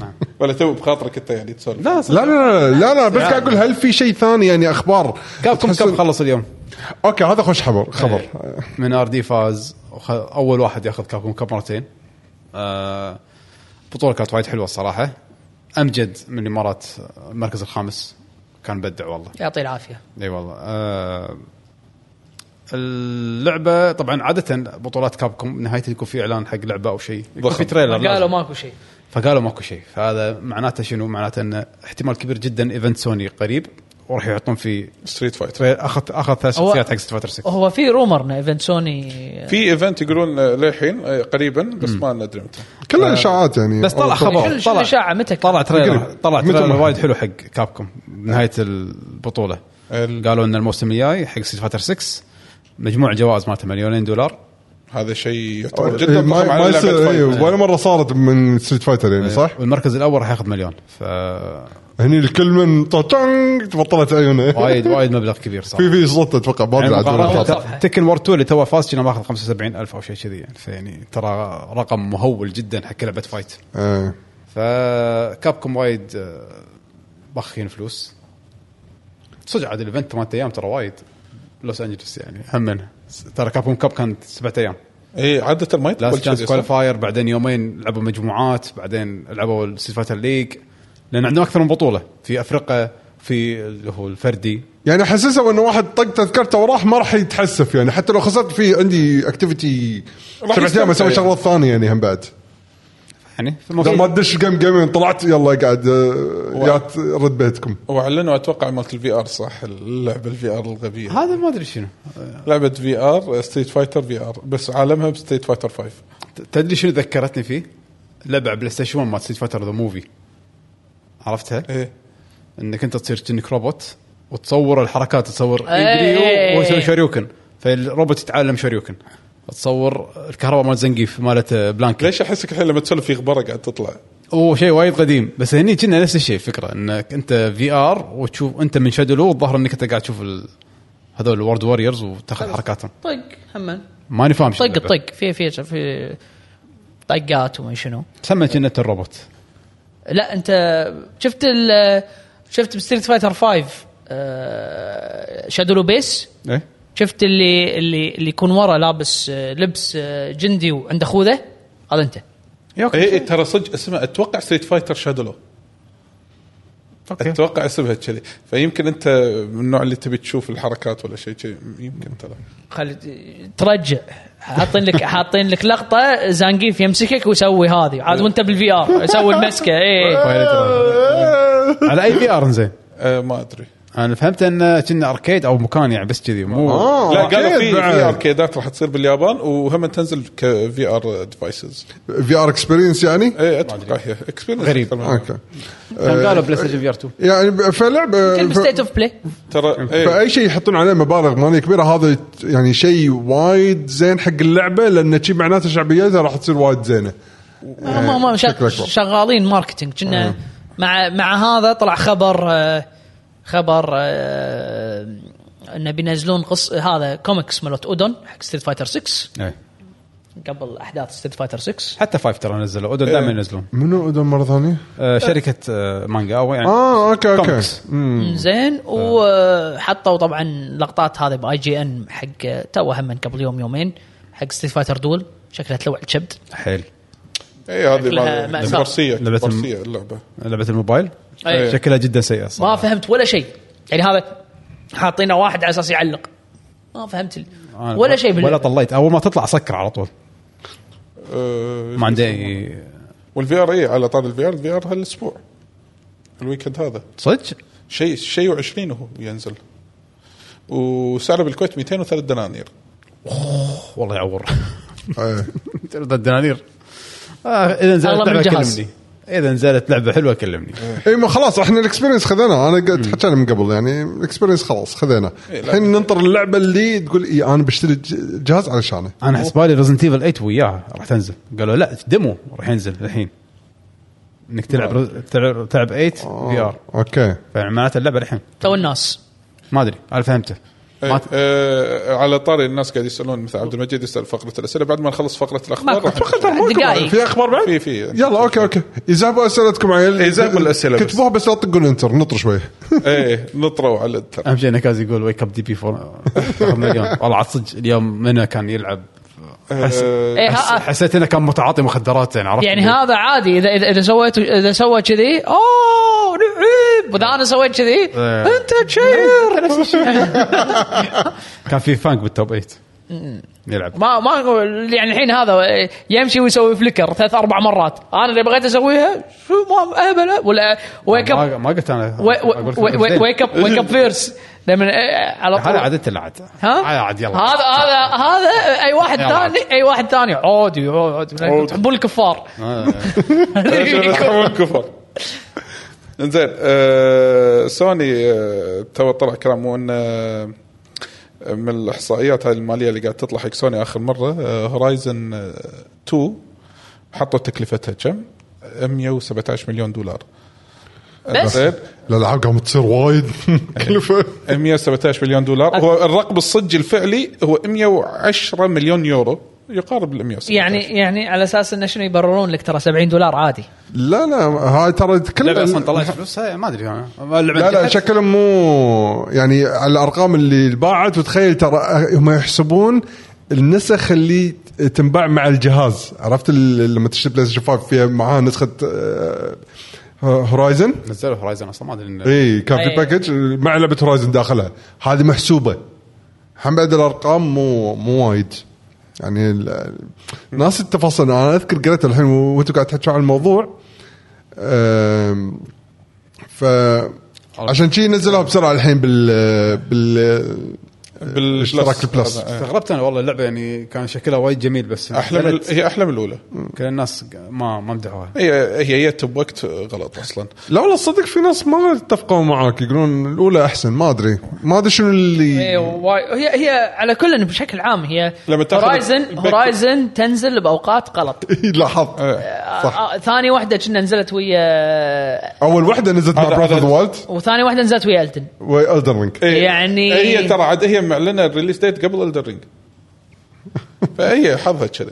نعم. ولا تو بخاطرك انت يعني تسولف؟ لا لا لا لا لا, لا بس قاعد اقول هل في شيء ثاني يعني اخبار كاب كوم تحس- كاب خلص اليوم إيه. اوكي هذا خوش خبر خبر من ار دي فاز وخ- اول واحد ياخذ كاب كوم كاب مرتين آه، بطوله كانت وايد حلوه الصراحه امجد من الامارات آه، المركز الخامس كان بدع والله يعطيه العافيه اي والله آه اللعبه طبعا عاده بطولات كابكم نهايه يكون في اعلان حق لعبه او شيء يكون ضخم. في تريلر قالوا لازم. ماكو شيء فقالوا ماكو شيء فهذا معناته شنو معناته انه احتمال كبير جدا ايفنت سوني قريب وراح يحطون في ستريت فايتر تريلر اخذ اخذ ثلاث هو- شخصيات حق ستريت فايتر 6 هو في رومر ان ايفنت سوني في ايفنت يقولون آه، للحين آه، قريبا بس ما ندري متى كلها اشاعات يعني بس طلع أوكي. خبر شنو- شنو طلع الإشاعة؟ متى كان؟ طلع تريلر قريب. طلع متى تريلر ما- وايد حلو حق كابكم بنهايه البطوله ال- قالوا ان الموسم الجاي حق ستريت فايتر 6 مجموع جوائز مالته مليونين دولار هذا شيء يعتبر إيه، جدا ما- ضخم ما على يصير- لعبه إيه، فايتر ولا مره صارت من ستريت فايتر يعني صح؟ والمركز الاول راح ياخذ مليون ف هني الكل من طاطنج تبطلت عيونه وايد وايد مبلغ كبير صار في في صوت اتوقع ما يعني ادري عاد مقارنة- ولا صفحة. تكن وور 2 اللي تو فاز كنا ماخذ 75000 او شيء كذي يعني فيعني ترى رقم مهول جدا حق لعبه فايت آه. فكابكم وايد آه، بخين فلوس صدق عاد الايفنت ثمان ايام ترى وايد لوس انجلوس يعني همنا ترى كابكم كاب كانت سبعة ايام اي عاده إيه، ما يطول لاست كذي تشانس صح؟ كواليفاير بعدين يومين لعبوا مجموعات بعدين لعبوا السيفاتر ليج لان عندهم اكثر من بطوله في افريقيا في اللي هو الفردي يعني حسسه انه واحد طق تذكرته وراح ما راح يتحسف يعني حتى لو خسرت في عندي اكتيفيتي راح سبع ايام يستمتع اسوي يعني. شغلات ثانيه يعني هم بعد يعني في اذا المفروض ما تدش الجيم جيمين طلعت يلا قاعد آه، يا ت- رد بيتكم واعلنوا اتوقع مالت الفي ار صح اللعبه الفي ار الغبيه هذا ما ادري شنو لعبه في ار ستريت فايتر في ار بس عالمها بستريت فايتر 5 تدري شنو ذكرتني فيه؟ لعبه على بلاي ستيشن 1 مال ستريت فايتر ذا موفي عرفتها؟ ايه انك انت تصير كأنك روبوت وتصور الحركات تصور إيه. يجري ويسوي شاريوكن فالروبوت يتعلم شاريوكن تصور الكهرباء مال زنقيف مالت بلانك ليش احسك الحين لما تسولف في غبره قاعد تطلع هو شيء وايد قديم بس هني كنا نفس الشيء الفكره انك انت في ار وتشوف انت من شادلو الظاهر انك انت قاعد تشوف ال... هذول الورد ووريرز وتاخذ حركاتهم طق همن ماني فاهم شو طق اللعبة. طق في في في طقات وما شنو تسمى كنا الروبوت لا انت شفت ال شفت بستريت فايتر 5 آه، شادولو بيس ايه شفت اللي اللي اللي يكون ورا لابس آه، لبس آه، جندي وعنده خوذه هذا انت اي اي إيه، ترى صدق اسمها اتوقع ستريت فايتر شادلو اتوقع اسمها كذي فيمكن انت من النوع اللي تبي تشوف الحركات ولا شيء كذي يمكن ترى خلي ترجع حاطين لك حاطين لك لقطه زانقيف يمسكك ويسوي هذه عاد وانت بالفي ار يسوي إيه، المسكه اي على اي في ار زين أه ما ادري انا فهمت انه كنا اركيد او مكان يعني بس كذي مو آه، لا أكيد قالوا في بعد. في اركيدات راح تصير باليابان وهم تنزل كفي ار ديفايسز في ار اكسبيرينس يعني اي اتوقع إيه، هي اكسبيرينس غريب. اوكي كان قالوا بلاي ستيشن في ار 2 يعني ب- فلعبه كلمه ف- ستيت اوف بلاي ترى إيه. فاي شيء يحطون عليه مبالغ ماليه كبيره هذا يعني شيء وايد زين حق اللعبه لان شي معناته شعبيتها راح تصير وايد زينه هم هم شكلك شا- والله. آه. شغالين ماركتينج كنا مع مع هذا طلع خبر آه، خبر آه، انه بينزلون قص هذا كوميكس مالت اودون حق ستريت فايتر 6 قبل احداث ستيت فايتر 6 حتى فايف ترى نزلوا اودن دائما ينزلون منو اذا مره ثانيه؟ آه، شركه آه، مانجا او يعني اه اوكي اوكي كوميكس. مم. زين وحطوا طبعا لقطات هذه باي جي ان حق توه هم من قبل يوم يومين حق ستيت فايتر دول شكلها تلوع الكبد حيل اي إيه، هذه شكلها مال- مأساة. برسيه لعبة الم- برسيه اللعبه لعبه الموبايل أي. شكلها جدا سيء ما صراحة. فهمت ولا شيء يعني هذا حاطينه واحد على اساس يعلق ما فهمت ال- أنا ولا شيء ولا باللعبة. طليت اول ما تطلع سكر على طول آه، ما عندي أي- والفي ار اي إيه، على طار الفي ار الفي ار هالاسبوع الويكند هذا صدق شيء شيء و20 هو ينزل وسعره بالكويت 203 دنانير والله يعور إيه. ترد الدنانير آه، اذا نزلت الله من لعبه الجهاز. كلمني اذا نزلت لعبه حلوه كلمني اي ما خلاص احنا الاكسبيرينس خذيناه انا قلت حكينا من قبل يعني الاكسبيرينس خلاص خذيناه إيه، لا. الحين ننطر اللعبه اللي تقول اي انا بشتري ج- جهاز علشانه انا حسبالي ريزنت ايفل 8 وياها راح تنزل قالوا لا ديمو راح ينزل الحين انك تلعب رز- تلعب تلعب 8 في آه، ار اوكي فمعناته اللعبه الحين تو الناس ما ادري انا فهمته ما آه، ت- آه، على طاري الناس قاعد يسالون مثل عبد المجيد يسال فقره الاسئله بعد ما نخلص فقره الاخبار ماكو راح- فقرة الأخبار. دقايق. في اخبار بعد؟ في في يلا اوكي اوكي يزابوا اسئلتكم عيل إيه، زابوا الأسئلة بس. كتبوها بس لا تطقون انتر نطر شوي ايه نطروا على التر اهم شيء نكاز يقول ويك اب دي بي فور تاخذنا اليوم والله عاد صدق اليوم منى كان يلعب حس... إيه، حس... ها- حسيت انه كان متعاطي مخدرات يعني عرفت يعني اللي- هذا عادي اذا اذا, إذا سويت اذا سوى كذي اوه لعب واذا انا سويت كذي إيه. انت تشير كان في فانك بالتوب 8 يلعب ما ما أقول- يعني الحين هذا يمشي ويسوي فليكر ثلاث اربع مرات انا اللي بغيت اسويها شو ما اهبله ولا ويك اب ما ما قلت انا أقول فيلم زين. ويك اب ويك اب فيرس لما آه، على طول هذا عادته اللي عاد هذا ها؟ عاد يلا هذا هذا هذا اي واحد يلا. ثاني اي واحد ثاني عودي عودي عود. تحبون الكفار آه. عشان الكفر انزين آه، سوني آه، تو طلع كلام وان آه، من الاحصائيات هاي الماليه اللي قاعد تطلع حق سوني اخر مره هورايزن 2 حطوا تكلفتها كم؟ 117 مليون دولار بس زين الالعاب قامت تصير وايد كلفه 117 مليون دولار هو الرقم الصجي الفعلي هو 110 مليون يورو يقارب ال 117 يعني يعني على اساس انه شنو يبررون لك ترى 70 دولار عادي لا لا هاي ترى كل اللعبه اصلا طلعت فلوسها ما ادري انا اللعبة لا لا انتهت. شكلهم مو يعني على الارقام اللي باعت وتخيل ترى هم يحسبون النسخ اللي تنباع مع الجهاز عرفت ال- لما تشتري بلاي ستيشن 5 فيها معاها نسخه آه، هورايزن نزلوا هورايزن اصلا ما ادري إنه- اي كان أي. في باكج مع لعبه هورايزن داخلها هذه محسوبه هم بعد الارقام مو مو وايد يعني ال- ناس التفاصيل انا اذكر قريت الحين وانتم قاعد تحكوا عن الموضوع أم، ف عشان شي نزلوها بسرعه الحين بال بال اشتراك البلس. استغربت انا والله اللعبه يعني كان شكلها وايد جميل بس احلى من نزلت، هي احلى من الاولى كل الناس ما ما مدحوها هي هي جت بوقت غلط اصلا لا والله صدق في ناس ما اتفقوا معاك يقولون الاولى احسن ما ادري ما ادري شنو إيه، اللي واي- هي هي على كل بشكل عام هي لما تاخذ هورايزن الباك- هورايزن تنزل باوقات غلط لاحظت صح آه، آه، ثاني واحده كنا نزلت ويا اول واحده نزلت مع هذا- براذر هذا- والد وثاني واحده نزلت ويا التن والدر رينج يعني- هي ترى عاد هي معلنه الريليس ديت قبل الدرينج فهي حظها كذي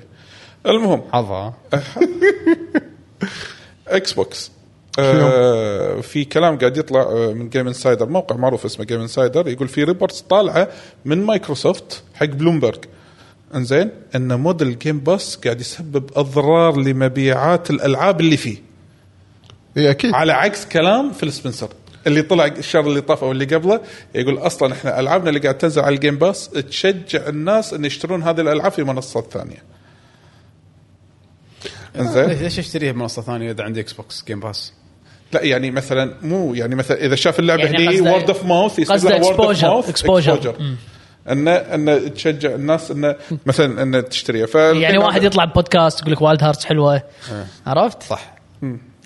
المهم حظها اكس بوكس آه في كلام قاعد يطلع آه، من جيم انسايدر موقع معروف اسمه جيم انسايدر يقول في ريبورتس طالعه من مايكروسوفت حق بلومبرج انزين ان موديل جيم باس قاعد يسبب اضرار لمبيعات الالعاب اللي فيه اي اكيد على عكس كلام فيل سبنسر اللي طلع الشهر اللي طاف او اللي قبله يقول اصلا احنا العابنا اللي قاعد تنزل على الجيم باس تشجع الناس ان يشترون هذه الالعاب في منصات ثانيه. انزين ليش اشتريها منصه ثانيه اذا عندي اكس بوكس جيم باس لا يعني مثلا مو يعني مثلا اذا شاف اللعبه يعني هني قصده- وورد اوف ماوث يصير قصده لها وورد اوف exposure- ماوث exposure. ان ان تشجع الناس ان مثلا ان تشتريها ف يعني واحد يطلع بودكاست يقول لك وايلد هارتس حلوه عرفت؟ إيه. صح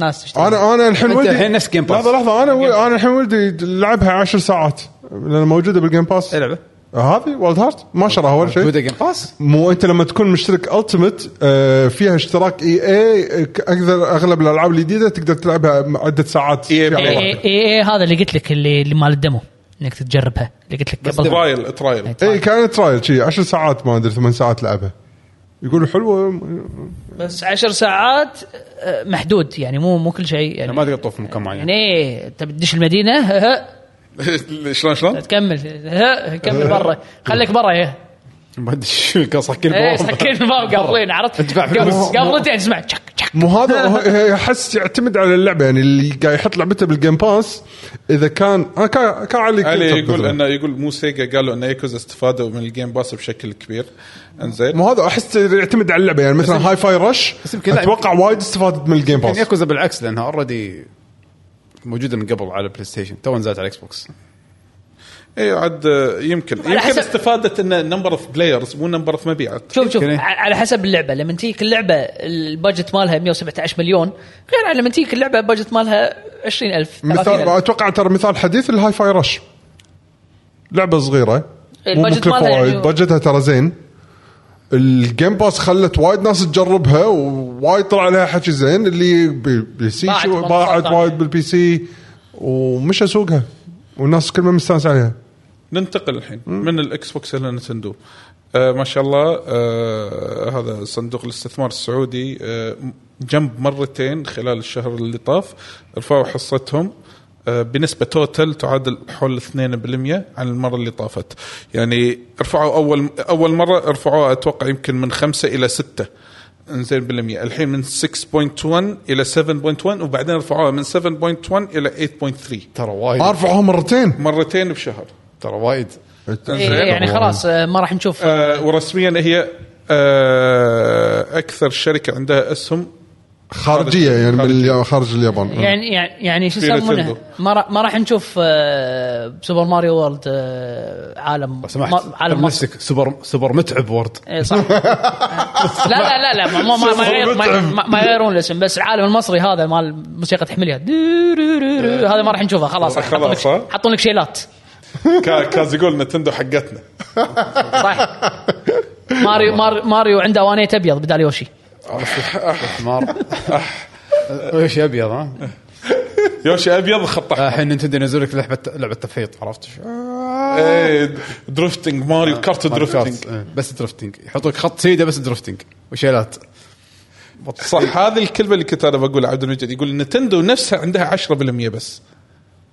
ناس تشتري انا انا الحين انت ولدي الحين نفس Game Pass. لحظه لحظه انا انا الحين ولدي لعبها 10 ساعات لان موجوده بالجيم باس اي لعبه هذه والد هارت ما شراها ولا شيء تويتر جيم باس مو انت لما تكون مشترك التيمت فيها اشتراك E اي اي اقدر اغلب الالعاب الجديده تقدر تلعبها عدة ساعات في إيه، EA عرض Play. اي واحد. اي- اي إيه، هذا اللي قلت لك اللي, اللي مال الدمو انك تجربها اللي قلت لك قبل ترايل ترايل إيه. اي كانت ترايل شي 10 ساعات ما ادري 8 ساعات لعبها يقول حلوه بس عشر ساعات آه، محدود يعني مو مو كل شيء يعني ما تقدر تطوف مكان معين يعني ايه انت بتدش المدينه ها ها إيه. شلون شلون؟ تكمل ها كمل برا خليك برا يا ما ادري شو قصك كل ايه بوابة. سكين الباب قافلين عرفت ادفع قبل- فلوس. قبلتين تسمع تشك تشك مو هذا هو- هي- احس يعتمد على اللعبه يعني اللي قاعد يحط لعبته بالجيم باس اذا كان آه، كان كان علي علي كنتر يقول مثلاً. انه يقول مو سيجا قالوا ان ايكوز استفادوا من الجيم باس بشكل كبير انزين مو هذا احس يعتمد على اللعبه يعني مثلا هاي فاي رش بس يمكن لا، اتوقع وايد استفادت من الجيم يعني باس ياكوزا بالعكس لانها اوريدي موجوده من قبل على بلاي ستيشن تو نزلت على الاكس بوكس اي عاد آه، يمكن يمكن حسب- استفادت انه نمبر اوف بلايرز مو نمبر اوف مبيعات شوف شوف يمكن. ع- على حسب اللعبه لما تجيك اللعبه البادجت مالها 117 مليون غير على لما تجيك اللعبه البادجت مالها 20000 مثال 30000 اتوقع ترى مثال حديث الهاي فاي رش لعبه صغيره مو البادجت مكلفه مالها يعني- وايد بادجتها ترى زين الجيم باس خلت وايد ناس تجربها ووايد طلع لها حكي زين اللي بالبي سي باعت شو- مرة باعت صارت وايد بالبي سي ومش اسوقها والناس كلها مستانس عليها ننتقل الحين من الاكس بوكس الى نتندو آه ما شاء الله آه هذا صندوق الاستثمار السعودي آه جنب مرتين خلال الشهر اللي طاف رفعوا حصتهم آه بنسبة توتل تعادل حول 2% عن المرة اللي طافت يعني رفعوا أول أول مرة رفعوها أتوقع يمكن من 5 إلى 6 انزين بالمية الحين من 6.1 إلى 7.1 وبعدين رفعوها من 7.1 إلى 8.3 ترى وايد ارفعها مرتين مرتين بشهر ترى وايد إيه، إيه، يعني خلاص آه، ما راح نشوف آه، ورسميا هي آه، اكثر شركه عندها اسهم خارجيه يعني من خارجية. اليا- خارج اليابان يعني يعني يعني شو في يسمونه نتندو. ما راح ما راح نشوف آه، سوبر ماريو وورلد آه، عالم لو سمحت ما- على عالم مصر نفسك سوبر سوبر متعب وورد اي صح آه. لا لا لا لا ما- ما ما ما يغير- ما- ما- ما يغيرون الاسم بس العالم المصري هذا مال موسيقى تحملها دورورورو، هذا ما راح نشوفه خلاص راح يحطون لك- خلاص، ها؟ حطون لك شيلات كا- كاز يقول نتندو حقتنا صح ماريو مار- ماريو عنده وانيت ابيض بدال يوشي مار ايش ابيض ها يوشي ابيض خط احمر الحين نتندو ينزل لك لعبه لعبه تفحيط عرفت شو؟ إيه، درفتنج ماريو كارت درفتنج إيه، بس درفتنج يحط لك خط سيده بس درفتنج وشيلات صح هذه الكلمه اللي كنت انا بقولها عبد المجيد يقول نتندو نفسها عندها 10% بس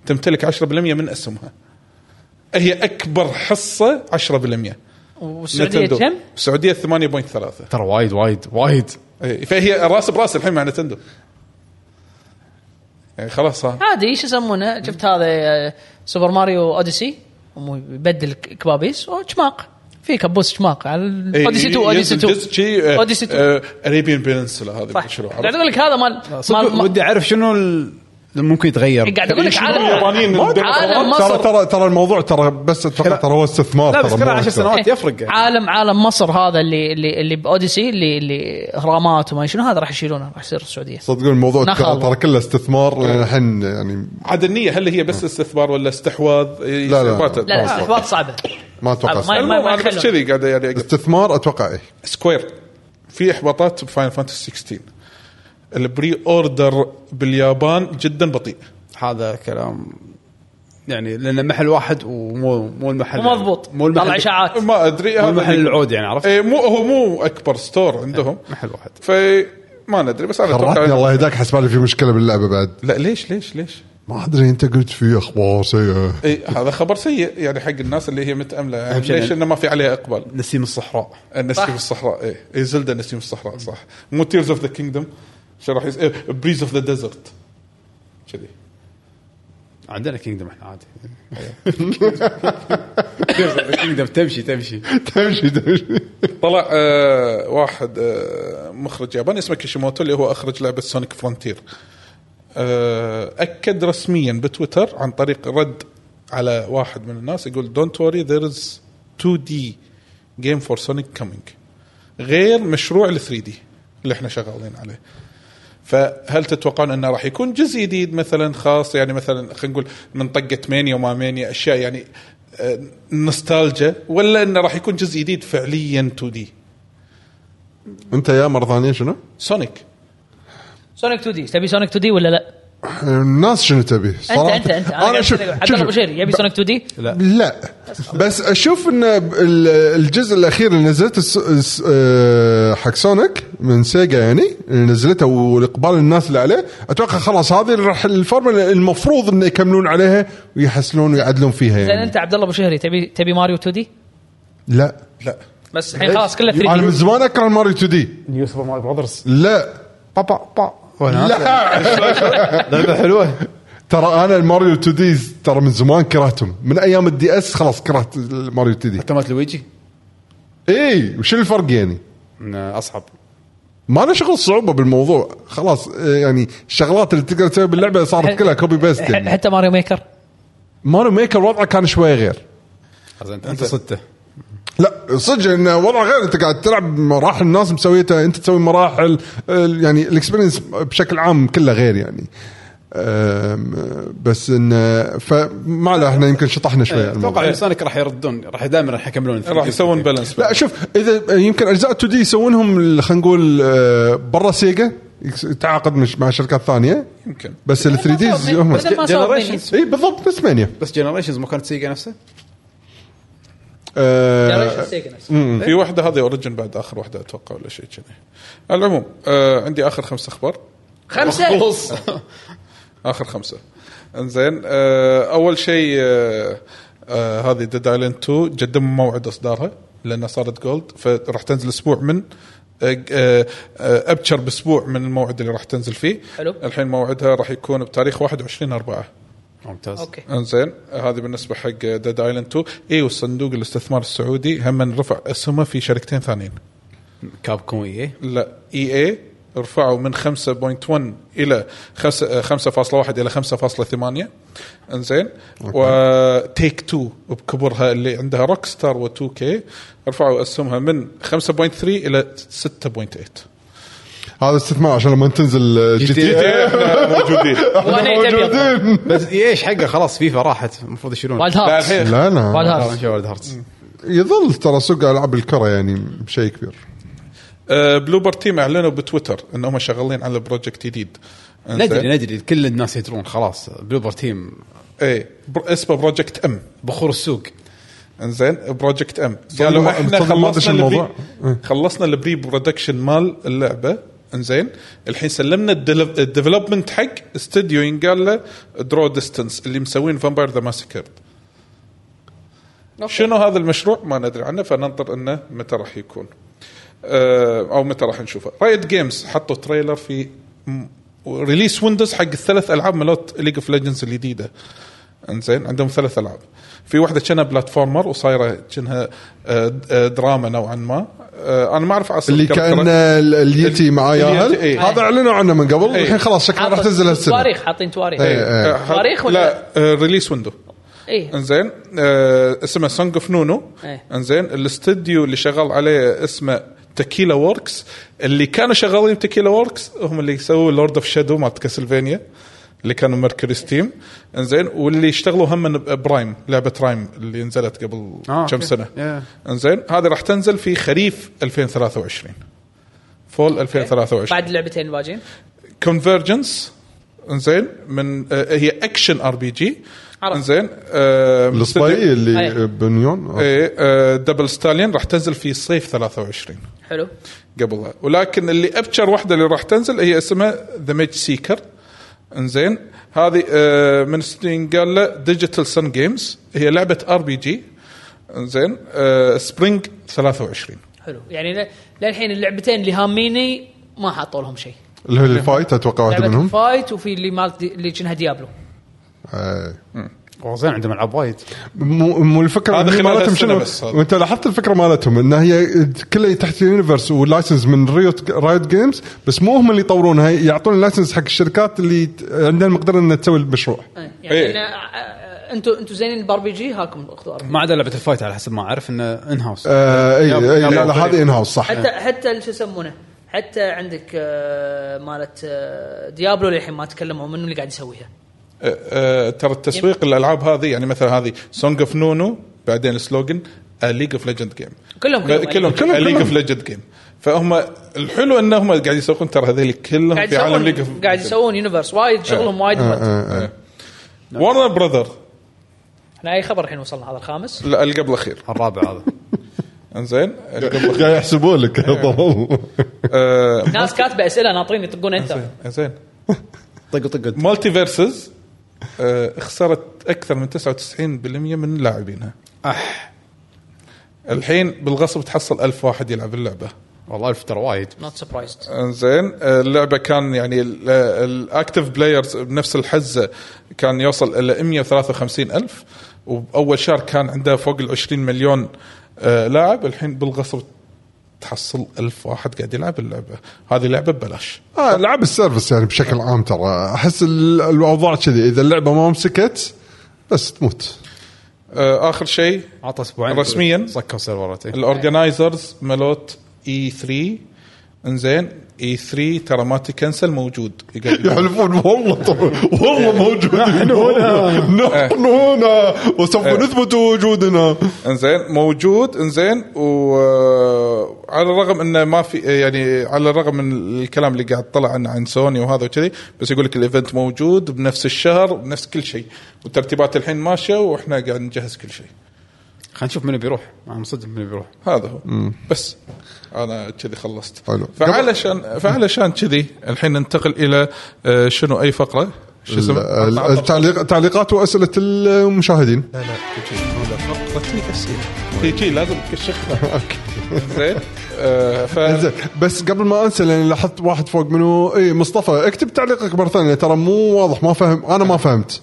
تمتلك 10% من اسهمها هي اكبر حصه 10% والسعوديه نتندو. كم؟ السعوديه 8.3 ترى وايد وايد وايد إيه، فهي راس براس الحين مع نتندو يعني خلاص ها عادي ايش يسمونه؟ شفت هذا آه، سوبر ماريو اوديسي هم يبدل ك- كبابيس وشماق في كبوس شماق على إيه، ال- اوديسي 2 اوديسي آه، 2 اوديسي 2 اريبيان بينسولا هذا صح المشروع قاعد اقول لك هذا مال مال- صدق مال- ودي اعرف شنو ال- اللي ممكن يتغير إيه، قاعد اقول لك شنو عالم اليابانيين ما عندهم خبرات؟ عالم مصر. ترى ترى ترى الموضوع ترى بس اتوقع ترى هو استثمار لا ترى بس مو كلها 10 أكثر. سنوات يفرق يعني إيه، عالم عالم مصر هذا اللي اللي اللي باوديسي اللي اللي اهرامات وما شنو هذا راح يشيلونه راح يصير السعوديه صدقون الموضوع نخل. ترى ترى كله استثمار لأن الحين يعني عاد النية هل هي بس استثمار ولا استحواذ إيه، لا. لا لا الاحباط صعبه ما اتوقع هذا ما- استثمار. المهم انا بس يخلون. كذي قاعد يعني أقول. استثمار اتوقع ايه سكوير في احباطات بفاينل فانتسي 16 البري اوردر باليابان جدا بطيء هذا كلام يعني لان محل واحد ومو مو المحل مو مضبوط مو المحل طلع اشاعات ما ادري مو هذا المحل اللي- العود يعني عرفت؟ إيه، مو هو مو اكبر ستور عندهم محل واحد فما ندري بس انا فرحتني اتوقع الله يهداك حسبالي في مشكله باللعبه بعد لا ليش ليش ليش؟ ما ادري انت قلت في اخبار سيئه اي هذا خبر سيء يعني حق الناس اللي هي متامله شيء ليش يعني- انه ما في عليها اقبال نسيم الصحراء النسيم صح. الصحراء إيه، اي اي زلدا نسيم الصحراء صح مو تيرز اوف ذا كينجدوم شو راح يس... إيه، بريز اوف ذا ديزرت كذي عندنا كينجدم احنا عادي كينجدم تمشي تمشي تمشي تمشي طلع آه واحد آه مخرج ياباني اسمه كيشيموتو اللي هو اخرج لعبه سونيك فرونتير آه اكد رسميا بتويتر عن طريق رد على واحد من الناس يقول دونت وري ذير از 2 دي جيم فور سونيك كامينج غير مشروع ال 3 دي اللي احنا شغالين عليه فهل تتوقعون انه راح يكون جزء جديد مثلا خاص يعني مثلا خلينا نقول من طقه مانيا وما مانيا اشياء يعني آه، نوستالجيا ولا انه راح يكون جزء جديد فعليا 2 دي انت يا مره ثانيه شنو؟ سونيك سونيك 2 دي تبي سونيك 2 دي ولا لا؟ الناس شنو تبي انت صراحة. انت انت انا شوف عبد شوف- الله بشير يبي سونيك 2 دي لا. لا بس اشوف ان ال- الجزء الاخير اللي نزلته الس- الس- آه، حق سونيك من سيجا يعني اللي نزلته والاقبال الناس اللي عليه اتوقع خلاص هذه اللي راح الفورمولا المفروض انه يكملون عليها ويحسنون ويعدلون فيها زين يعني انت عبد الله بشهري تبي تبي ماريو 2 دي لا لا بس الحين خلاص كله انا 3 من دي زمان اكره ماريو 2 دي نيو سوبر ماريو براذرز لا بابا با لعبه حلوه ترى انا الماريو 2 دي ترى من زمان كرهتهم من ايام الدي اس خلاص كرهت الماريو 2 دي حتى مالت لويجي اي وش الفرق يعني اصعب ما له شغل صعوبه بالموضوع خلاص آه، يعني الشغلات اللي تقدر تسويها باللعبه صارت كلها كوبي بيست ح- يعني حتى ماريو ميكر ماريو ميكر وضعه كان شويه غير انت انت صدته لا صدق انه وضعه غير انت قاعد تلعب مراحل الناس مسويتها انت تسوي مراحل آه، يعني الاكسبيرينس بشكل عام كله غير يعني آم، آه، بس انه فما له احنا يمكن شطحنا شويه الموضوع. اتوقع إن سونيك راح يردون راح دائما راح يكملون إيه. راح يسوون بالانس لا شوف اذا يمكن اجزاء 2 دي يسوونهم ال- خلينا نقول آه، برا سيجا يكس- تعاقد مش- مع شركات ثانيه يمكن بس ال 3 ديز هم بدل ما صار بيني. جنريشنز اي بالضبط بس مانيا بس جنريشنز ما كانت سيجا نفسها آه، Generation Sega نفسه. في واحده هذه اوريجن بعد اخر واحده اتوقع ولا شيء كذي على العموم آه عندي اخر خمس اخبار خمسه اخر خمسه انزين آه اول شيء آه آه هذه ديد ايلاند 2 قدموا موعد اصدارها لانها صارت جولد فراح تنزل اسبوع من آه، آه، آه، ابشر باسبوع من الموعد اللي راح تنزل فيه حلو. الحين موعدها راح يكون بتاريخ 21 4 ممتاز اوكي انزين آه، هذه بالنسبه حق ديد ايلاند 2 اي إيه، والصندوق الاستثمار السعودي هم رفع اسهمه في شركتين ثانيين كاب كوم ايه لا اي اي رفعوا من 5.1 الى خس- آه، 5.1 الى 5.8 انزين وتيك 2 بكبرها اللي عندها روك ستار و2 كي رفعوا اسهمها من 5.3 الى 6.8 هذا استثمار عشان لما تنزل آه، جي تي إيه. احنا موجودين وانا يبي بس ايه ايش حقه خلاص فيفا راحت المفروض يشيلون وايلد لا هارت الحين لا لا والله. آه، شو ولد هارتس يظل ترى سوق العاب الكره يعني شيء كبير آه، بلوبر تيم اعلنوا بتويتر انهم شغالين على بروجكت جديد ندري ندري كل الناس يدرون خلاص بلوبر تيم اي إيه، اسمه بروجكت ام بخور السوق انزين بروجكت ام تصدق قالوا ما- احنا تصدق ما أدش خلصنا الموضوع. الموضوع خلصنا البري برودكشن مال اللعبه انزين الحين سلمنا الديل- الديفلوبمنت حق استوديو ينقال له درو ديستنس اللي مسوين فامباير ذا ماسكر شنو هذا المشروع ما ندري عنه فننطر انه متى راح يكون آه، او متى راح نشوفه رايت جيمز حطوا تريلر في م- ريليس ويندوز حق الثلاث العاب مالت ليج اوف ليجندز الجديده انزين عندهم ثلاث العاب في واحده كانها بلاتفورمر وصايره كانها آه، د- آه، دراما نوعا ما آه، انا ما اعرف اصلا اللي كم كان ترى- ال- اليتي مع اليتي، ياهل إيه. هذا اعلنوا عنه من قبل إيه. الحين خلاص شكله راح حاطط تنزل هالسنه تواريخ حاطين تواريخ إيه. آه، حط- صواريخ ولا لا آه، ريليس ويندو اي انزين آه اسمه سونج اوف نونو إيه. انزين الاستديو اللي شغال عليه اسمه تكيلا ووركس اللي كانوا شغالين تكيلا ووركس هم اللي سووا لورد اوف شادو مالت كاسلفينيا اللي كانوا ميركوري ستيم انزين واللي اشتغلوا هم من برايم لعبه رايم اللي نزلت قبل آه، كم أوكي. سنه Yeah. انزين هذه راح تنزل في خريف 2023 فول 2023 بعد لعبتين الباجين كونفرجنس انزين من آه هي اكشن ار بي جي عرفت. انزين آه الصبي إيه. اللي بنيون آه. ايه آه، دبل ستاليون راح تنزل في صيف 23 حلو قبلها ولكن اللي ابشر واحده اللي راح تنزل هي اسمها ذا ميج سيكر انزين هذه آه، من ستين قال له ديجيتال سن جيمز هي لعبه ار بي جي انزين آه، سبرينج 23 حلو يعني ل- للحين اللعبتين اللي هاميني ما حطوا لهم شيء اللي هو الفايت اتوقع واحده لعبه منهم فايت وفي اللي مالت اللي كانها ديابلو آه. وزين عندهم العاب وايد مو مو الفكره هذا هي خلال مالتهم هالسنة شنو بس هذا. وانت لاحظت الفكره مالتهم ان هي كلها تحت اليونيفرس واللايسنس من ريوت رايت جيمز بس مو هم اللي يطورونها يعطون اللايسنس حق الشركات اللي ت- عندها المقدره انها تسوي المشروع يعني إيه. إن- آه، انتوا انتوا زينين البار بي جي هاكم اخذوا RPG. ما عدا لعبه الفايت على حسب ما اعرف انه ان هاوس آه اي يب- اي يب- لا لا يب- هذه ان هاوس صح حتى حتى شو يسمونه حتى عندك آه، مالت آه، ديابلو للحين ما تكلموا منو اللي قاعد يسويها آه، آه، ترى التسويق الالعاب هذه يعني مثلا هذه سونج اوف نونو بعدين سلوجن ليج اوف ليجند جيم كلهم كلهم كلهم ليج اوف ليجند جيم فهم الحلو انهم قاعد يسوقون ترى هذول كلهم قاعد في آه. عالم ليج يسوون قاعد يسوون يونيفرس وايد شغلهم وايد مرد. ورنر براذر احنا اي خبر الحين وصلنا هذا الخامس لا اللي قبل الاخير الرابع هذا انزين اللي قبل الاخير قاعد يحسبون لك طول آه، ناس كاتبه اسئله ناطرين يطقون انتر انزين طق طق مالتي فيرسز آه، خسرت اكثر من 99% من لاعبينها اح الحين بالغصب تحصل ألف واحد يلعب اللعبه والله الف ترى وايد نوت سبرايزد انزين آه، اللعبه كان يعني الاكتف بلايرز بنفس الحزه كان يوصل الى 153 الف وباول شهر كان عنده فوق ال 20 مليون آه، لاعب الحين بالغصب تحصل ألف واحد قاعد يلعب اللعبه هذه لعبه ببلاش آه العاب السيرفس يعني بشكل عام ترى احس ال- الاوضاع كذي اذا اللعبه ما مسكت بس تموت آه، اخر شيء عطى اسبوعين رسمياً. سكر سيرفرات إيه. الاورجنايزرز ملوت اي 3 انزين اي 3 ترى ما تكنسل موجود يقدر- يحلفون والله طبعا والله موجودين نحن هنا نحن هنا وسوف إيه. نثبت وجودنا انزين موجود انزين وعلى الرغم انه ما في يعني على الرغم من الكلام اللي قاعد طلع عنه عن سوني وهذا وكذي بس يقول لك الايفنت موجود بنفس الشهر بنفس كل شيء والترتيبات الحين ماشيه واحنا قاعد نجهز كل شيء خلينا نشوف من بيروح انا مصدق من بيروح هذا هو بس انا كذي خلصت حلو. فعلشان فعلشان كذي الحين ننتقل الى آه، شنو اي فقره شو اسمه؟ ال- التعليق تعليقات واسئله المشاهدين فقرتي اسئله هي شي لازم تكشخها زين آه، ف زين بس قبل ما انسى لان لاحظت واحد فوق منو اي مصطفى اكتب تعليقك مره ثانيه ترى مو واضح ما فهم انا ما فهمت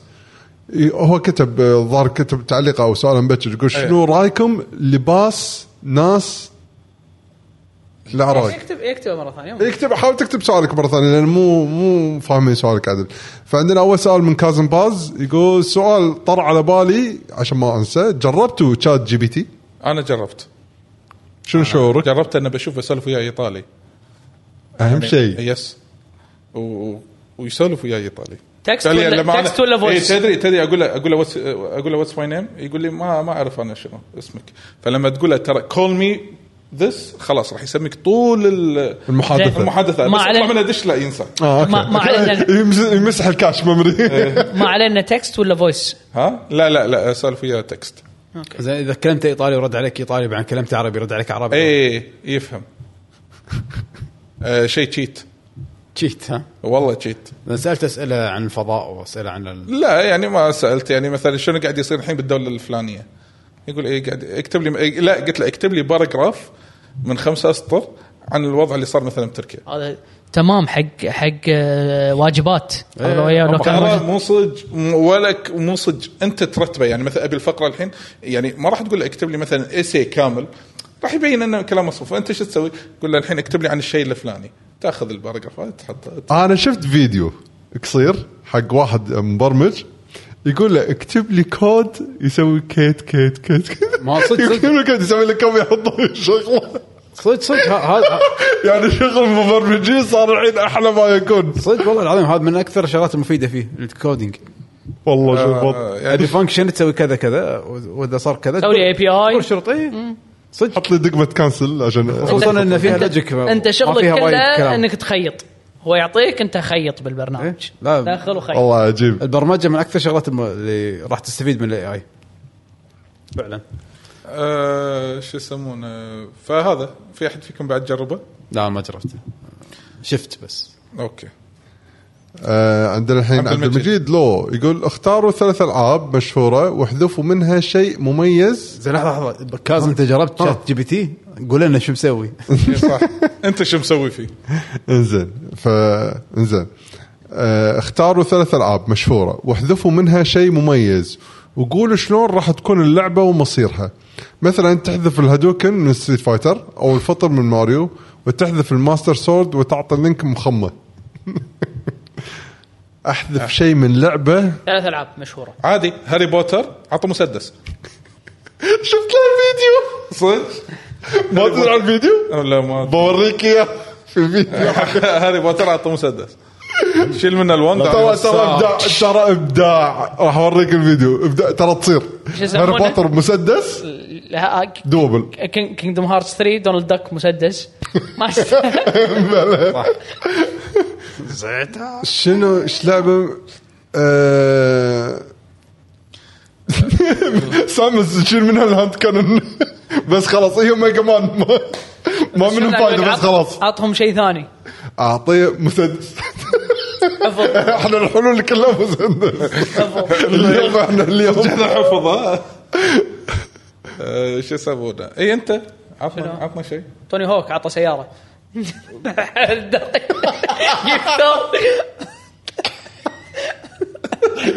إي، هو كتب آه، الظاهر كتب تعليق او سؤال مبكر يقول إيه. شنو رايكم لباس ناس لا رايك يكتب يكتب مره ثانيه إيه. اكتب حاول تكتب سؤالك مره ثانيه لان مو مو فاهمين سؤالك عدل فعندنا اول سؤال من كازم باز يقول سؤال طر على بالي عشان ما انسى جربتوا تشات جي بي تي انا جربت شنو شعورك؟ جربت انه بشوف اسولف وياه ايطالي يعني اهم شيء يس و- و- ويسولف وياي ايطالي تكست قال لي لما ولا أنا- تكست ولا إيه، فويس تدري تدري اقول له اقول له what's- اقول له واتس ماي نيم يقول لي ما ما اعرف انا شنو اسمك فلما تقول له ترى كول مي ذس خلاص راح يسميك طول ال- المحادثه زين. المحادثه ما بس عليه. اطلع منها دش لا ينسى اه اوكي يعني ما- ما علينا. يمس- يمسح الكاش ميموري إيه. ما علينا تكست ولا فويس ها لا لا لا اسولف وياه تكست زين اذا كلمته ايطالي ورد عليك ايطالي بعدين كلمته عربي رد عليك عربي اي إيه، يفهم آه شيء تشيت تشيت ها والله تشيت لأن سالت اسئله عن الفضاء واسئله عن ال... لا يعني ما سالت يعني مثلا شنو قاعد يصير الحين بالدوله الفلانيه يقول ايه قاعد اكتب لي إيه، لا قلت له اكتب لي باراجراف من خمسة اسطر عن الوضع اللي صار مثلا بتركيا هذا تمام حق حق آه، واجبات إيه، هذا وياه لو كان ترى واجب. مو صج م- ولا ك- مو صج انت ترتبه يعني مثلا ابي الفقره الحين يعني ما راح تقول له اكتب لي مثلا ايسي كامل راح يبين انه كلام مصروف فانت شو تسوي؟ تقول له الحين اكتب لي عن الشيء الفلاني تاخذ الباراجراف هذا تحطه انا شفت فيديو قصير حق واحد مبرمج يقول له اكتب لي كود يسوي كيت كيت كيت كيت ما صدق- صدق. يكتب له كود يسوي له كم يحطه شغله صدق صدق ه- هذا يعني شغل المبرمجين صار الحين احلى ما يكون صدق والله العظيم هذا من اكثر الشغلات المفيده فيه الكودينج والله شوف آه، بط- ابي فانكشن يعني تسوي كذا كذا واذا صار كذا سوي لي API. كل شرطي صدق حط لي دقمه كانسل عشان خصوصا ان فيها أنت- لوجيك ما- انت ما شغلك فيها وايد كله كلام. انك تخيط هو يعطيك انت خيط بالبرنامج إيه؟ لا. داخل وخيط والله عجيب البرمجه من اكثر الشغلات الم- اللي راح تستفيد من الاي اي فعلا آه شو يسمونه فهذا في احد فيكم بعد جربه؟ لا ما جربته شفت بس اوكي آه عندنا الحين عبد عبد المجيد. المجيد لو يقول اختاروا ثلاث العاب مشهوره واحذفوا منها شيء مميز زين لحظه لحظه كازم انت جربت شات جي بي تي قول لنا شو مسوي إيه صح انت شو مسوي فيه؟ انزين ف انزين آه، اختاروا ثلاث العاب مشهوره واحذفوا منها شيء مميز وقولوا شلون راح تكون اللعبه ومصيرها مثلا تحذف الهادوكن من ستريت فايتر او الفطر من ماريو وتحذف الماستر سورد وتعطي لينك مخمه احذف شيء من لعبه ثلاث العاب مشهوره عادي هاري بوتر عطى مسدس شفت له الفيديو صدق؟ ما تدري على الفيديو لا ما بوريك اياه في الفيديو هاري بوتر عطى مسدس شيل منه ترى الوند ترى ابداع ترى ابداع راح اوريك الفيديو إبداع- ترى تصير هاري يسمونه؟ بوتر مسدس دوبل كينجدوم هارتس 3 دونالد داك مسدس ما أعرف. شنو ايش لعبه آه، سامس تشيل منها الهاند كانون بس خلاص هي ميجا مان ما, ما منهم فايده بس عط- خلاص عطهم شيء ثاني اعطيه مسدس افضل احنا الحلول كلها مسدس اليوم احنا اليوم هذا حفظه آه، شو يسمونه اي انت عطنا شنو؟ عطنا شيء توني هوك عطى سياره يختار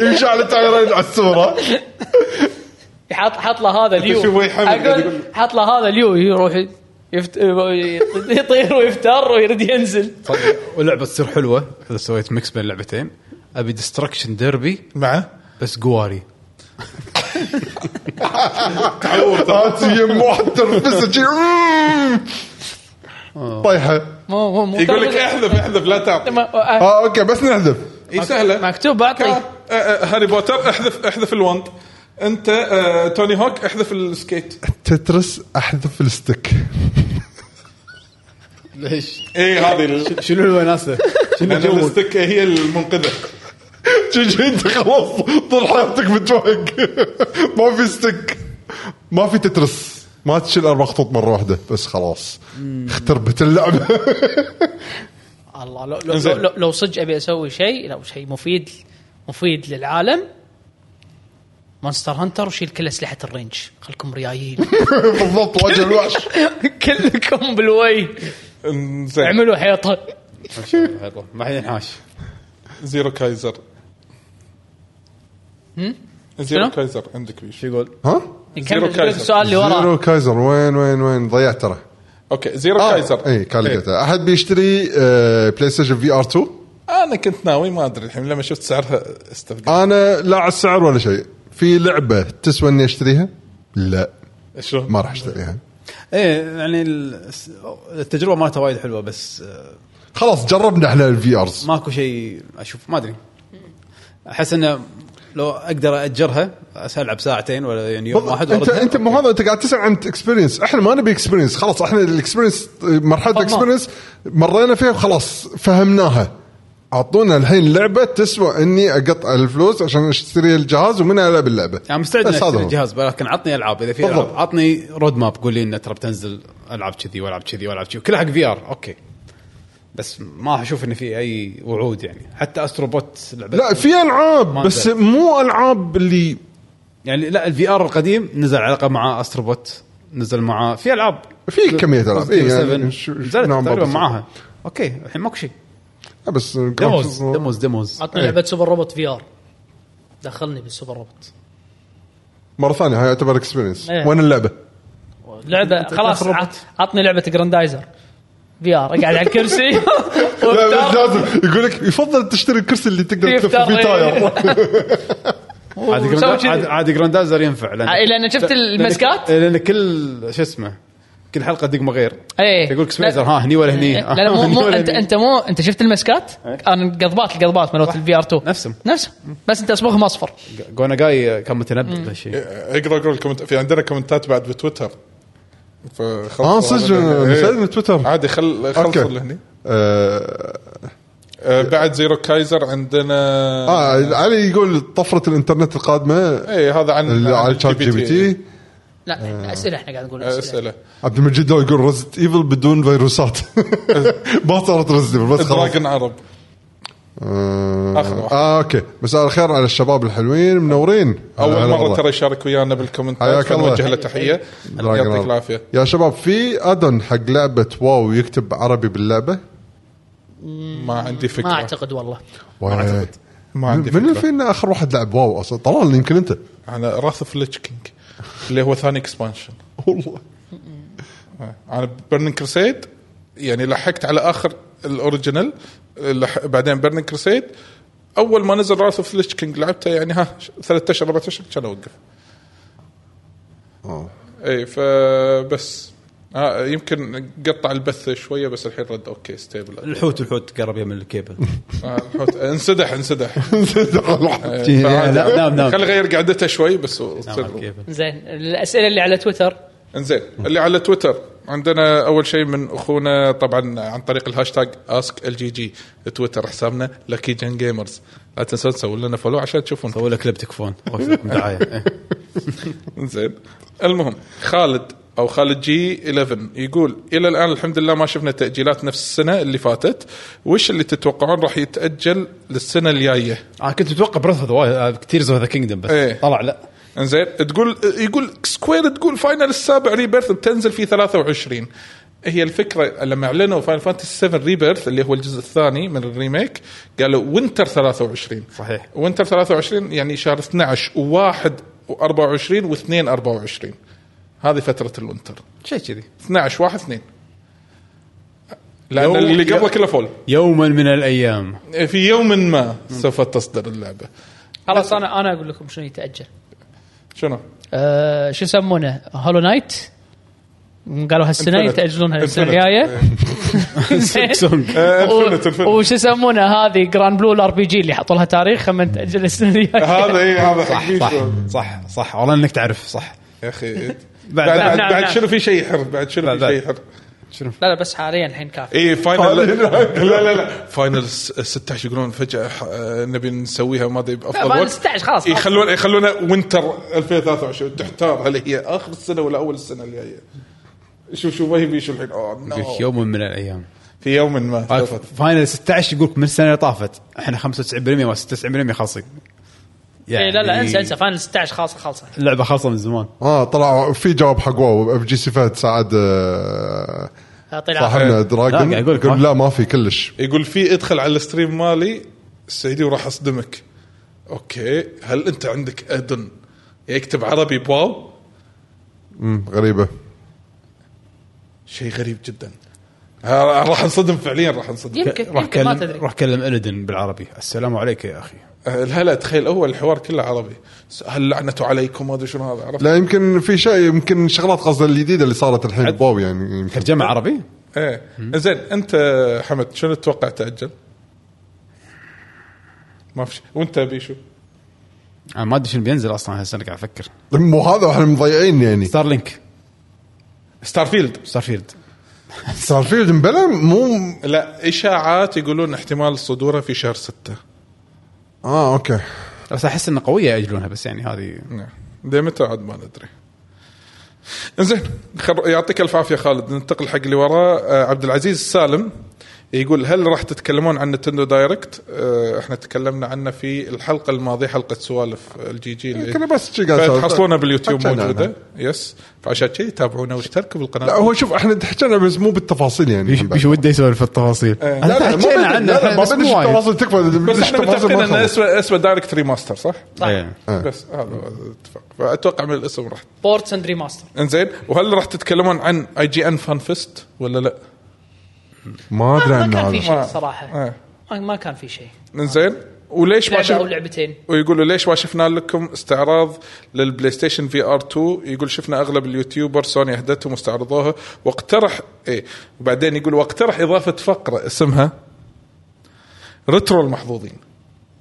يمشي على التايرين على الصوره حط حط له هذا اليو شوف وين حمد قاعد يقول. اقول حط له هذا اليو يروح يفت... يطير ويفتر ويرد ينزل واللعبه طيب. تصير حلوه اذا سويت ميكس بين اللعبتين ابي ديستركشن ديربي مع بس قواري هات يم واحد تنفسه شي، مم. طيحه مو مو مو يقول لك احذف احذف لا تعطي ما- آه، اه اوكي بس نحذف اي سهله مكتوب كا- اعطي آه، آه، هاري بوتر احذف احذف الوند انت آه، توني هوك احذف السكيت تترس احذف الستيك ليش؟ اي إيه، هذه ال- شنو الوناسه؟ شنو لأن جوك؟ الستيك هي المنقذه تجي انت خلاص طول حياتك متوهق ما في ستيك ما في تترس ما تشيل اربع خطوط مره واحده بس خلاص اختربت اللعبه الله لو لو, لو, لو صدق ابي اسوي شيء لو شيء مفيد مفيد للعالم مونستر هانتر وشيل كل اسلحه الرينج خلكم ريايين بالضبط وجه الوحش كلكم بالوي زين اعملوا حيطه ما حد ينحاش زيرو كايزر زيرو شنو؟ كايزر عندك بيش شو يقول؟ ها يكمل كايزر. السؤال اللي وراه زيرو كايزر وين وين وين ضيعت ترى اوكي زيرو آه، كايزر إيه. اي كان لقيته احد بيشتري آه، بلاي ستيشن في ار 2 انا كنت ناوي ما ادري الحين لما شفت سعرها استفقت انا لا على السعر ولا شيء في لعبه تسوى اني اشتريها لا شلون؟ ما راح اشتريها ايه يعني ال- التجربه مالته وايد حلوه بس آه، خلاص جربنا احنا الفي ارز ماكو شيء اشوف ما ادري احس انه لو اقدر اجرها أس- العب ساعتين ولا يعني يوم واحد انت وأردها. انت مو هذا انت قاعد تسال عن اكسبيرينس احنا ما نبي اكسبيرينس خلاص احنا الاكسبيرينس مرحله فما. الاكسبيرينس مرينا فيها وخلاص فهمناها اعطونا الحين لعبه تسوى اني اقطع الفلوس عشان اشتري الجهاز ومنها العب اللعبه يعني مستعد اني بس هذا اشتري هو. الجهاز لكن عطني العاب اذا في العاب بالضبط. عطني رود ماب قول لي انه ترى بتنزل العاب كذي والعاب كذي والعاب كذي كلها حق في ار اوكي بس ما اشوف ان في اي وعود يعني حتى استروبوت لعبه لا في العاب ما بس نزل. مو العاب اللي يعني لا الفي ار القديم نزل على الاقل مع استروبوت نزل مع في العاب في كمية ألعاب. Positive إيه، يعني Seven. شو- شو- نزلت نعم، تقريبا Positive. معاها اوكي الحين ماكو شيء بس ديموز ديموز ديموز عطنا لعبه سوبر روبوت في ار دخلني بالسوبر روبوت مره ثانيه هاي يعتبر اكسبيرينس إيه. وين اللعبه؟ لعبه خلاص عط- عطني لعبه جراندايزر في ار اقعد على الكرسي لا بس وافتر. لازم يقول لك يفضل تشتري الكرسي اللي تقدر تلف يفتر، فيه إيه. تاير عادي وسوي جراند- كذي. عادي- عادي جراندايزر ينفع لان عادي، لأن آه، شفت المسكات؟ لان لأن كل شو اسمه كل حلقه دقمه غير ايه يقول لك سبيزر ها هني ولا هني إيه، لا لا مو هني مو ولا انت هني. انت مو انت شفت المسكات؟ انا القضبات القضبات مالت الفي ار 2 نفسهم. نفسهم بس انت اصبغهم اصفر جونا جاي كان متنبأ بهالشيء اقرا اقرا الكومنت في عندنا كومنتات بعد بتويتر فخلص اه صدق إيه. مسجل من تويتر عادي خل خلص أوكي. اللي هني آه، آه، بعد زيرو كايزر عندنا اه علي يقول طفره الانترنت القادمه اي هذا عن اللي عن على شات جي بي تي لا اسئله احنا قاعد نقول آه، اسئله اسئله عبد المجيد لو يقول رزت ايفل بدون فيروسات ما صارت رزت ايفل بس خلاص دراجن عرب آه، آخر واحد. آه اوكي مساء الخير على الشباب الحلوين منورين اول هلا مره والله. ترى يشارك ويانا بالكومنتات حياك الله. فنوجه له تحيه دراجن يعطيك عرب. العافيه يا شباب في ادن حق لعبه واو يكتب عربي باللعبه ما عندي فكره ما اعتقد والله واو. ما عندي من اللي فكره فينا اخر واحد لعب واو اصلا طلال يمكن انت انا راث اوف ليتش كينج اللي هو ثاني اكسبانشن والله انا بيرنين كرسيد يعني لحقت على اخر الاوريجينال لح... بعدين بيرنين كرسيد اول ما نزل راث اوف ليتش كينج لعبته يعني ها ش- ثلاثة اشهر اربع اشهر كان إيه، اوقف آه. اي فبس آه يمكن قطع البث شويه بس الحين رد اوكي ستيبل الحوت الحوت قرب يم الكيبل آه الحوت- انسدح انسدح إيه. جي- لا، نعم، نعم. خل غير قعدته شوي بس و- نعم، الكيبل زين الاسئله اللي على تويتر انزين اللي على تويتر عندنا اول شيء من اخونا طبعا عن طريق الهاشتاج اسك ال جي جي تويتر حسابنا لكي جن جيمرز لا تنسون تسوون لنا فولو عشان تشوفون سووا لك لب تكفون وقف لكم دعايه إيه. زين المهم خالد او خالد جي 11 يقول الى الان الحمد لله ما شفنا تاجيلات نفس السنه اللي فاتت وش اللي تتوقعون راح يتاجل للسنه الجايه انا آه، كنت متوقع بريث اوف ذا تيرز اوف ذا كينجدم بس إيه. طلع لا انزين تقول يقول سكوير تقول فاينل السابع ريبيرث بتنزل في 23 هي الفكره لما اعلنوا فاينل فانتسي 7 ريبيرث اللي هو الجزء الثاني من الريميك قالوا وينتر 23 صحيح. وينتر 23 يعني شهر 12 و1 و24 و2 24 هذه فتره الوينتر شيء كذي 12 1 2 لان يوم- اللي قبله كله فول يوما من الايام إيه، في يوم ما سوف تصدر اللعبه خلاص انا انا اقول لكم شنو يتاجل شنو؟ آه، شو يسمونه هولو نايت قالوا هالسنه Infinite. يتاجلونها السنه Infinite. الجايه زين. آه، و- Infinite، Infinite. وش يسمونه هذه جراند بلو الار بي جي اللي حطوا لها تاريخ خمن تاجل السنه الجايه هذا اي هذا صح حق صح بيشو. صح صح والله انك تعرف صح يا اخي بعد- بعد نعم، بعد, نعم، بعد نعم. شنو في شيء يحر بعد شنو بعد- في شيء بعد. يحر لا لا بس حاليا الحين كافي اي فاينل لا لا لا فاينل 16 يقولون فجاه ح- آه، نبي نسويها ما ادري لا، بافضل فاينل وقت 16 خلاص يخلون يخلونها وينتر 2023 تحتار هل هي اخر السنه ولا اول السنه الجايه شوف شوف وهي بيشو الحين اوه يقولك نو يوما من الايام في يوم ما عارف، فاينل 16 يقولك من السنه اللي طافت احنا 95% و 96% خالصين إيه، لا لا انسى انسى فاينل 16 خلاص خلصه اللعبه خالصه من زمان اه طلع في جواب حق واو اف جي سي فهد سعد آه، طلع صاحبنا لا، دراجون قاعد أقول لك يقول ما- لا ما في كلش يقول في ادخل على الستريم مالي السعيدي وراح اصدمك اوكي هل انت عندك ادن يكتب عربي بواو مم، غريبه شيء غريب جدا ها- راح انصدم فعليا راح انصدم يمكن روح يمكن ما كلم تدري روح كلم الدن بالعربي السلام عليك يا اخي أه، لا لا تخيل اول الحوار كله عربي س- هل لعنة عليكم ما ادري شنو هذا عرفت لا يمكن في شيء يمكن شغلات قصد الجديده اللي صارت الحين بواو يعني يمكن ترجمه عربي ايه زين انت حمد شنو تتوقع تاجل؟ ما في شيء وانت بيشو انا ما ادري شنو بينزل اصلا هالسنه قاعد افكر مو هذا احنا مضيعين يعني ستار لينك ستار فيلد ستار فيلد ستارفيلد مبلا مو لا اشاعات يقولون احتمال صدورها في شهر ستة اه اوكي بس احس انها قويه ياجلونها بس يعني هذه نعم دي متى عاد ما ندري زين خر... يعطيك الف عافيه خالد ننتقل حق اللي وراه آه، عبد العزيز السالم يقول هل راح تتكلمون عن نتندو دايركت؟ آه، احنا تكلمنا عنه في الحلقه الماضيه حلقه سوالف الجي جي اللي- كنا بس شي قاعد نسولف. فتحصلونها باليوتيوب حكينا موجوده عنها. يس فعشان كذي تابعونا واشتركوا بالقناه لا هو شوف احنا حكينا بس مو بالتفاصيل يعني بيش بيش وده يسولف في التفاصيل إيه. لا لا مو حكينا عنه لا لا ما بس بدنا مو وايد. التفاصيل تكفى بس احنا التفاصيل ما آه. متفقين ان خلص. اسمه اسمه دايركت ريماستر صح؟ إيه. بس هذا هو الاتفاق فاتوقع من الاسم راح بورتس اند ريماستر انزين وهل راح تتكلمون عن اي جي ان فان فيست ولا لا؟ ما ادري ما عن كان في هذا شيء ما- صراحه آه. ما- ما كان في شيء انزين وليش ما لعبه او شف... لعبتين ويقولوا ليش ما شفنا لكم استعراض للبلاي ستيشن في ار 2 يقول شفنا اغلب اليوتيوبر سوني اهدتهم واستعرضوها واقترح ايه وبعدين يقول واقترح اضافه فقره اسمها ريترو المحظوظين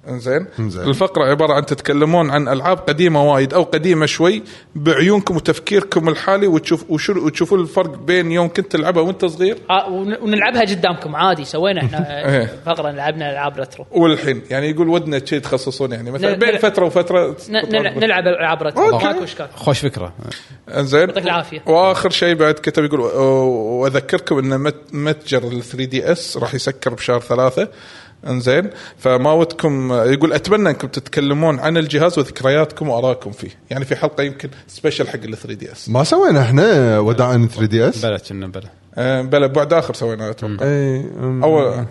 انزين إنزين. الفقره عباره عن تتكلمون عن العاب قديمه وايد او قديمه شوي بعيونكم وتفكيركم الحالي وتشوف وشو وتشوفون الفرق بين يوم كنت تلعبها وانت صغير آه، ون- ونلعبها قدامكم عادي سوينا احنا إيه. آه، فقره لعبنا العاب رترو والحين يعني يقول ودنا شيء تخصصون يعني مثلا نل- بين نل- فتره وفتره ن- نلع- نلعب العاب رترو ماكو اشكال خوش فكره انزين يعطيك العافية. واخر شيء بعد كتب يقول "أو- واذكركم ان مت- متجر ال 3 دي اس راح يسكر بشهر ثلاثه انزين فما ودكم يقول اتمنى انكم تتكلمون عن الجهاز وذكرياتكم وارائكم فيه يعني في حلقه يمكن سبيشل حق ال 3 دي اس ما سوينا احنا وداعا 3 دي اس بلا كنا بلا بلا بعد اخر سويناه اتوقع اي اول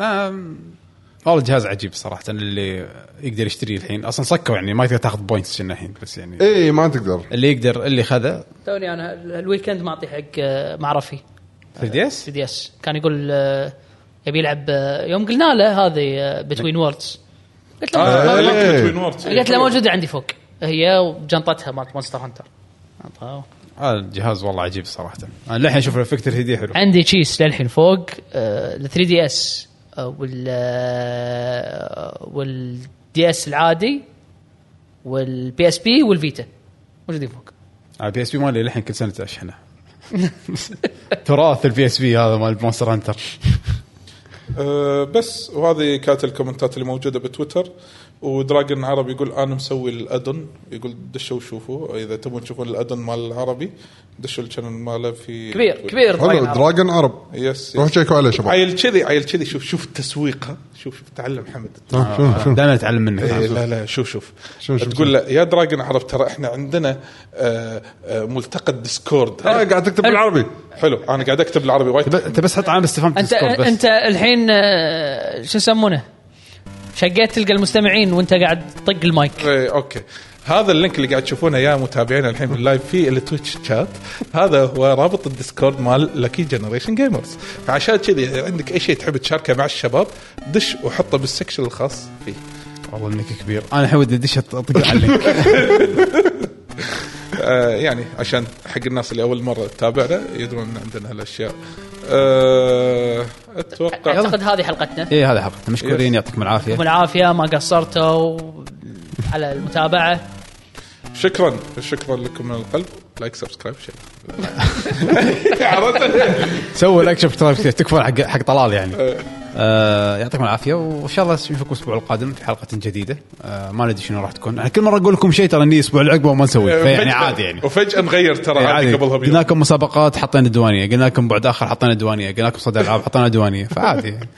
آم، والله جهاز عجيب صراحه اللي يقدر يشتريه الحين اصلا صكوا يعني ما تقدر تاخذ بوينتس كنا الحين بس يعني اي إيه، ما تقدر اللي يقدر اللي آه. خذه توني انا ال- الويكند معطي حق آه، معرفي 3 دي اس سي دي اس كان يقول آه، يبي يلعب آه، يوم قلنا له هذه بتوين ووردز قلت له آه، موجودة- إيه. Twin Wars. قلت له موجوده عندي فوق هي وجنطتها مالت مونستر هانتر أعطاه. هذا آه، الجهاز والله عجيب صراحه انا للحين اشوف الافكت 3 دي حلو عندي تشيس للحين فوق آه، ال 3 دي اس وال آه، والدي اس العادي والبي اس بي والفيتا موجودين فوق آه، على بي اس بي مالي للحين كل سنه اشحنه تراث البي اس بي هذا مال مونستر هانتر أه بس وهذه كانت الكومنتات اللي موجوده بتويتر ودراجن عربي يقول انا مسوي الادن يقول دشوا وشوفوا اذا تبون تشوفون الادن مال العربي دشوا الشانل ماله في كبير تويتر. كبير حلو طبعاً. دراجون عرب يس روح يس شيكوا عليه شباب عيل كذي عيل كذي شوف شوف تسويقها شوف شوف تعلم حمد آه، دائما اتعلم إيه، منك لا لا شوف شوف نعم، شوف شوف. تقول له يا دراجن عرب ترى احنا عندنا آه، آه، ملتقى الديسكورد آه، قاعد تكتب بالعربي حلو انا قاعد اكتب بالعربي ب- وايد انت بس حط علامه استفهام انت Discord بس انت الحين آه، شو يسمونه؟ شقيت تلقى المستمعين وانت قاعد تطق المايك إيه، اوكي هذا اللينك اللي قاعد تشوفونه يا متابعينا الحين باللايف في التويتش شات هذا هو رابط الديسكورد مال لكي جنريشن جيمرز فعشان كذي عندك اي شيء تحب تشاركه مع الشباب دش وحطه بالسكشن الخاص فيه والله انك كبير انا الحين ودي ادش اطق على اللينك آه يعني عشان حق الناس اللي اول مره تتابعنا يدرون ان عندنا هالاشياء آه اتوقع اعتقد هذه حلقتنا اي إيه، هذا حلقتنا إيه. مشكورين يعطيكم العافيه يعطيكم العافيه ما قصرتوا على المتابعه شكرا شكرا لكم من القلب لايك سبسكرايب شير عرفت سووا لايك سبسكرايب تكفون حق حق طلال يعني آه يعطيكم العافيه وان شاء الله نشوفكم الاسبوع القادم في حلقه جديده آه ما ندري شنو راح تكون انا كل مره اقول لكم شيء ترى اني الاسبوع اللي عقبه وما نسوي فيعني فجأة- عادي يعني وفجاه نغير ترى عادي قبلها بيوم قلنا لكم مسابقات حطينا الديوانيه قلنا لكم بعد اخر حطينا الديوانيه قلنا لكم صدى العاب حطينا ديوانيه فعادي يعني.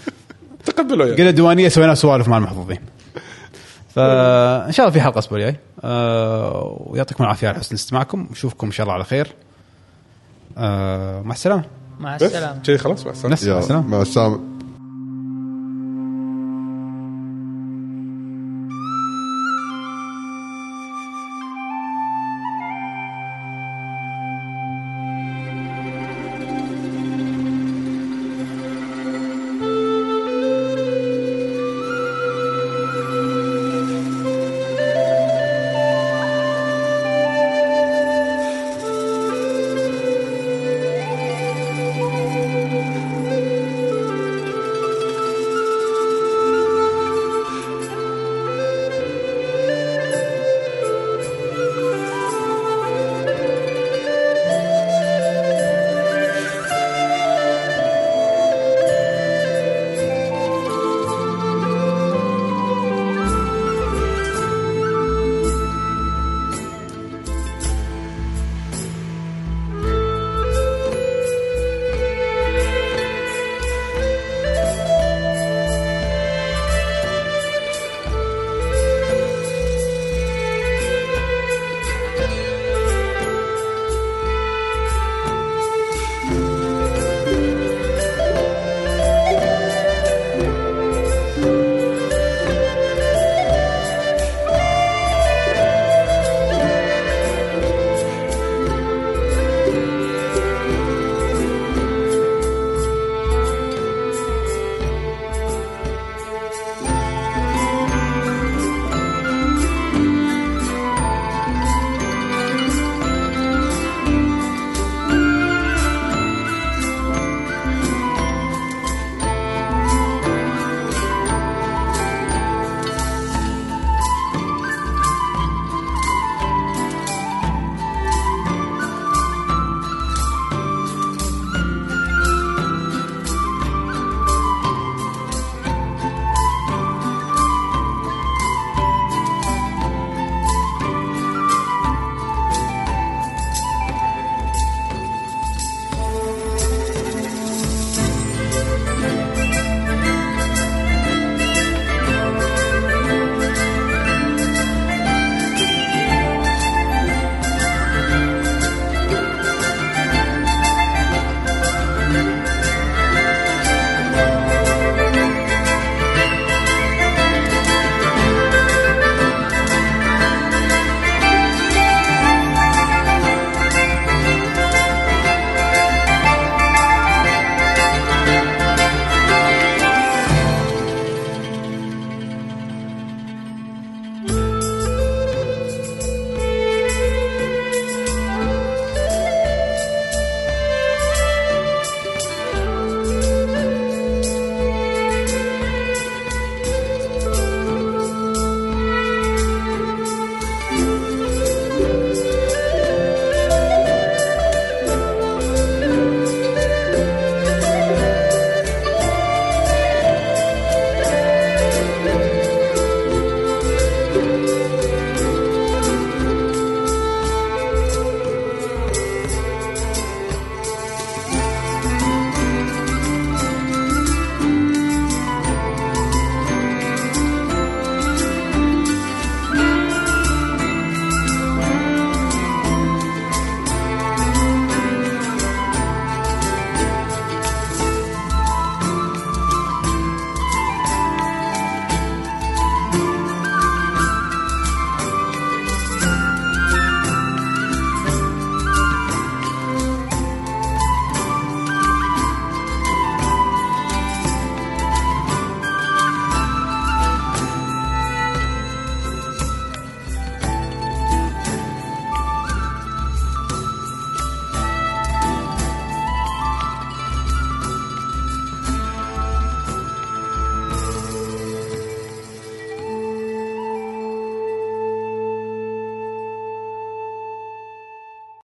تقبلوا يعني قلنا ديوانيه سوينا سوالف مع المحظوظين فان شاء الله في حلقه الاسبوع الجاي آه ويعطيكم العافيه على حسن استماعكم ونشوفكم ان شاء الله على خير آه مع السلامه مع بس السلامه شي خلاص بس نفس مع يلا، السلامه مع السلامه